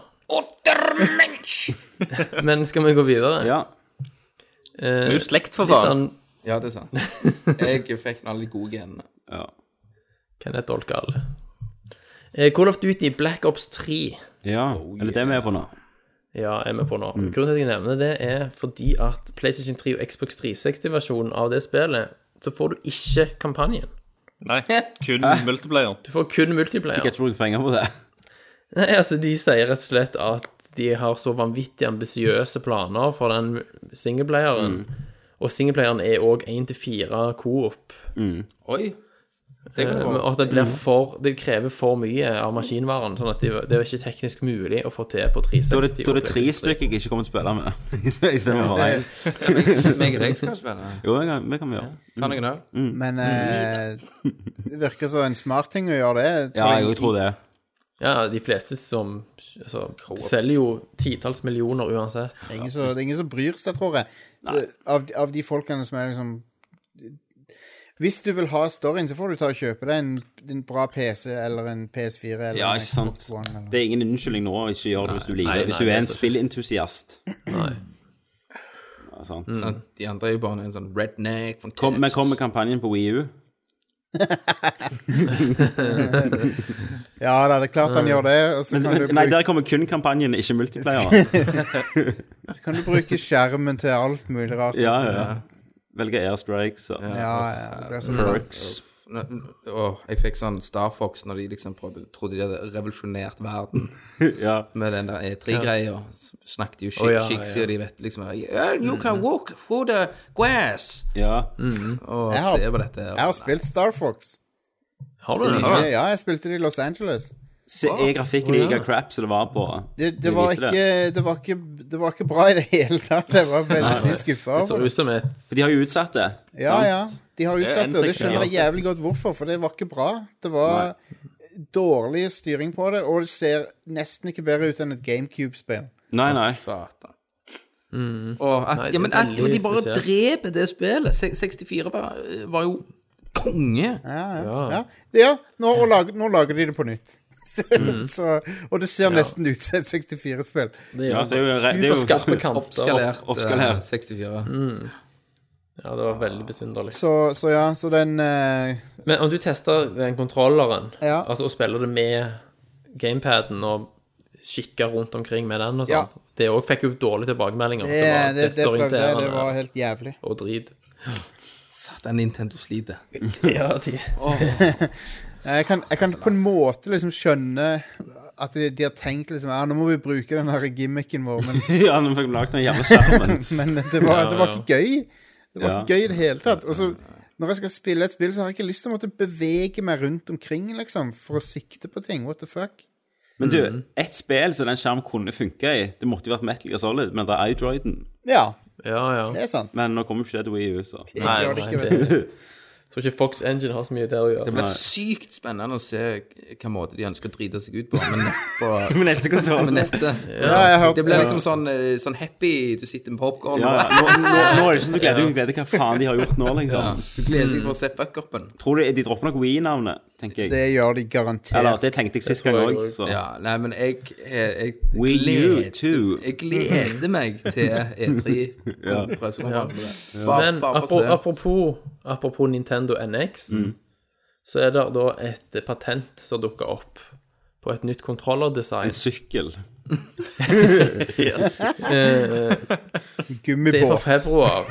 Men skal vi gå videre? ja. Vi er Eh, jo slekt, for litt faen. sånn Ja, det er sant. Jeg fikk noen av de gode genene. ja. Kenneth Olkal. Eh, Call of Duty Black Ops 3 ja. Oh, Er det det vi er på nå? ja, er vi på nå. Grunnen til at jeg nevner det, er fordi at PlayStation 3 og Xbox 360-versjonen av det spillet, så får du ikke kampanjen. Nei, kun multiplayer. Du får kun multiplayer. Jeg tror jeg penger på det. Nei, altså De sier rett og slett at de har så vanvittig ambisiøse planer for den singleplayeren. Og singleplayeren er òg 1-4 coop. Oi. Det Eh, kan men- Og gå. at det, blir for, det krever for mye av maskinvaren. Sånn at det, det er ikke teknisk mulig å få til på 360. Da er det, da er det og tre 360. stykker jeg ikke kommer til å spille med. I stedet for én. Meg og deg skal spille. Jo, det kan det kan vi gjøre. Ta noen øl. Mm. Mm. Men eh, det virker som en smart ting å gjøre det. Ja, jeg tror det. Ja, de fleste som altså, selger jo titalls millioner uansett. Det er ingen som, det er ingen som bryr seg, tror jeg. Av, de- av de folkene som er liksom Hvis du vil ha storyen, så får du ta og kjøpe deg en, en bra PC eller en PS4 eller Ja, en ikke sant. Xbox One. Eller. Det er ingen unnskyldning nå å ikke gjøre det hvis du liker det. Hvis du nei, er det en er så spillentusiast. Nei. sant? sant? De andre er jo bare en sånn redneck fra Kom, men Texas. kom med kampanjen på Wii U. Ja da, det er klart han gjør det. Og så Mm. Men, kan, men, du nei, bruke, der kommer kun kampanjen, ikke multiplayer. kan du bruke skjermen til alt mulig rart. Ja, ja. Velge airstrikes og ja, ja, det blir sånn perks. Nå- Åh, jeg fikk sånn Star Fox når de liksom prøvde, trodde de hadde revolusjonert verden Ja. med den der E3-greia. S- Snakket jo Å, shit, ja, shit, ja. sier de vet liksom yeah, You can walk through the grass. ja. Og Jeg har- se på dette. Jeg har spilt Star Fox. Har du det? Ja, ja, jeg spilte det i Los Angeles. Se, er grafikken like crap som det var på Det, de det, var viste det. ikke, det, var ikke, det var ikke bra i det hele tatt. Jeg var veldig skuffa. Det ser ut som et For de har jo utsatt det. Ja, sant? ja. De har utsatt det, og det N64. skjønner jeg jævlig godt hvorfor, for det var ikke bra. Det var dårlig styring på det, og det ser nesten ikke bedre ut enn et GameCube-spill. Nei, nei. Satan. Og at, Mm. Nei, ja, det er men at veldig de bare spesielt. dreper det spillet. Se- 64 var, var jo konge. Ja, ja. Ja. ja. ja nå, og lag, nå lager de det på nytt. Mm. Så, og det ser nesten ut som et 64-spill. det er Ja, jo det er jo, det er jo superskarpe kanter. og- Oppskalert, eh, oppskalert. 64. Mm. Ja, det var veldig besynderlig. Så, så ja, så den eh, Men om du tester den kontrolleren, Ja. altså og spiller det med gamepaden og kikker rundt omkring med den og Ja. sånn, det òg fikk jo dårlige tilbakemeldinger. Det, var det, det prøvde jeg, det desorienterende var helt jævlig. og drit. Satan, Nintendo sliter. Ja, de, Jeg kan, jeg kan på en måte liksom skjønne at de, de har tenkt liksom Ja, nå må vi bruke den her gimmicken vår, men, Ja, nå fikk vi lagd den jævla skjermen. men det, var, det var ikke gøy. Det var Ja. ikke gøy i det hele tatt. Og så når jeg skal spille et spill, så har jeg ikke lyst til å måtte bevege meg rundt omkring, liksom, for å sikte på ting. What the fuck? Men du, ett spill som den skjermen kunne funke i, det måtte jo vært Metal Gear Solid, men det er iDroiden. Ja, ja, ja. det er sant. Men nå kommer jo ikke det til Wii U, så Jeg Nei, gjør det nei, ikke, vet du. det, jeg tror ikke Fox Engine har så mye der å Det gjøre. blir sykt spennende å se hvilken måte de ønsker å drite seg ut på. Men neste, på, Med neste konsoll. men neste Ja, jeg hørte Det blir liksom sånn, eh, sånn happy Du sitter med popkorn Ja, ja. og Nå, nå, nå er det ikke sånn du gleder deg, du gleder deg hva faen de har gjort nå, liksom. du gleder deg for å se fuck-upen. Tror du de dropper nok Wii-navnet, tenker jeg. Det gjør de garantert. Eller det tenkte jeg sist gang tror jeg òg, så Ja, nei, men jeg, eh, jeg, jeg, Wii U 2. jeg gleder meg til E3. Pressekonferanse på det. Bare, Men bare apro- for å se. apropos, apropos Nintendo NX, Mm. så er det da et patent som dukker opp på et nytt kontrollerdesign. En sykkel. Det er fra Gummibåt. februar.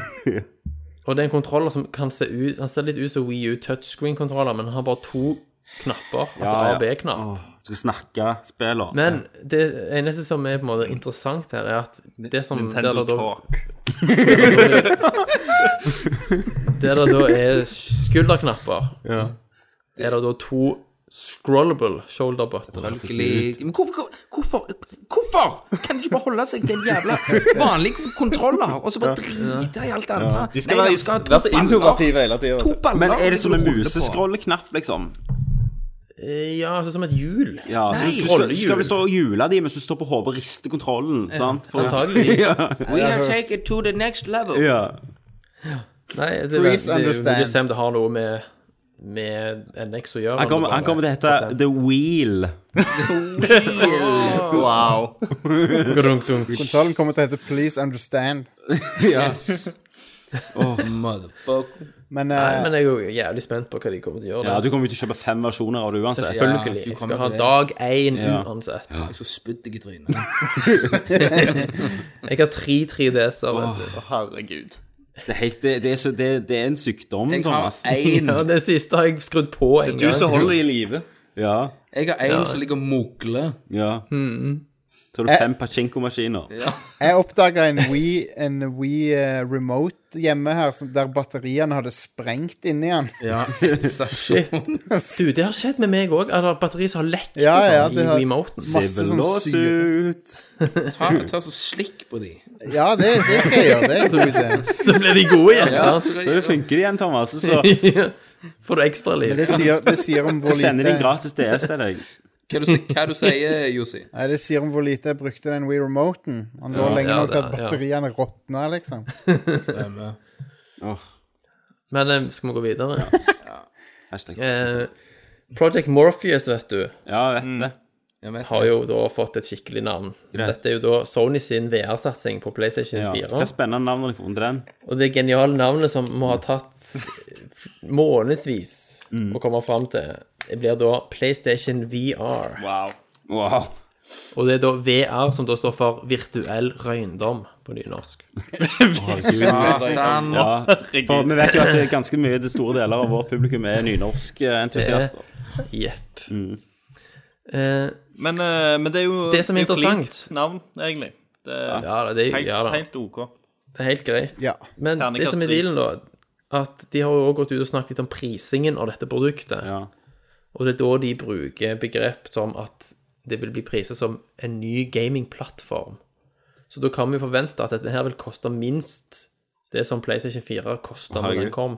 Og det er en kontroller som kan se ut Han ser litt ut som Wii U touchscreen-kontroller, men han har bare to knapper. Altså Ja, ja. A og B-knapp. Åh, Du skal snakke spiller. Men det eneste som er på en måte interessant her, er at det som Nintendo der det da, Talk. der det da er skulderknapper, er det da to scrollable shoulder buttons. Selvfølgelig. Men hvorfor, hvorfor, hvorfor kan de ikke bare holde seg til en jævla vanlig kontroller, og så bare drite i alt det andre? De skal Nei, være, de skal ha to være så baller. innovative hele tida. To baller. Men er det som en som du roter på. museskrolleknapp, liksom? Eh, Ja, altså som et hjul. Ja, så Nei. du skal, du Rollehjul. skal vel stå og jule de mens du står på hodet og rister kontrollen, sant? For, Antageligvis. We have taken to the next level. ja. Nei, det, er- Please det, er jo understand. mulig å se om det har noe med, med NX å gjøre. Han kommer, han kommer til å hete The Wheel. Wow. til Konsollen kommer til å hete Please Understand. Yes. Oh, motherfucker. Men, Nei, eh, men jeg er jo jævlig spent på hva de kommer til å gjøre. Ja, da. du kommer jo til å kjøpe fem versjoner av det uansett. Selvfølgelig. du jeg kommer skal ha til det. dag én Ja. uansett. Jeg er så spydd deg i trynet. Jeg har tre 3DS-er, vet du. Herregud. Det er, helt, det, det, er så, det, det er en sykdom, Jeg har Thomas. én Ja, det siste har jeg skrudd på en Du som gang. holder i live. Ja, Jeg har en som ligger og mugler. ja. Så Eh, har du fem pachinko-maskiner. Jeg oppdaga en Wii, en Wii eh, Remote hjemme her som, der batteriene hadde sprengt inni den. Ja. Shit. Du, det har skjedd med meg òg. Eller batteri som har lekt Ja, ja, og sånn det har- i Remoten. Masse Civil sånn syre. lawsuit. Ta, ta så slikk på de. Ja, det, det skal jeg gjøre. Det er en god idé. Så ble de gode igjen, sant? Det funker igjen, Thomas. og Så Får du ekstraliv. Det sier, det sier om hvor så sender de en lite gratis DS til deg. Hva, du, hva du sier Jussi? Nei, det sier om hvor lite jeg brukte den Wii Remoten. Han lå lenge ja, nok til at det- ja. batteriene råtna, liksom. Stemmer. Men eh, skal vi gå videre? Hashtag. Eh, Project Morpheus, vet du. Ja, vet det. Jeg vet har jo da fått et skikkelig navn. Greit. Dette er jo da Sony sin VR-satsing på PlayStation Ja. 4. Hva er spennende navn har de funnet til den? Og det geniale navnet som må ha tatt månedsvis Mm. å komme fram til, det blir da PlayStation VR. Wow. Wow. Og det er da VR som da står for virtuell røyndom på nynorsk. Satan. Ja, for vi vet jo at det er ganske mye det store deler av vårt publikum er eh, nynorskentusiaster. Jepp. Mm. Eh, Men, eh, men det er jo Det som er jo interessant- cleant navn, egentlig. Det er ja da, det, er- helt, ja, da. helt OK. det er helt greit. Ja. Men det Terningkast som er tre. dealen, da, at de har jo også gått ut og snakket litt om prisingen av dette produktet. Ja. Og det er da de bruker begrep som at det vil bli priset som en ny gamingplattform. Så da kan vi forvente at dette her vil koste minst det som PlayStation 4 kosta da den Herregud. kom.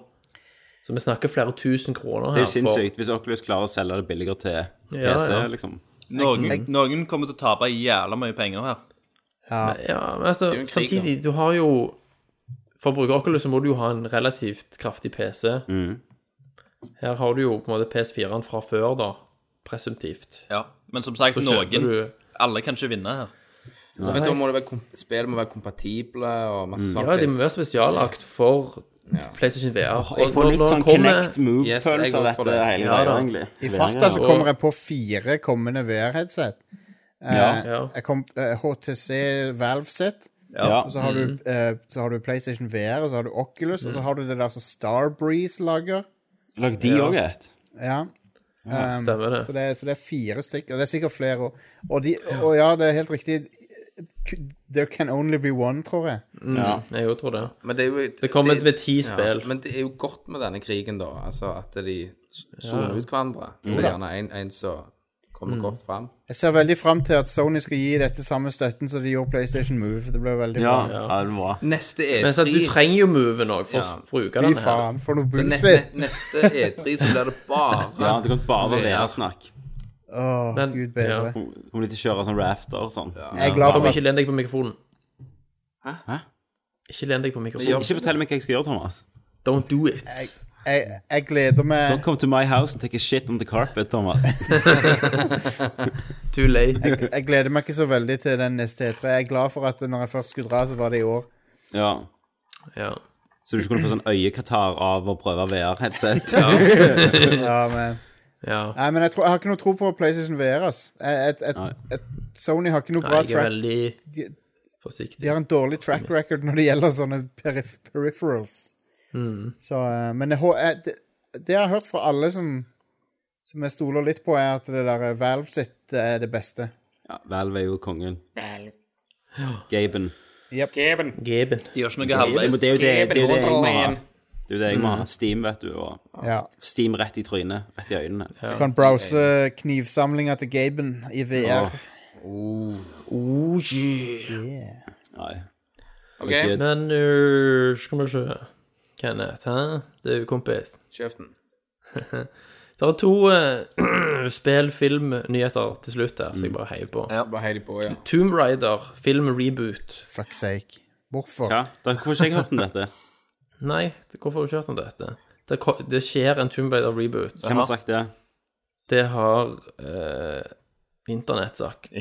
Så vi snakker flere tusen kroner Det er her. jo sinnssykt hvis Oculus klarer å selge det billigere til PC, Ja, ja. liksom. Noen, noen kommer til å tape jævla mye penger her. For, ja, men altså, jo en krig, da. samtidig, du har jo For å bruke Oculus så må du jo ha en relativt kraftig PC. Mm. Her har du jo på en måte PS4-en fra før, da, presumptivt. Ja. Men som sagt, Så kjøper noen du Alle kan ikke vinne her. Men da må det være kom- spill må være kompatible og masse sånt. Mm. Ja, de må være spesiallagt for PlayStation VR. Jeg får litt nå sånn kommer- Kinect Yes, jeg Move-følelse av går for dette det. hele Ja, greia, da. egentlig. I farta så og- kommer jeg på fire kommende VR-headset. Eh, Ja. Jeg kom eh, HTC Valve sitt. Ja. Og så har, Mm. du, eh, så har du PlayStation VR, og så har du Oculus, og så har du det der som Starbreeze lager. Lag de òg et. Ja. Um, Stemmer det. Så det, er, så det er fire stykker. Og det er sikkert flere òg. Og, de, og ja, det er helt riktig. There can only be one, tror jeg. Ja. Jeg jo tror det. Men det er jo Det kommer med ti spill. Men det er jo godt med denne krigen, da. Altså at de s- soner ut hverandre. Så Mm. er det gjerne en, en som kommer godt fram. Jeg ser veldig fram til at Sony skal gi dette samme støtten som de gjorde PlayStation Move. Det ble veldig Ja, bra. ja, det er bra. Neste E Men så, E3 at du trenger jo moven òg for Ja. å bruke Fy den her. faen, for noe så ne, bullshit. ne, Neste E3 så blir det bare Ja, det kan bare være VR. snakk. Åh, Men- gud bedre. ja. Kommer de til å kjøre sånn rafter og sånn? Jeg er glad Kom, for at ikke len deg på mikrofonen. Hæ? Ikke len deg på Ja. mikrofonen. Ikke fortell meg hva jeg skal gjøre, Thomas. Don't do it. jeg, jeg gleder Don't meg come to my house and take a shit on the carpet, Thomas. Too late. jeg, jeg gleder meg ikke så veldig til den neste E3. Jeg er glad for at når jeg først skulle dra, så var det i år. Ja. Ja. Så du ikke kunne få sånn øyekatarr av å prøve VR-headset? Ja, men... ja. Nei, men jeg, tror, jeg har ikke noe tro på PlayStation VR, ass. Jeg- jeg- jeg- Nei. jeg- Sony har ikke noe Nei, bra jeg er track veldig de- forsiktig. De har en dårlig track record når det gjelder sånne perif peripherals. Mm. Så, eh, men jeg, hå- jeg, det, det jeg har hørt fra alle som, som jeg stoler litt på, er at det der eh, Valve sitt eh, er det beste. Ja, Valve er jo kongen. Vel, Gaben. Geben. Geben. De gjør ikke noe Det halvveis. er jo det, det, er Mm. jo det jeg må ha. Geben. Det er jo det jeg må ha. Steam, vet du. Og Ja. Steam rett i trynet. Rett i øynene. Du kan browse knivsamlinga til Gaben i VR. Åh. Yeah. Nei. OK, Good. Men øh, skal vi se Kenneth, hæ? Det er jo kompis. kjøp den. Det er to uh, spill, film, nyheter til slutt her, som jeg bare heier på. Bare heilig på, ja. Tomb Raider, film reboot. Fuck sake. Hvorfor? Hva? Da, hvorfor har ikke jeg hørt om dette? Nei, hvorfor har du ikke hørt om dette? Det, ko- det skjer en Tomb Raider reboot. Hvem har sagt det? Det har eh, internett sagt.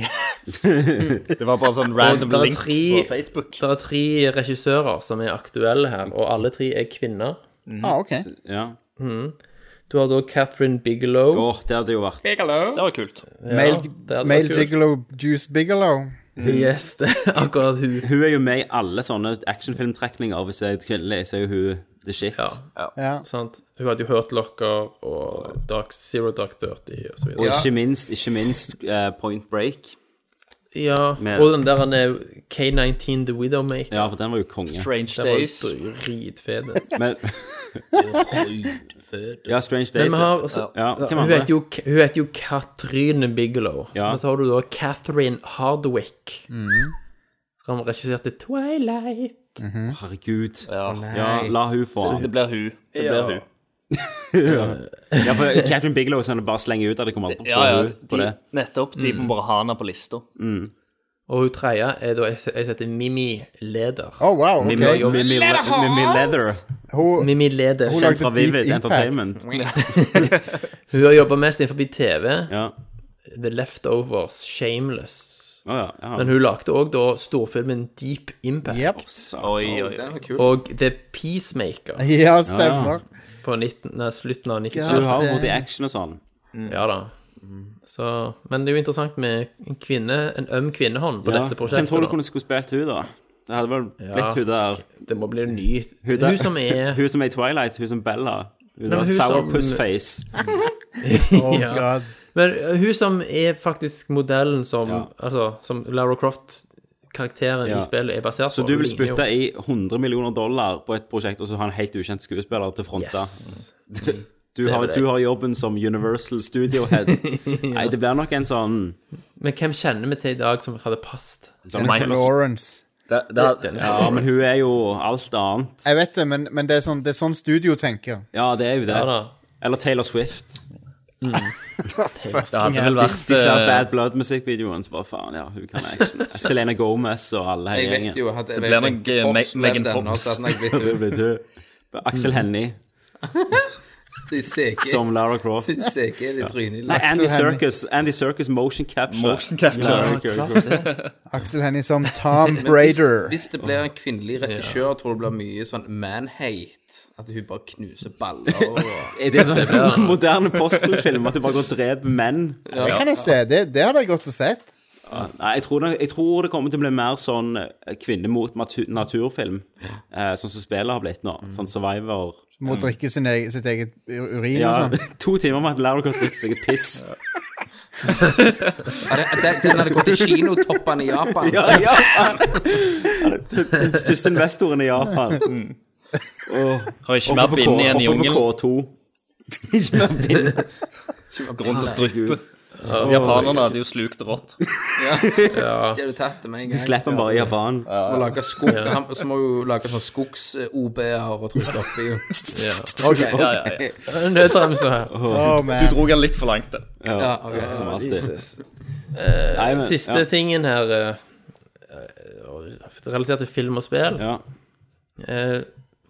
Det var bare sånn random random link link på på Facebook. Det er tre regissører som er aktuelle her, og alle tre er kvinner. Ah, OK. Ja. Du har da Catherine Bigelow. Åh, det hadde jo vært Bigelow. Det var kult. Male, det hadde vært male kult. Gigolo Juice Bigelow. Yes, det er akkurat hun. Hun er jo med i alle sånne actionfilmtrekninger. Hvis det er kvinnelig, så er jo hun the shit. Ja, Ja. sant. Hun hadde jo hørt Locker og Dark Zero Dark 30 og så Og videre. ikke minst, ikke minst eh, Point Break. Ja, Men- og den der han er K19 The Widowmaker. Ja, for den var jo konge. Strange Det var Days. dritfete. Men, ja, Strange Men Days. vi har så, Ja, hvem Hun andre? heter jo, hun heter jo Katrine Bigelow. Ja. Mm. Men så har du da Catherine Hardwick. Som regisserte Twilight. Herregud. Ja. Ja, la hun få. Det blir hun. Det blir Ja. hun. Ja, for Catherine Bigelow sånn, bare slenger ut av det. Kommer aldri til Ja, å få ja. hun på De, det. nettopp. De må bare ha henne på lista. Og hun tredje er da jeg jeg heter Mimmi Leder. Oh, wow. ok. Mimmi Mimmi Le- Mimmi Leather, Hun, Mimmi Leder. hun Hun, fra lagde Deep Vivid Impact. Entertainment. har jobba mest innenfor TV. Ja. The Leftovers, Shameless. Å ja. ja. Men hun lagde òg da storfilmen Deep Impact. Yep. Oi, oi, Den oi. var kul. Og The Peacemaker Ja, stemmer. på 19, nei, slutten av Så hun 97. har vært i action og sånn. Ja da. Så, men det er jo interessant med en kvinne, en øm kvinnehånd på Ja. dette Hvem tror prosjektet. du da. kunne skulle spilt hun da? Det hadde vel blitt hun der Det må bli en ny Hun, der, Hun som er hun som er i Twilight, hun som Bella. Hun men der hun som- sourpuss-face. Oh, Ja. God. Men ø, hun som er faktisk modellen som Ja. Altså, som Lara Croft-karakteren Ja. i spillet er basert på. Så du hun vil ligner jo- spytte i 100 millioner dollar på et prosjekt, og så ha en helt ukjent skuespiller til fronta? Yes. Du, har, vil jeg. du har jobben som Universal Studio Head. Nei, det blir nok en sånn Men hvem kjenner vi til i dag som hadde passet? Jennifer Lawrence. Det, det, det, Denne Ja, men hun er jo alt annet. Jeg vet det, men, men det, er sånn, det er sånn studio tenker. Ja, det er jo det. Ja da. Eller Taylor Swift. det hadde vel vært De ser eh, Bad Blood-musikkvideoen, så bare faen, ja, hun kan action. Selena Gomez og alle Jeg hele vet gjengen. jo at jeg, Det blir nok, eh, Foss Me- Megan levde ennå, Fox. så hadde jeg blitt Det blir du. Axel Hennie ut i seke- som Lara Croft. i seke i trynet. Nei, Andy Axel Hennie. Circus. Andy Circus motion capture. motion capture. Ja, kult. Axel Hennie som Tom Men hvis- Brader. Hvis det blir en kvinnelig regissør, tror jeg det blir mye sånn man-hate. At hun bare knuser baller og Er det sånn moderne postelfilm at du bare går og dreper menn? Det kan jeg se. Det, det hadde jeg godt å sett. Nei, jeg tror, det, jeg tror det kommer til å bli mer sånn eh, kvinne mot matu- naturfilm. Eh, sånn som spillet har blitt nå. Sånn Survivor. Må drikke sin egen, sitt eget u- urin Ja, og sånn. to timer med at Lara Croft ikke slikker piss. Ja, det- Den den hadde gått i kinotoppene i Japan. Ja, ja! Den største investoren i Japan. Og, Har ikke mer bind igjen i oppe jungelen. på K2. Ikke mer bind. Rundt og dryppe. Gud. Japanerne hadde jo slukt rått. De hadde tatt det med en gang. De slipper den bare i Japan. Så må lage skog, han, så må hun lage sånn skogs-OB-er og trykke oppi henne. Ja. Ja, ja, ja. Nødbremse her. Oh, Du man. dro den litt for langt, det. Ja, ok, så Som alltid. Jesus. Nei, men- Siste tingen her ø, ø, Relatert til film og spill. Ja. Eh,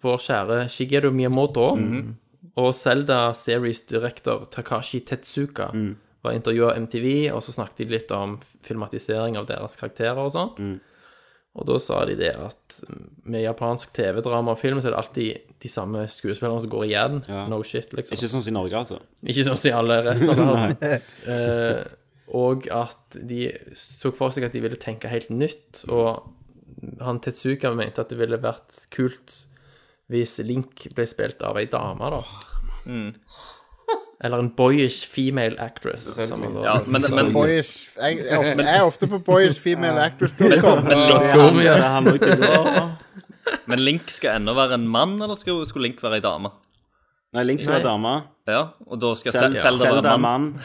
vår kjære Shigeru Miyamoto Mhm. og Zelda Series direktor Takashi Tetsuka Mm. var intervjua av MTV, og så snakket de litt om filmatisering av deres karakterer og sånn. Mm. Og da sa de det at med japansk TV-drama og film så er det alltid de samme skuespillerne som går igjen. No shit, liksom. Ikke sånn som i Norge, altså. Ikke sånn som i alle resten av verden. Eh, og at de så for seg at de ville tenke helt nytt. Og han Tetsuka mente at det ville vært kult hvis Link ble spilt av ei dame, da. Eller en boyish female actress. Som han da. Mm. Ja, men, men, men, Boyish jeg, jeg, er ofte, jeg er ofte på Boyish female actors. Men, Ja, det handler jo til- men Link skal ennå være en mann, eller skal, skulle Link være ei dame? Nei, Link skal være dame. Ja, og da skal Sel- Zelda, Zelda Zelda være er en mann. mann.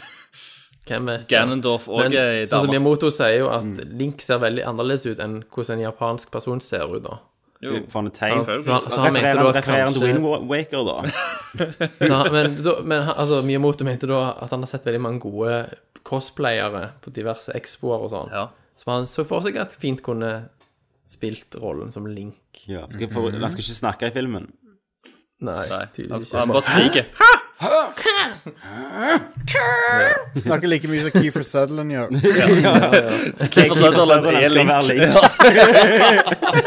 Hvem vet? Ganondorf Men òg er ei sånn som dame. Miyamoto sier jo at Link ser veldig annerledes ut enn hvordan en japansk person ser ut, da. Jo. For han er teit. Så han, så han mente da Refererer at refererer han til kanskje- Wind Wa- Waker, da? Så han- men da, men han- altså, Miyamoto mente da at han har sett veldig mange gode cosplayere på diverse expoer og sånn, Ja. som han så for seg at fint kunne spilt rollen som Link. Ja. Skal få, han skal ikke snakke i filmen. Nei, Nei, tydeligvis altså, han ikke. bare skriker. Snakker like mye som Keefer Sutherland gjør. Kiefer Sutherland Sutherland er skal Link. være Link.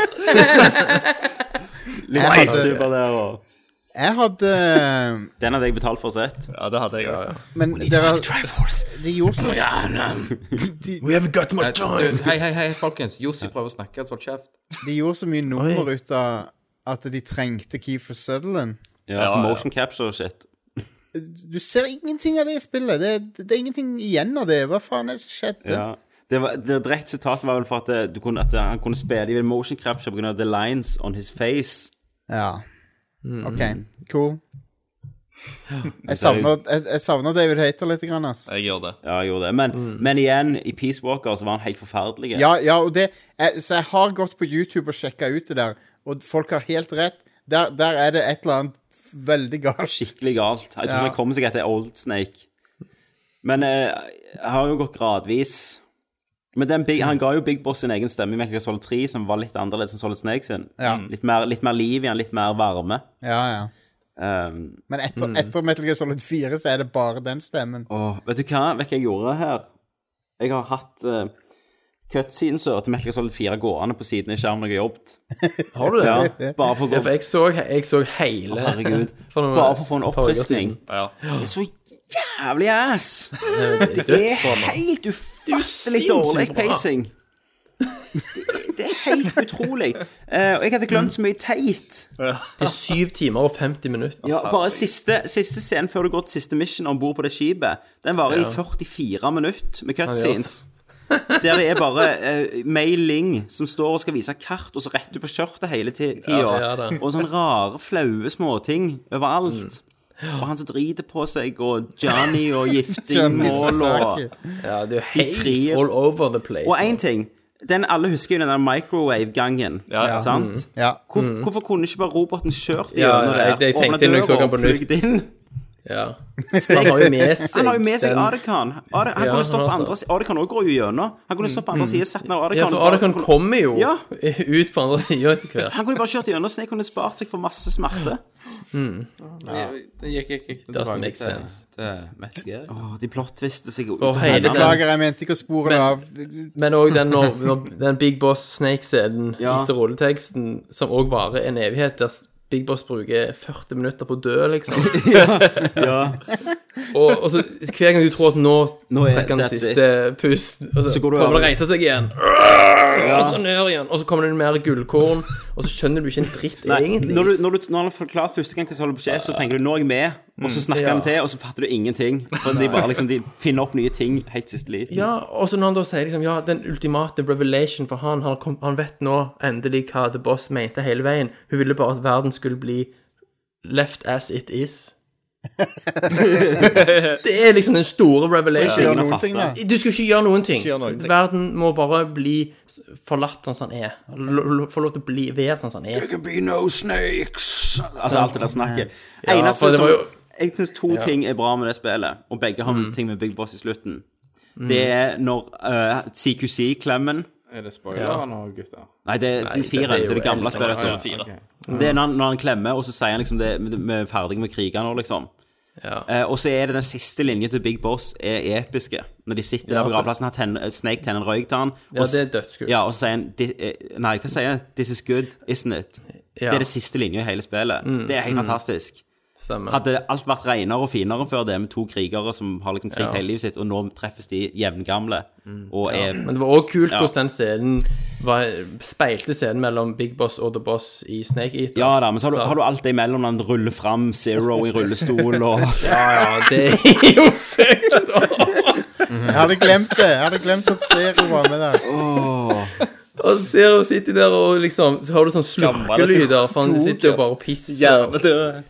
Ja. Litt sandstubber der og Jeg hadde Den hadde jeg betalt for sett. Ja, det hadde jeg òg. Men dere De gjorde så Eh, du, Hei, hei, hei, folkens. Jossi prøver å snakke, så hold kjeft. De gjorde så mye nummer ut av at de trengte Keefer Sutherland. Ja, Ja, for ja. Motion capture og shit. Du ser ingenting av det i spillet. Det, det er ingenting igjen av det. Hva faen er det som skjedde? Ja. Det, var, det direkte sitatet var vel for at, det, du kunne, at han kunne spille i motion capture pga. the lines on his face. Ja. OK, cool. Jeg savner, jeg, jeg savner David Hater litt, grann, ass. Jeg gjør det. Ja, jeg gjorde det. Men, men igjen, i Peace Walker så var han helt forferdelig. Mm. Ja, ja, og det jeg, Så jeg har gått på YouTube og sjekka ut det der, og folk har helt rett. Der, der er det et eller annet veldig galt. skikkelig galt. Jeg tror ikke Ja. han kom seg etter Old Snake. Men eh, jeg har jo gått gradvis. Men den big, han ga jo Big Boss sin egen stemme i Metal Gear Solid 3, som var litt annerledes enn Solid Snake sin. Ja. Litt, mer, litt mer liv i han, litt mer varme. Ja, ja. Um, Men etter, etter Metal Gear Solid 4 så er det bare den stemmen. åh, vet du hva? Vet du hva jeg gjorde her? Jeg har hatt uh, cutsceneser til Metal Gear Solid 4 gående på siden i skjermen når jeg har jobbet. Har du det? Ja, Ja, bare for å gå for jeg så, jeg så Å, hele Herregud. For noen- Bare for å få en par uker oppfriskning. siden. Ja. Det er så jævlig ass! Det Det er helt ufattelig sinnssykt dårlig bra. pacing. Det, det er helt utrolig. Eh, og jeg hadde glemt så mye teit. Det er 7 timer og 50 minutter. Ja, bare siste, siste scenen før du går til siste mission om bord på det skipet, den varer i 44 minutter med cutscenes. altså- Der det er bare eh, Mei Ling som står og skal vise kart, og så rett ut på skjørtet hele ti- tida. ja da. og sånne rare, flaue småting overalt. Mm. Og han som driter på seg, og Johnny og giftingmål og Sasaki. Ja, det er De jo frie- helt all over the place. Og én ting. Den alle husker jo den der microwave-gangen. ja. Sant? Ja. Hvor, Hvorfor kunne ikke bare roboten kjørt Mm. Ja, gjennom jeg- der? jeg tenkte åpnet det når jeg så døra den på og plugget nytt. inn? Ja. Så han har jo med seg Han har jo med seg den- Adekan. Ade, han Ja, kunne stoppe han har Mm, andre si- Adekan også går jo gjennom. Han kunne stoppe andre siden, satt ned Adekan. Ja, for og bare- Adekan kunne- kommer jo Ja. ut på andre sida etter hvert. Han kunne bare kjørt gjennom, så jeg kunne spart seg for masse smerte. Jeg- Det gikk jeg ikke Doesn't tilbake make til, sense. til Metal Gear. Åh, de plottviste seg ut. Og av hele hendene. den- Beklager, jeg mente ikke å spore det av. Men òg den, når- når- den Big Boss Snake-scenen Ja. etter rulleteksten, som òg varer en evighet, der Big Boss bruker 40 minutter på å dø, liksom. Ja. Og, og så hver gang du tror at nå, er- trekker han that's siste pust, og så, Så går du kommer det over. å reise seg igjen. Og så ned igjen. Og så kommer det mer gullkorn, og så skjønner du ikke en dritt Nei, egentlig. når, du, når, du, når han har forklart første gang hva som holder på å skje, så tenker du 'nå er jeg med', og så snakker Mm, Ja. han til, og så fatter du ingenting. For de bare liksom, de finner opp nye ting helt siste liten. Ja, og så når han da sier liksom, ja, den ultimate revelation for han, han, kom, han vet nå endelig hva The Boss mente hele veien. Hun ville bare at verden skulle bli left as it is. det er liksom den store revelation. Gjør Ingen har noen ting, da. fattet. Du skal ikke gjøre noen ting. gjøre noen ting. Verden må bare bli s- forlatt sånn som den er. L- l- Få lov til å bli, være sånn som den er. Altså alt det der snakket. Ja, Eneste for det som var jo- Mm. Jeg syns to ting er bra med det spillet, og begge har ting med Big Boss i slutten. Det er når eh, CQC-klemmen Er det spoilere nå, gutter? Nei, det er den fire. Det er er jo det gamle eldre. spillet. Ja, som- fire. ok. Det er når, han- når han klemmer, og så sier han liksom det, Vi er ferdige med krigen nå, liksom. Ja. Eh, og så er det den siste linjen til Big Boss er episke. Når de sitter der på for- gravplassen, har tenn- Snake tenner en røyk til han. Ja, det er dødskult. Ja, og så sier han "Thi- eh, Nei, hva sier han? This is good, isn't it? Det er det siste linja i hele spillet. Mm, det er helt fantastisk. Stemmer. Hadde alt vært renere og finere før det, med to krigere som har liksom kriget hele livet sitt, og nå treffes de jevngamle og er Mm. Men det var òg kult Ja. hvordan den scenen var, speilte scenen mellom Big Boss og The Boss i Snake Eater. Ja da, men så har du, har du alt det imellom når han ruller fram Zero i rullestol og Ja, det er jo fucked up! Jeg hadde glemt det. Jeg hadde glemt at Zero var med der. Og så ser hun sitter der og liksom Så har du sånn slurkelyder, for han sitter og bare pisser. Hjernedød.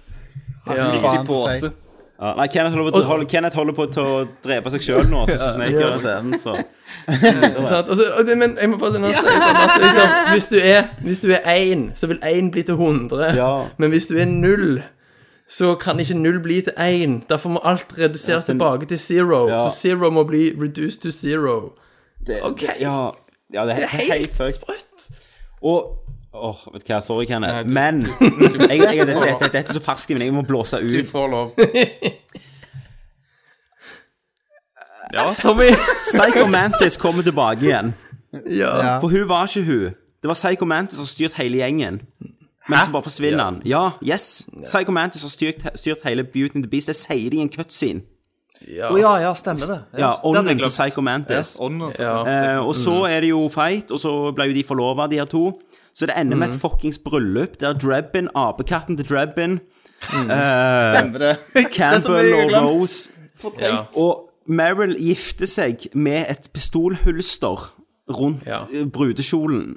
Liss i Faen, pose. tenk. ja, Nei, Kenneth holder, på, hold, Kenneth holder på til å drepe seg sjøl nå, så Snake gjør den scenen, så Sant? Og så, og det, men jeg må bare si noe sånn at liksom, hvis, du er, hvis du er én, så vil én bli til 100. Ja. Men hvis du er null, så kan ikke null bli til én. Derfor må alt reduseres tilbake til zero. Ja. Så zero må bli reduced to zero. det, Ok. det, ja, ja, det er helt, helt fucked. sprøtt. Og Åh, vet du hva, sorry, Kenneth, Nei, du- men jeg, jeg, dette, dette, dette er så ferskt, men jeg må blåse Du ut. får lov. Tommy. Psycho Mantis kommer tilbake igjen. Ja. For hun var ikke hun. Det var Psycho Mantis som styrte hele gjengen. Men så bare forsvinner han. Ja, yes. Psycho Mantis har styrt, styrt hele Beauty and the Beast. Det sier de i en cutscene. Ja. Å ja, ja, stemmer det. hadde Ja, jeg ånden til glemt. Psycho Mantis. Ånden til Ja. Eh, og så er det jo fight, og så ble jo de forlova, de her to. Så det ender med et fuckings bryllup der Drebbin, apekatten til Drebbin, Stemmer det. Campbell og Rose Rose. Og Meryl gifter seg med et pistolhulster rundt Ja. eh, brudekjolen.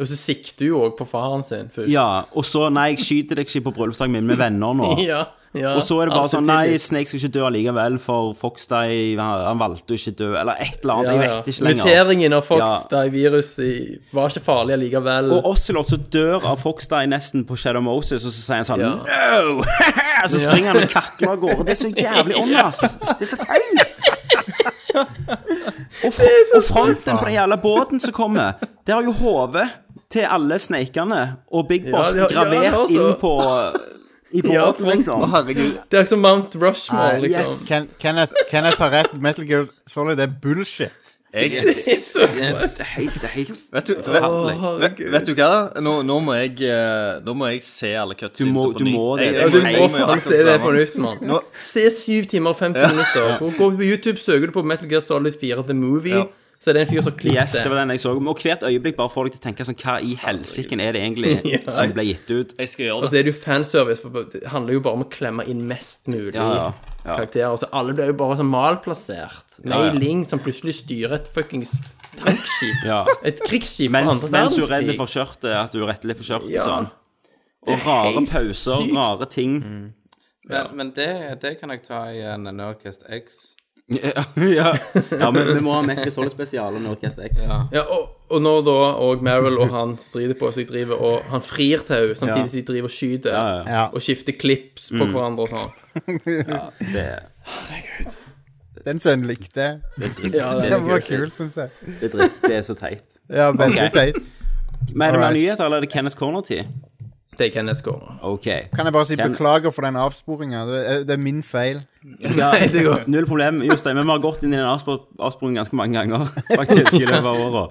Og så sikter hun òg på faren sin først. Ja, og så Nei, jeg skyter deg ikke på bryllupsdagen min med venner nå. Ja, ja. Og så er det bare Alt sånn Nei, tillit. Snake skal ikke dø allikevel, for Foxdie han, han valgte jo ikke dø, eller et eller annet. Ja, Jeg ja. vet ikke lenger. Muteringen av Fox, Ja. da viruset i- var ikke farlig allikevel. Og Ocelot så dør av Foxdie nesten på Shadow Moses, og så sier han sånn Ja. No! Og så springer han og kakler av gårde. Det er så jævlig ånd, ass. Det er så teit. Og, fro- og fronten på den jævla båten som kommer, der har jo hodet til alle sneikene og Big Boss Ja, altså. ja, ja, gravert det har så. inn på I båten, liksom. herregud. Det er liksom Mount Ah, Rushmore, liksom. Ken, Kenneth, Kenneth har rett. Metal Gear Solid er bullshit. Yes. Det er helt, det er helt Vet du, vet, vet du hva? Nå, nå, må jeg, eh, nå må jeg se alle cutscenes må- du må det. Ja, du Nei, må faen se det på nytt, mann. Se 7 timer og 50 minutter. Gå- Gå på YouTube, søker du på Metal Gear Solid 4 The Movie, Ja. så er det en fyr som klipper Yes, det var den jeg så. Og hvert øyeblikk bare får deg til å tenke sånn Hva i helsiken er det egentlig som ble gitt ut? Jeg skal gjøre Og det. så er det jo fanservice, for det handler jo bare om å klemme inn mest mulig Ja, ja, ja. karakterer. Og så alle blir jo bare sånn malplassert. Mei Ja, ja. Ling som plutselig styrer et fuckings tankskip. Ja. Et krigsskip fra Mens, andre mens du er redd verdenskrig. for skjørtet, at du rettelig på skjørtet Ja. sånn. Og rare pauser, rare ting. Men, men det, det kan jeg ta i en Nerdcast X. Ja, ja. ja, men vi må ha Mekke Solid Spesial og Nordcast X. Ja. Ja, og, og når da og Meryl og han driter på seg, driver og han frir til henne samtidig Ja. som de driver og skyter. Ja, Mm. ja. Og skifter klips på hverandre og sånn. Det, Den sønnen likte jeg. det, er dritt, Ja, det, Det er var kult. kult, syns jeg. det er dritt. Det er så teit. Ja, veldig Ok. teit. Men er det mer Alright. nyheter, eller er det Kenneth Corner-tid? Det er Kenneth Skåre. OK. Kan jeg bare si Kan- beklager for den avsporinga? Det, er- det er min feil. Ja, null problem, Jostein. Men vi har gått inn i den avspor- avsporingen ganske mange ganger faktisk i løpet av året.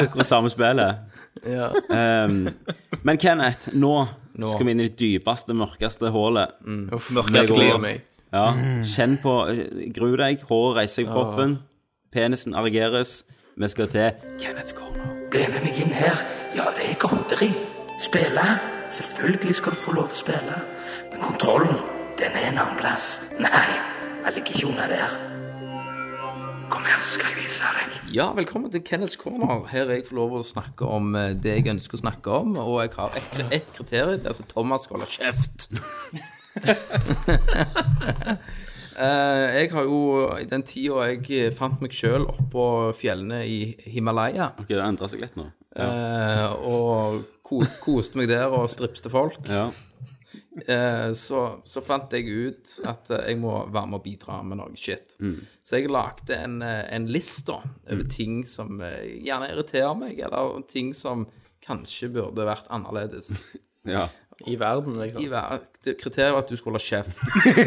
Akkurat samme spillet. Ja. Ehm, men Kenneth, nå, Mm. skal vi inn i det dypeste, mørkeste hålet. Uff, jeg jeg gleder gleder meg. Ja. Kjenn på eh, Gru deg. Håret reiser seg på kroppen. Penisen ergeres. Vi skal til Kenneths corner. Bli med meg inn her. Ja, det er godteri. Spille? Selvfølgelig skal du få lov å spille. Men kontrollen, den er en annen plass. Nei, jeg ligger ikke under der. Kom her, skal jeg vise deg. Ja, velkommen til Kenneths Corner. Her er jeg får lov å snakke om eh, det jeg ønsker å snakke om. Og jeg har ett et kriterium, det er at Thomas skal holde kjeft. Eh, jeg har jo i den tida jeg fant meg sjøl oppå fjellene i Himalaya, Ok, Det endrer seg litt nå. Ja. eh, og ko koste meg der og stripste folk, Ja. eh, så, så fant jeg ut at eh, jeg må være med og bidra med noe shit. Så jeg lagde en, eh, en liste over ting som eh, gjerne irriterer meg, eller ting som kanskje burde vært annerledes. Ja. I verden, liksom. I hver, det kriteriet var at du skulle holde kjeft.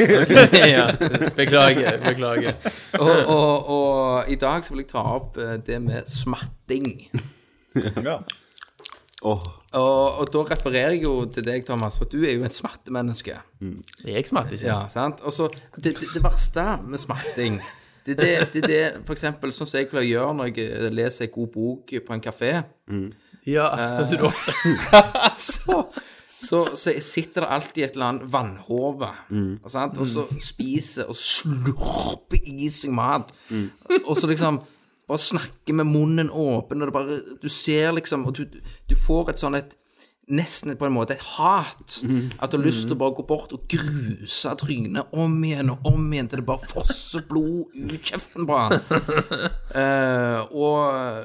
ja. Beklager, beklager. Og, og, og i dag så vil jeg ta opp eh, det med smatting. Åh, Og, og da refererer jeg jo til deg, Thomas, for du er jo en smattemenneske. Jeg smatter ikke. Ja, sant? Og så, det, det, det verste med smatting Det er det, det, er det for eksempel, sånn som jeg pleier å gjøre når jeg eh, leser en god bok på en kafé. Ja, sånn som du ofte Så, så, så sitter det alltid et eller annet vannhove, sant? og så spiser og slurper i seg mat. Og så liksom bare snakker med munnen åpen, og det bare, du ser liksom Og du, du får et sånn et Nesten på en måte et hat. At du har lyst til å bare gå bort og gruse trynet om igjen og om igjen til det bare fosser blod ut kjeften på han. Eh, og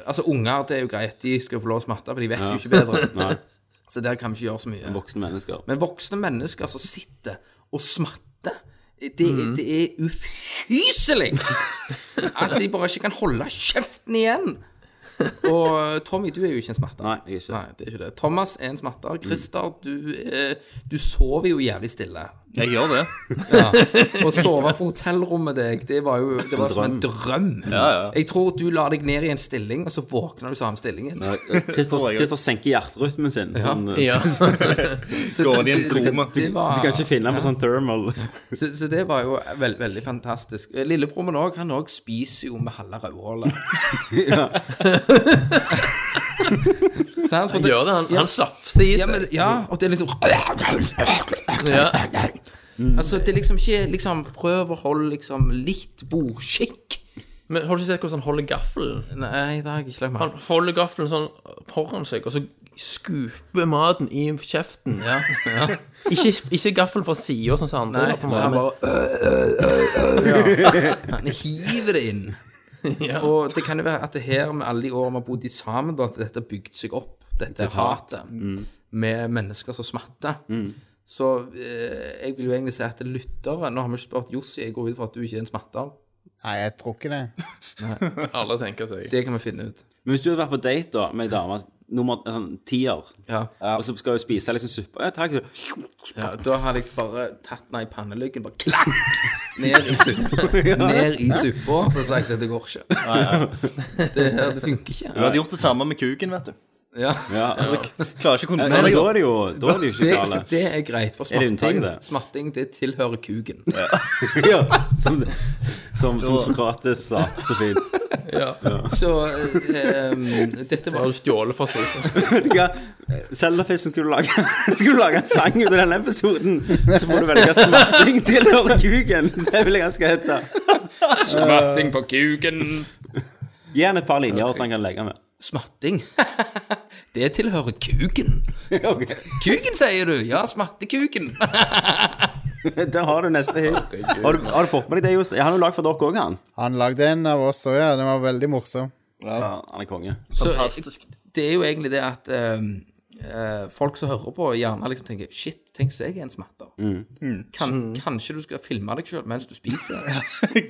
altså, unger det er jo greit, de skal få lov å smatte, for de vet jo ikke bedre. Nei. Så der kan vi ikke gjøre så mye. voksne mennesker. Men voksne mennesker som sitter og smatter det, det er ufyselig at de bare ikke kan holde kjeften igjen. Og eh, Tommy, du er jo ikke en smatter. Nei, jeg er ikke. Nei, det er ikke det. Thomas er en smatter. Christer, du, eh, du sover jo jævlig stille. Jeg gjør det. Ja. Å sove på hotellrommet deg, det var jo det var som en drøm. Ja, ja. Jeg tror du la deg ned i en stilling, og så våkner du samme stillingen. Nei, Eh, Christer, Christer senker hjerterytmen sin. Sånn, eh, Ja. Så Går inn i en det- det- koma. det var- Du kan ikke finne ham på sånn thermal. Så, så det var jo veld, veldig fantastisk. Eh, Lillebror min òg, han òg spiser jo med halve rødhålet. Sant? For Han gjør det. Han, han slafser i ja, men, seg. ja, og det er liksom Ja. Altså, det er liksom ikke liksom, Prøv å holde liksom litt bordskikk. Men har du ikke sett hvordan han holder gaffelen? Nei, det har jeg ikke lagt Han merke til. holder gaffelen sånn foran seg, og så skuper maten i kjeften. Ja, ja. Ikke, ikke gaffelen fra sida, sånn som andre. Nei, gjør på en måte, han men- bare "Øh, Han hiver det inn. Og det kan jo være at det her med alle de årene vi har bodd i sammen, da, at dette har bygd seg opp, dette hatet, med mennesker som smatter. Så eh, jeg vil jo egentlig si at lyttere Nå har vi ikke spurt Jossi, jeg går ut fra at du ikke er en smatter. Nei, jeg tror ikke det. Alle tenker seg. Det kan vi finne ut. Men hvis du hadde vært på date da med ei dame nummer sånn, tier. Ja. Og så skal hun spise liksom suppe. Eh, takk. Ja, da hadde jeg bare tatt meg i pannelyggen, bare klakk! Ned i, supp, ned i suppa, så sa jeg at dette går ikke. Det her, det funker Du ikke. hadde gjort det samme med kuken, vet du. Ja. Ja. Klarer ikke å Ja, men kontrollere da deg. er det jo Da er det jo Det, ikke gale. det er greit, for Er det unntaket, smatting, det? smatting det tilhører kuken. ja, som, som, som Sokrates sa så fint. Så eh, em, dette var Har du stjålet fra sofaen? Vet du hva? Seldafisen skulle du lage Skulle du lage en sang ut av denne episoden, så må du velge smatting tilhører kuken. Det vil jeg han skal hete. Smatting på kuken. Gi han et par linjer, så han kan legge med. smatting. Det tilhører kuken. Ok, Kuken, sier du? Ja, smattekuken. Der har du neste hit. Har du, har du fått med deg det, Jostein? Han har jo lagd for dere òg, han. Han lagde en av oss òg, ja. Den var veldig morsom. Ja, han er konge. Så Fantastisk. det er jo egentlig det at em, eh, folk som hører på, gjerne liksom tenker Shit, tenk så jeg er en smatter. Mm. Kan, Kanskje du skal filme deg sjøl mens du spiser?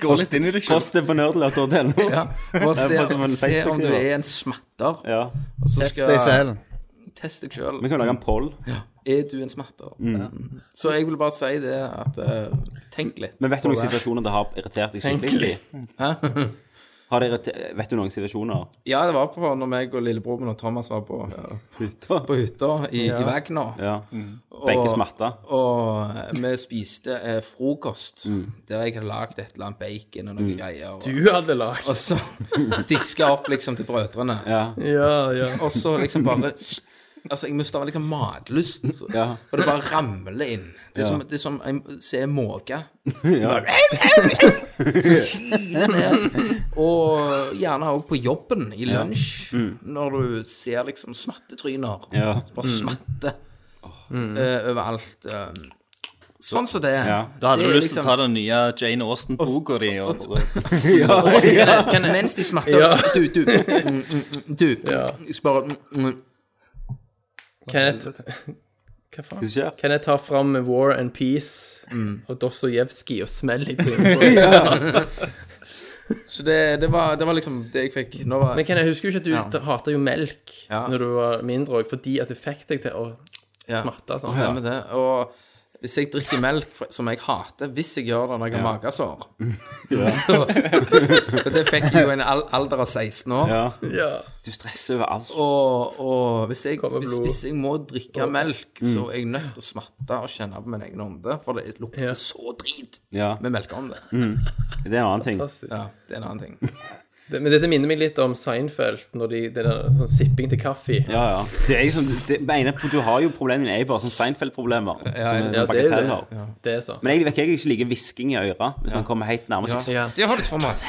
Gå litt inn i deg selv. Post det på nerdlert.no. Ja, og se, bare som en se om du Facebook-side. er en smatter. Ja. Og så Test deg skal selv. test deg sjøl. Vi kan jo lage en poll. Er du en smatter? Mm. Så jeg vil bare si det at eh, Tenk litt. Men vet du noen situasjoner det har irritert deg skikkelig? Har det irriter- vet du noen situasjoner? Ja, det var på når meg og lillebror min og Thomas var på, Hytta? på hytta i, i Vagna. Ja. Begge Og- smatta. Og vi spiste eh, frokost Mm. der jeg hadde lagd et eller annet bacon og noen greier. Og, Du hadde lagd. og så diska opp liksom til brødrene. Ja. Ja, ja. Og så liksom bare Altså, jeg mista liksom matlysten. Ja. Og det bare ramler inn. Det er som, det er som jeg ser måke. ja. Og gjerne òg på jobben, i lunsj, når du ser liksom smattetryner. Mm. ja. Mm. Så bare smatter eh, overalt. eh. sånn som det er. Ja. Da hadde Det du er lyst til å liksom- ta den nye Jane Austen-boka di. og- Og så kan jeg- kan jeg- liksom- Mens de smatter Du, du, mm, mm, mm, du Så bare mm, mm. Kenneth, hva faen? Hva skjer? Kan jeg ta fram War and Peace og Dostojevskij og smelle i trynet på ja. Så det, det, var, det var liksom det jeg fikk Nå var Men kan jeg husker jo ikke at du Ja. ja. hata jo melk Ja. når du var mindre òg, fordi at det fikk deg til å ja, smatte. Sånn. Stemmer det Og hvis jeg drikker melk fra- som jeg hater Hvis jeg gjør det når jeg har magesår Så og Det fikk jeg jo i en al- alder av 16 år Ja. Ja. Du stresser over alt. og, og hvis jeg, Kommer hvis, blod. hvis jeg må drikke melk Så er jeg nødt til å smatte og kjenne på min egen ånde For det lukter Ja. så drit Ja. med melkeånde Det er en annen ting. Fantastisk. Ja, det er en annen ting Det, men dette minner meg litt om Seinfeld, når de, det der sånn sipping til kaffe. Ja, ja. Det er jo sånn, det, det ene, du har jo problemene dine, er jo bare sånn Seinfeld-problemer. Ja, som er ja, Ja, sånn det er jo bagateller. det. Det er så. Men jeg vet ikke, jeg ikke liker hvisking i øra hvis noen kommer helt nærme. så- Ja. Der har du Thomas.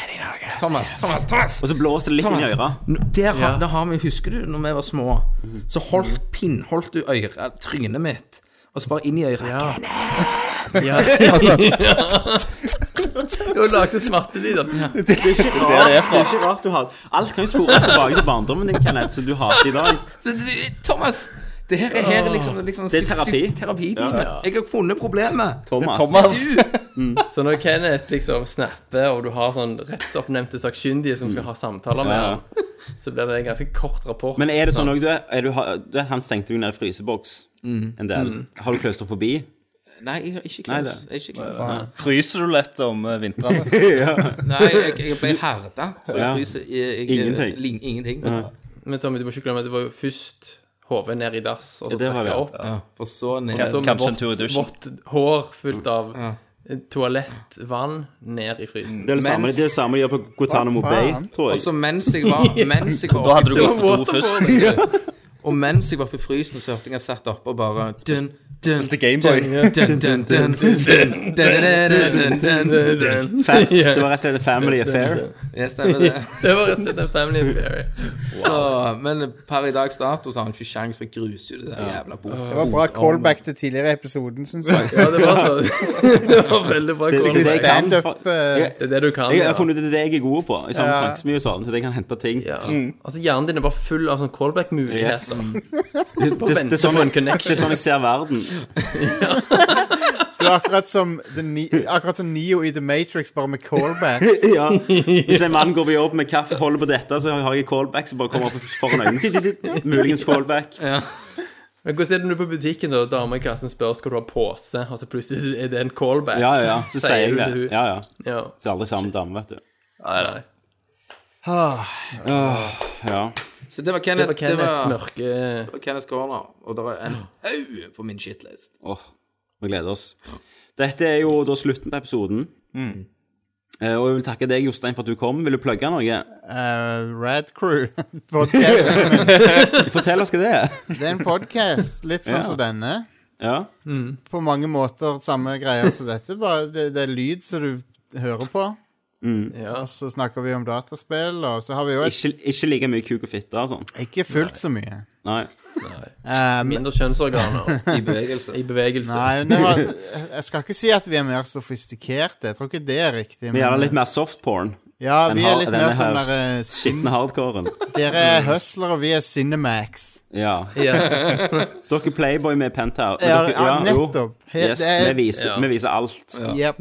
Thomas, Thomas, Thomas. Og så blåser det litt inn i øra. Nå- Der har, der har vi, husker du når vi var små, så Mhm. holdt pinnholdt du øyre, eh, trynet mitt, og så bare inn i øret. Du lagde smattelyder. Det er det er ikke rart du har Alt kan jo spores tilbake til barndommen din, Kenneth, som du hater i dag. Så du- Thomas, det her er, her er liksom, liksom Det er terapi. psy- terapitime. Jeg har funnet problemet. Thomas. Thomas. Du, Så når Kenneth liksom snapper, og du har sånn rettsoppnevnte sakkyndige som skal ha samtaler med Ja. ham, så blir det en ganske kort rapport. Men er det sånn òg, du, er du, har- du vet, Han stengte jo ned i fryseboks en del. Har du klaustrofobi? Nei, jeg er ikke Nei, klaus. det- Jeg, er ikke klaus. Fryser du lett om eh, vintrene? Nei, jeg, jeg ble herda, så jeg Ja. fryser jeg, jeg, Ingenting. ling- ingenting. Men Tommy, du må ikke glemme at det var jo først hodet ned i dass, og Ja, så det var trekket det. opp. Ja, for så ned. Så med Kanskje en vått- tur i dusjen. Vått hår fullt av Ja. toalett, vann, ned i frysen. Det er det samme, Mens- det er det samme de gjør på Guantánamo Bay, tror Og jeg. så mens jeg var Mens jeg var Da hadde du oppe i gått på do først. Og mens jeg var på frysen, så hørte jeg han satt oppe og bare dun, dun, Til Gameboy. dun, dun, dun, dun, dun, dun, dun, dun, dun, dun. Fa- Det var rett og slett en Family Affair. Ja, stemmer det. Det var rett og slett en family affair. Så, men per i dags dato så har han ikke sjans, for jeg gruser jo det der jævla Det boka. var bra callback til tidligere i episoden, syns jeg. Ja, det var så Det var veldig bra Det, det, det, jeg callback. kan, Stand-up for- eh, Det er det du kan. jeg Ja. har funnet ut at det er jeg er god på, i samme Ja. tankesmie og sånn. At jeg kan hente ting. Ja. Altså, hjernen din er bare full av sånn Mm. Yes. callback-muligheter. Mm. Det, det, det, venter er sånn, på en det connection. er sånn jeg ser verden. Det er akkurat som, The Ni- akkurat som Neo i The Matrix, bare med callbacks. Ja. Hvis en mann går på jobb med kaffe, holder på dette, så har jeg callback som bare kommer opp foran øynene. Titt, titt, titt. Muligens callback. Men hvordan er det når du er på butikken, da? Dama i kassen spør skal du ha pose, og så plutselig er det en callback. Ja, ja, ja. Så sier jeg du det. til hun. Ja, ja. Ja. Så er aldri sammen med dame, vet du. Nei, nei. Ah. Ja. Så det var Det Kenneth, var Kenneths mørke det var Kenneth Corner, og det var en haug på min shitlist. Åh, vi gleder oss. Dette er jo da slutten på episoden. Mm. Eh, Og jeg vil takke deg, Jostein, for at du kom. Vil du plugge noe? Uh, Rad Crew. Podcast. Fortell oss hva det er. Det er en podcast, litt sånn Ja. som denne. Ja. På mange måter samme greier som dette, bare det, det er lyd som du hører på. Ja. Og så snakker vi om dataspill, og så har vi jo et, Ikke, ikke like mye kuk og fitte og sånn. ikke fullt så mye. Nei. Um, Mindre kjønnsorganer I bevegelse. i bevegelse. nei, det var, jeg skal ikke si at vi er mer sofistikerte. Jeg tror ikke det er riktig. Men gjerne litt mer softporn. ja, enn vi er har- litt denne mer sånn her der eh, Skitne hardcoren. Dere er hustlere, og vi er Cinemax. Ja. Ja. Dere Playboy med Penthouse. Ja, dere- ja, jo. nettopp. Helt- Yes, det er- vi viser, vi viser alt. Jep, jep.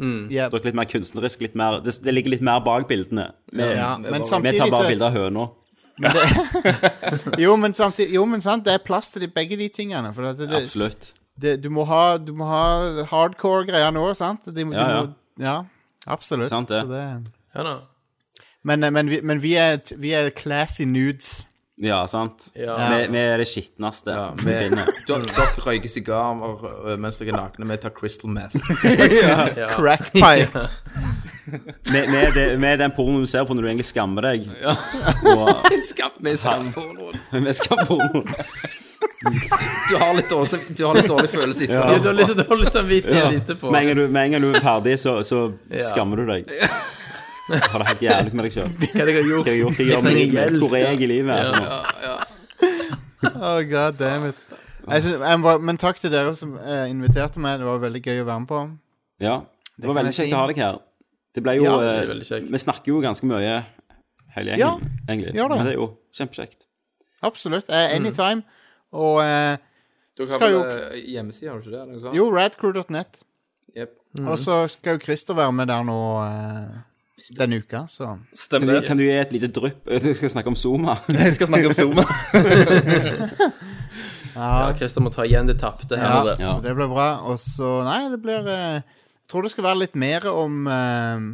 Dere er litt mer kunstnerisk. Litt mer, det, det ligger litt mer bak bildene. Vi, Ja, men vi samtidig tar bare så bilder av høna. jo men, samtidig, jo, men sant, det er plass til de, begge de tingene. For det, det, Absolutt. det, du må ha, du må ha hardcore greier nå, sant? De, må- du Ja, ja. Må, ja, absolutt. Sant det. Så det Ja, da. men, eh, men, vi, men vi, er, vi er classy nudes. Ja, sant? Ja. Vi, vi er det skitneste Ja, vi vi- finner. Dere dere røyker sigarer øh, mens dere er nakne, vi tar crystal meth. Ja. Crackpipe. Vi, vi, er det, vi er den pornoen du ser på når du egentlig skammer deg. Og Skam, vi er skampornoen. vi skal pornoen. Du har litt dårlig, sam- du har litt dårlig følelse etterpå. Du har lyst til å holde samvittighet etterpå. Med en gang du- med en gang du er ferdig, så, så skammer du deg. Har det helt jævlig med deg sjøl. Hva Hva jeg har har jeg gjort. gjort? Jeg gjør trenger min- hjelp. Hvor er jeg i livet? her nå? oh, god damn it. Jeg synes, jeg må, men takk til dere som eh, inviterte meg. Det var veldig gøy å være med på. Ja. Det var kan veldig jeg si. kjekt å ha deg her. Det ble jo Ja, eh, det er veldig kjekt. Vi snakker jo ganske mye hele gjengen, Ja, egentlig. gjør det. Men det er jo kjempekjekt. Absolutt. eh, anytime. Og eh, Dere Skal har jo- vel øh, hjemmeside, har du ikke det? Noe sånt? jo, radcrew.net. Jep. Og så skal jo Christer være med der nå eh, denne uka, så Kan Stemmer du, det. kan du gi et lite drypp? Du skal snakke om Zuma. Jeg skal snakke om Zoom. Ja, Christer må ta igjen det tapte her. Ja, og det. så det blir bra. Og så Nei, det blir eh, Jeg tror det skal være litt mer om eh,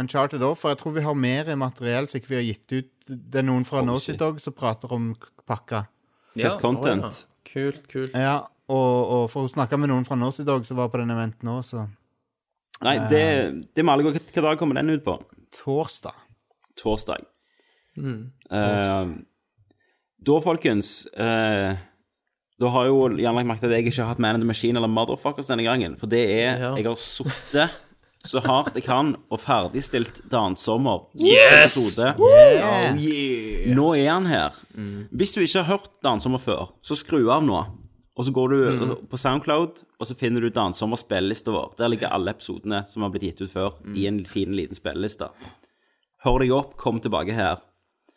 Uncharted òg, for jeg tror vi har mer materiell som ikke vi har gitt ut. Det er noen fra Naughty shit. Dog som prater om k- pakka. Tøft content. Å, ja. Kult, kult. Ja, og, og for hun snakka med noen fra Naughty Dog som var på den eventen òg, så Nei, det, det må alle gå Hvilken dag kommer den ut på? Torsdag. Torsdag. Eh, da, folkens eh, Da har jo Jan lagt merke til at jeg ikke har hatt Man in the Machine eller Motherfuckers denne gangen. For det er Ja. Jeg har sittet så hardt jeg kan og ferdigstilt Dansommer. Yes! Yeah. Nå er han her. Hvis du ikke har hørt Dansommer før, så skru av nå. Og så går du på Soundcloud, og så finner du Dansommer spillelista vår. Der ligger alle episodene som har blitt gitt ut før, i en fin, liten spilleliste. Hør deg opp, kom tilbake her.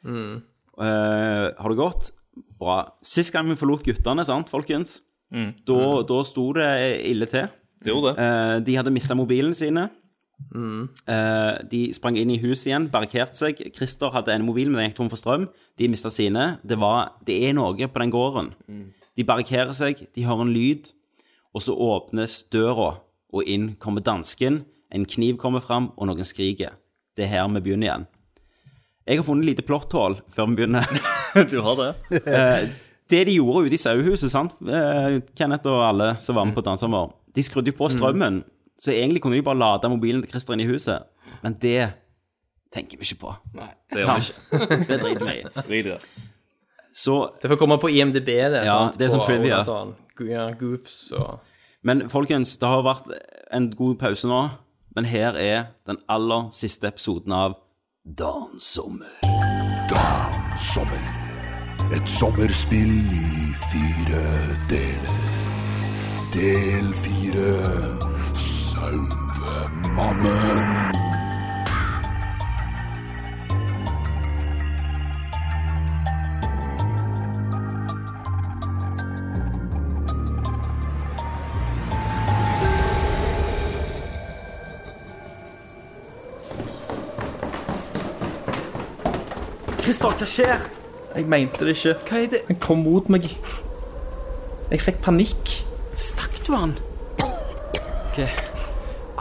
Mm. Eh, har det gått? Bra. Sist gang vi forlot guttene, sant, folkens, da, da sto det ille til. Mm. Det gjorde det. Mm. Eh, de hadde mista mobilen sine. Eh, de sprang inn i huset igjen, barrikerte seg. Christer hadde en mobil, men den gikk tom for strøm. De mista sine. Det, var, det er noe på den gården. Mm. De barrikerer seg, de hører en lyd, og så åpnes døra, og inn kommer dansken. En kniv kommer fram, og noen skriker. Det er her vi begynner igjen. Jeg har funnet et lite plotthull før vi begynner. Eh, Du har det. det de gjorde ute i sauehuset, sant? Eh, Kenneth og alle som var med Mm. på Dansen vår, de skrudde jo på strømmen, så egentlig kunne de bare lade mobilen til Christer inn i huset. Men det tenker vi ikke på. Det gjør vi sant? det driter vi i. Drit i det. Så Det får komme på IMDb, det. Ja, sant? det er sånn På- trivia. og Sånn, go- ja, goofs og Men folkens, det har vært en god pause nå. Men her er den aller siste episoden av Dansommer. Sommer. Et sommerspill i fire deler. Del fire Sauemannen. Christer, hva skjer? Jeg mente det ikke. Hva er det? Han kom mot meg. Jeg fikk panikk. Stakk du han? Ok.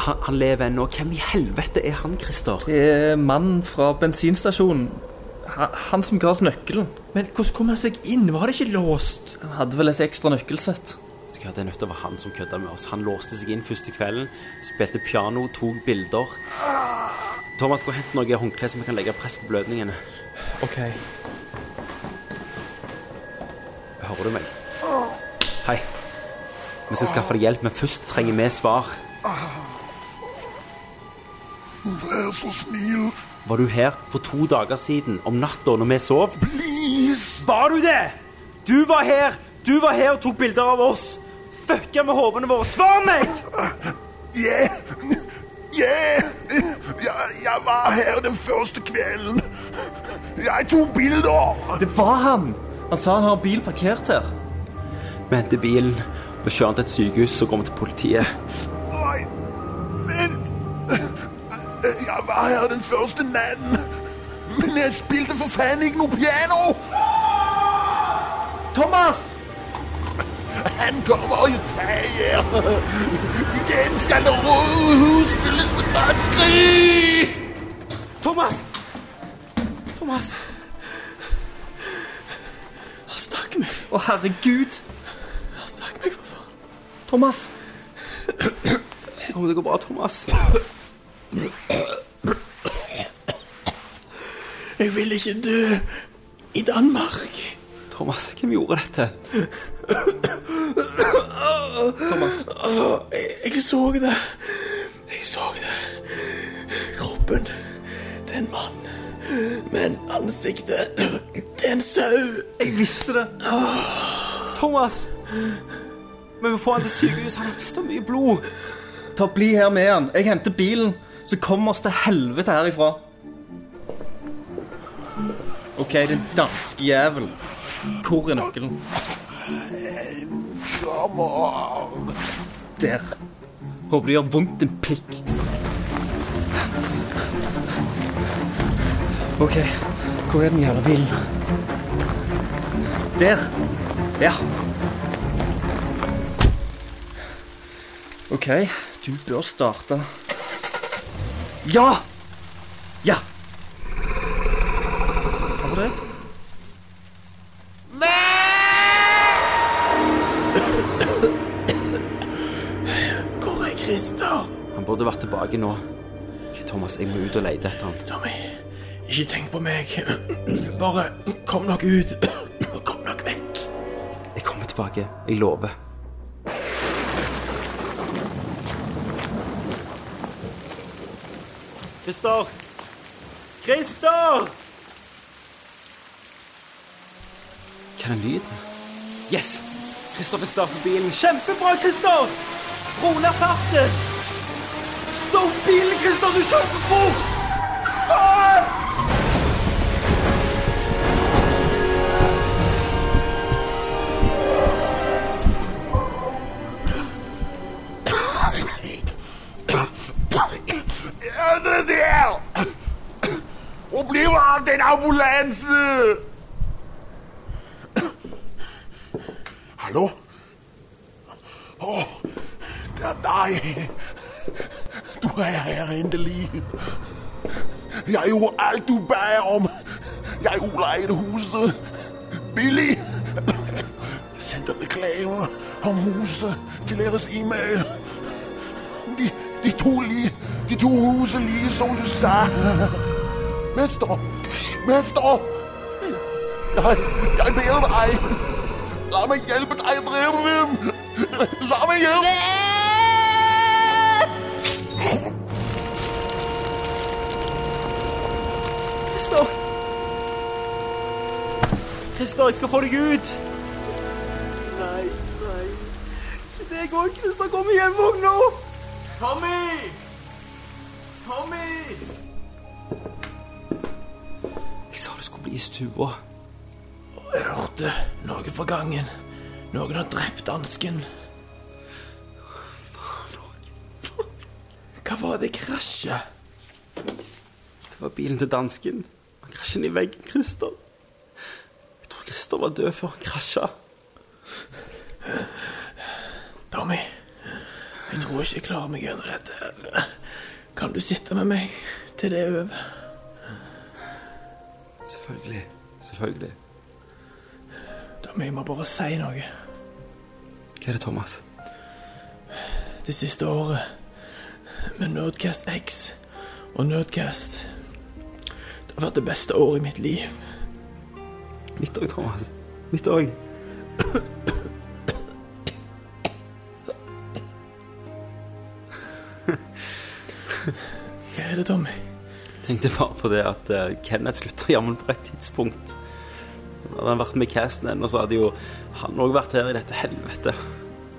Han, han lever ennå. Hvem i helvete er han, Christer? Det er mannen Eh, fra bensinstasjonen. Han, han som ga oss nøkkelen. Men hvordan kom han seg inn? Var det ikke låst? Han hadde vel et ekstra nøkkelsett. Vet du hva, Det er nødt til å være han som kødda med oss. Han låste seg inn første kvelden, spilte piano, tok bilder. Thomas, gå og hent noe håndkle som vi kan legge press på blødningene. OK. Hører du meg? Hei. Vi skal skaffe deg hjelp, men først trenger vi svar. Vær så snill, Var du her for to dager siden, om natta, når vi sov? please! Var du det? Du var her! Du var her og tok bilder av oss! Fucka med hodene våre! Svar meg! Yeah! Yeah! Jeg, jeg var her den første kvelden. Jeg tok bilder! Det var han! Han sa han har bil parkert her. Vi henter bilen og kjører den til et sykehus, så går vi til politiet. Nei, vent! Jeg var her den første natten. Men jeg spilte for faen ikke noe piano! Thomas! Han kommer i taget. Igen skal det røde hus fylles med dødskrig! Thomas! Thomas! Han stakk meg. Å, herregud. Han stakk meg, for faen. Thomas. Om det går bra, Thomas. Jeg vil ikke dø i Danmark. Thomas, hvem gjorde dette? Thomas. Jeg, så det. Jeg så det. Kroppen. Det er en mann. Men ansiktet Det er en sau. Jeg visste det! Thomas! Men vi får han til sykehus. Han har mista mye blod. Ta Bli her med han. Jeg henter bilen, så kommer oss til helvete herifra. OK, den danske jævel. Hvor er nøkkelen? Der. Håper det gjør vondt, din pikk. OK, hvor er den jævla bilen? Der. Ja. OK, du bør starte. Ja! Ja! Hva var det? Hvor er Christer? Han burde vært tilbake nå. Ok, Thomas, jeg må ut og lete etter han. Tommy, ikke tenk på meg. Bare kom dere ut. Kom dere vekk. Jeg kommer tilbake. Jeg lover. Christer! Christer! Hva er den lyden? Yes! Christer fikk start på bilen. Kjempebra, Christer! Rolig ned farten! Stopp bilen, Christer! Du kjører for fort! Faen! Er det der? Hvor bliver af den ambulance? Hallo? Åh, oh, det er dig. Du er her endelig. Jeg gjorde alt du bad om. Jeg udlejede huset. Billig. Sendte reklamer om huset til deres e-mail. De, de to lige, de to huse lige, som du sagde. Mester, mester, jeg, jeg beder dig. Lad mig hjælpe dig, Brevrim. Lad mig hjælpe. Christer! Christer, jeg skal få deg ut! Nei, nei. Ikke deg òg, Christer. Kom igjen, våkn nå! Tommy! Tommy! Jeg sa det skulle bli i stua. Jeg hørte noe fra gangen. Noen har drept dansken. Hva var det krasjet? Det var bilen til dansken. Han krasjer inn i veggen, Christer. Jeg tror Christer var død før han krasja. Tommy, jeg tror ikke jeg klarer meg gjennom dette. Kan du sitte med meg til det er over? Selvfølgelig. Selvfølgelig. Tommy, jeg må bare si noe. Hva er det, Thomas? Det siste året med Nerdcast X og Nerdcast Det har vært det beste året i mitt liv. Mitt òg, Thomas. Mitt òg. Hva er det, Tommy? Tenkte bare på det at eh, Kenneth slutta jammen på rett tidspunkt. Hadde han vært med i casten ennå, så hadde jo han òg vært her i dette helvetet.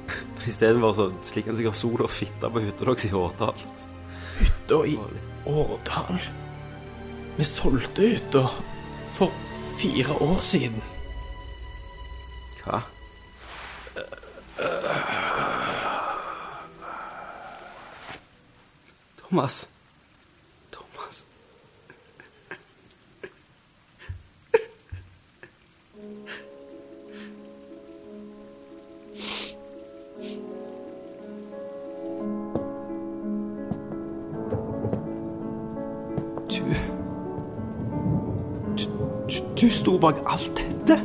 Men istedenfor så slikker han sikkert sol og fitte på hytta deres i Årdal. Da i Årdal Vi solgte hytta for fire år siden. Hva? Thomas. Thomas. Du Du, du, du sto bak alt dette?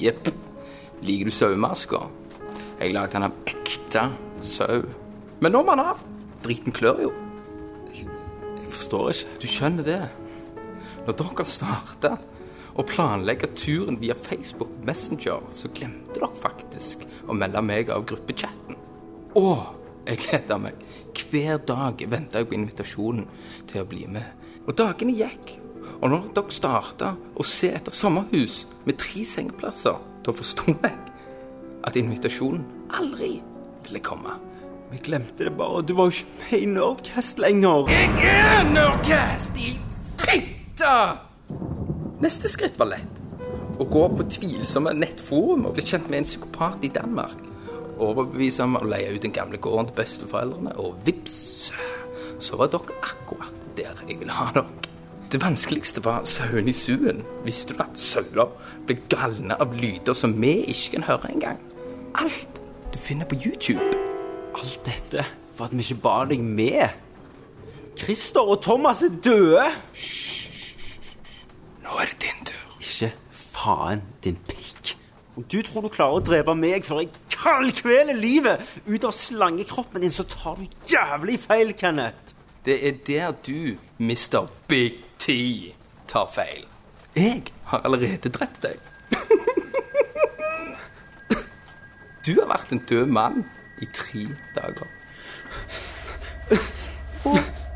Jepp. Liker du sauemaska? Jeg lagde den av ekte sau. Men nå må den av. Driten klør jo. Jeg forstår ikke. Du skjønner det. Når dere starta å planlegge turen via Facebook Messenger, så glemte dere faktisk å melde meg av gruppechatten. Å, jeg gleda meg. Hver dag venta jeg på invitasjonen til å bli med. Og dagene gikk. Og når dere starta å se etter sommerhus med tre sengeplasser, da forsto jeg at invitasjonen aldri ville komme. Vi glemte det bare. Du var jo ikke med i Nerdcast lenger. Jeg er Nerdcast i fitta! Neste skritt var lett. Å gå på tvilsomme nettforum og bli kjent med en psykopat i Danmark. Overbevise ham om å leie ut den gamle gården til besteforeldrene, og vips, så var dere akkurat der jeg ville ha dere. Det vanskeligste var sauene i suen. Visste du at sauer ble galne av lyder som vi ikke kan høre engang? Alt du finner på YouTube. Alt dette for at vi ikke ba deg med. Christer og Thomas er døde. Nå er det din tur. Ikke faen, din pikk. Om du tror du klarer å drepe meg før jeg kaldkveler livet ut av slangekroppen din, så tar du jævlig feil, Kenneth. Det er der du, Mr. Big T, tar feil. Jeg har allerede drept deg. Du har vært en død mann i tre dager. Å,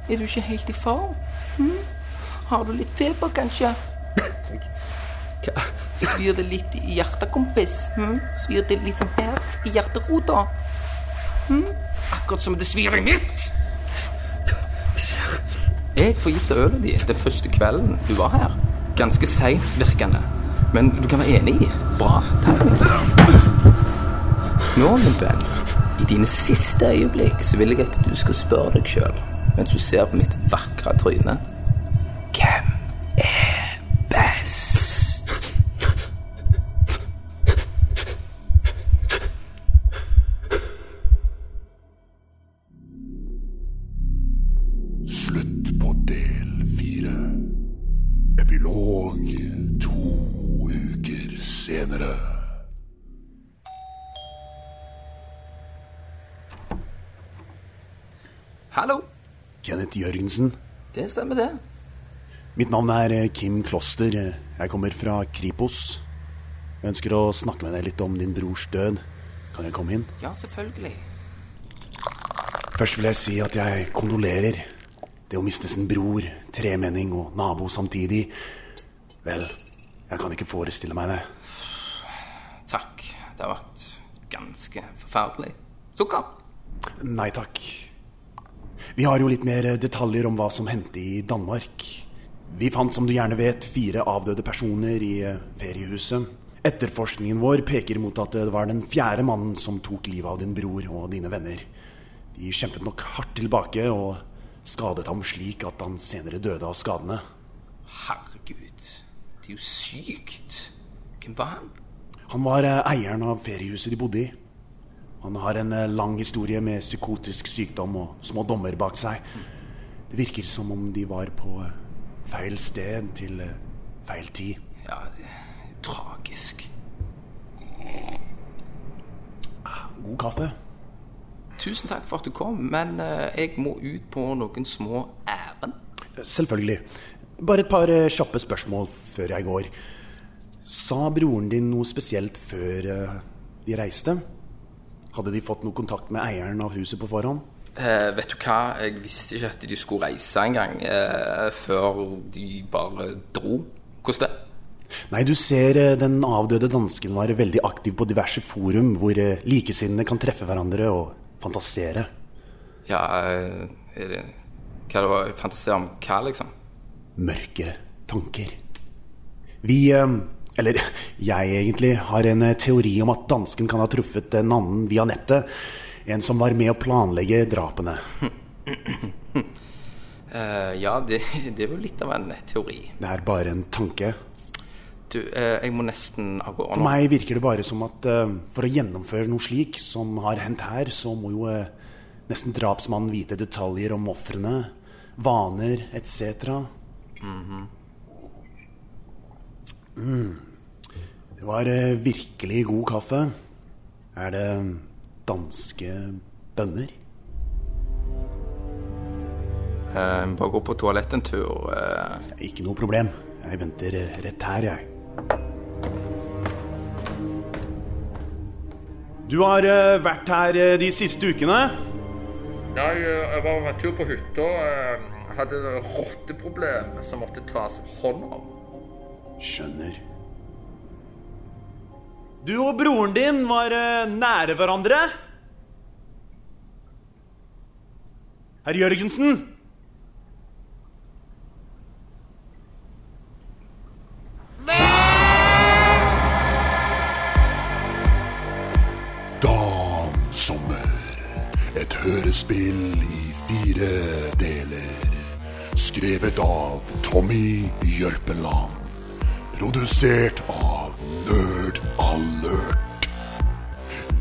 er du ikke helt i form? Hm? Har du litt feber, kanskje? Svir det litt i hjertet, kompis? Hm? Svir det litt sånn her i hjerterota? Hm? Akkurat som det svir i mitt. Jeg forgifta ølet ditt den første kvelden du var her. Ganske seigvirkende, men du kan være enig i bra timing. Nå, min venn, i dine siste øyeblikk så vil jeg at du skal spørre deg sjøl, mens du ser på mitt vakre tryne Hvem er best? Slutt på del fire. Epilog to uker senere. Hallo. Kenneth Jørgensen. Det stemmer, det. Mitt navn er eh, Kim Kloster. Jeg kommer fra Kripos. Jeg ønsker å snakke med deg litt om din brors død. Kan jeg komme inn? Ja, selvfølgelig. Først vil jeg si at jeg kondolerer. Det å miste sin bror, tremenning og nabo samtidig Vel, jeg kan ikke forestille meg det. Takk. Det har vært ganske forferdelig. Sukker. Nei takk. Vi har jo litt mer detaljer om hva som hendte i Danmark. Vi fant, som du gjerne vet, fire avdøde personer i eh, feriehuset. Etterforskningen vår peker mot at det var den fjerde mannen som tok livet av din bror og dine venner. De kjempet nok hardt tilbake, og skadet ham slik at han senere døde av skadene. Herregud, det er jo sykt. Hvem var han? Han var eh, eieren av feriehuset de bodde i. Han har en eh, lang historie med psykotisk sykdom og små dommer bak seg. Det virker som om de var på eh, feil sted til eh, feil tid. Ja, det er tragisk. God kaffe. Tusen takk for at du kom, men eh, jeg må ut på noen små ærend. Selvfølgelig. Bare et par eh, kjappe spørsmål før jeg går. Sa broren din noe spesielt før eh, de reiste? Hadde de fått noe kontakt med eieren av huset på forhånd? Eh, vet du hva, jeg visste ikke at de skulle reise engang eh, før de bare dro. Hvordan det? Nei, du ser eh, den avdøde dansken være veldig aktiv på diverse forum hvor eh, likesinnede kan treffe hverandre og fantasere. Ja, eh, er det, hva det var, fantasere om hva, liksom? Mørke tanker. Vi, eh, eller jeg egentlig, har en eh, teori om at dansken kan ha truffet en annen via nettet. En som var med å planlegge drapene. Eh, ja, det, det er jo litt av en teori. Det er bare en tanke. Du, eh, jeg må nesten av gårde For meg virker det bare som at eh, for å gjennomføre noe slik som har hendt her, så må jo eh, nesten drapsmannen vite detaljer om ofrene, vaner etc. Mm. Det var eh, virkelig god kaffe. Er det danske bønner? Eh, jeg må bare gå på toalettet en tur. eh. Ikke noe problem. Jeg venter eh, rett her, jeg. Du har eh, vært her eh, de siste ukene. Nei, eh, jeg var en tur på hytta. eh, Hadde rotteproblem som måtte tas hånd om. Skjønner. Du og broren din var eh, nære hverandre. Herr Jørgensen? Dan Sommer. Et hørespill i fire deler. Skrevet av Tommy Jørpeland. Produsert av Nerd Alert.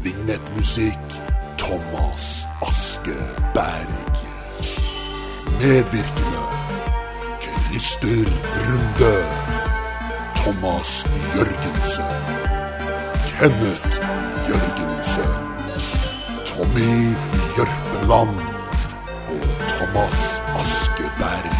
Vignettmusikk Thomas Askeberg. Medvirkende Christer Runde. Thomas Jørgensen. Kenneth Jørgensen. Tommy Jørpeland og Thomas Askeberg.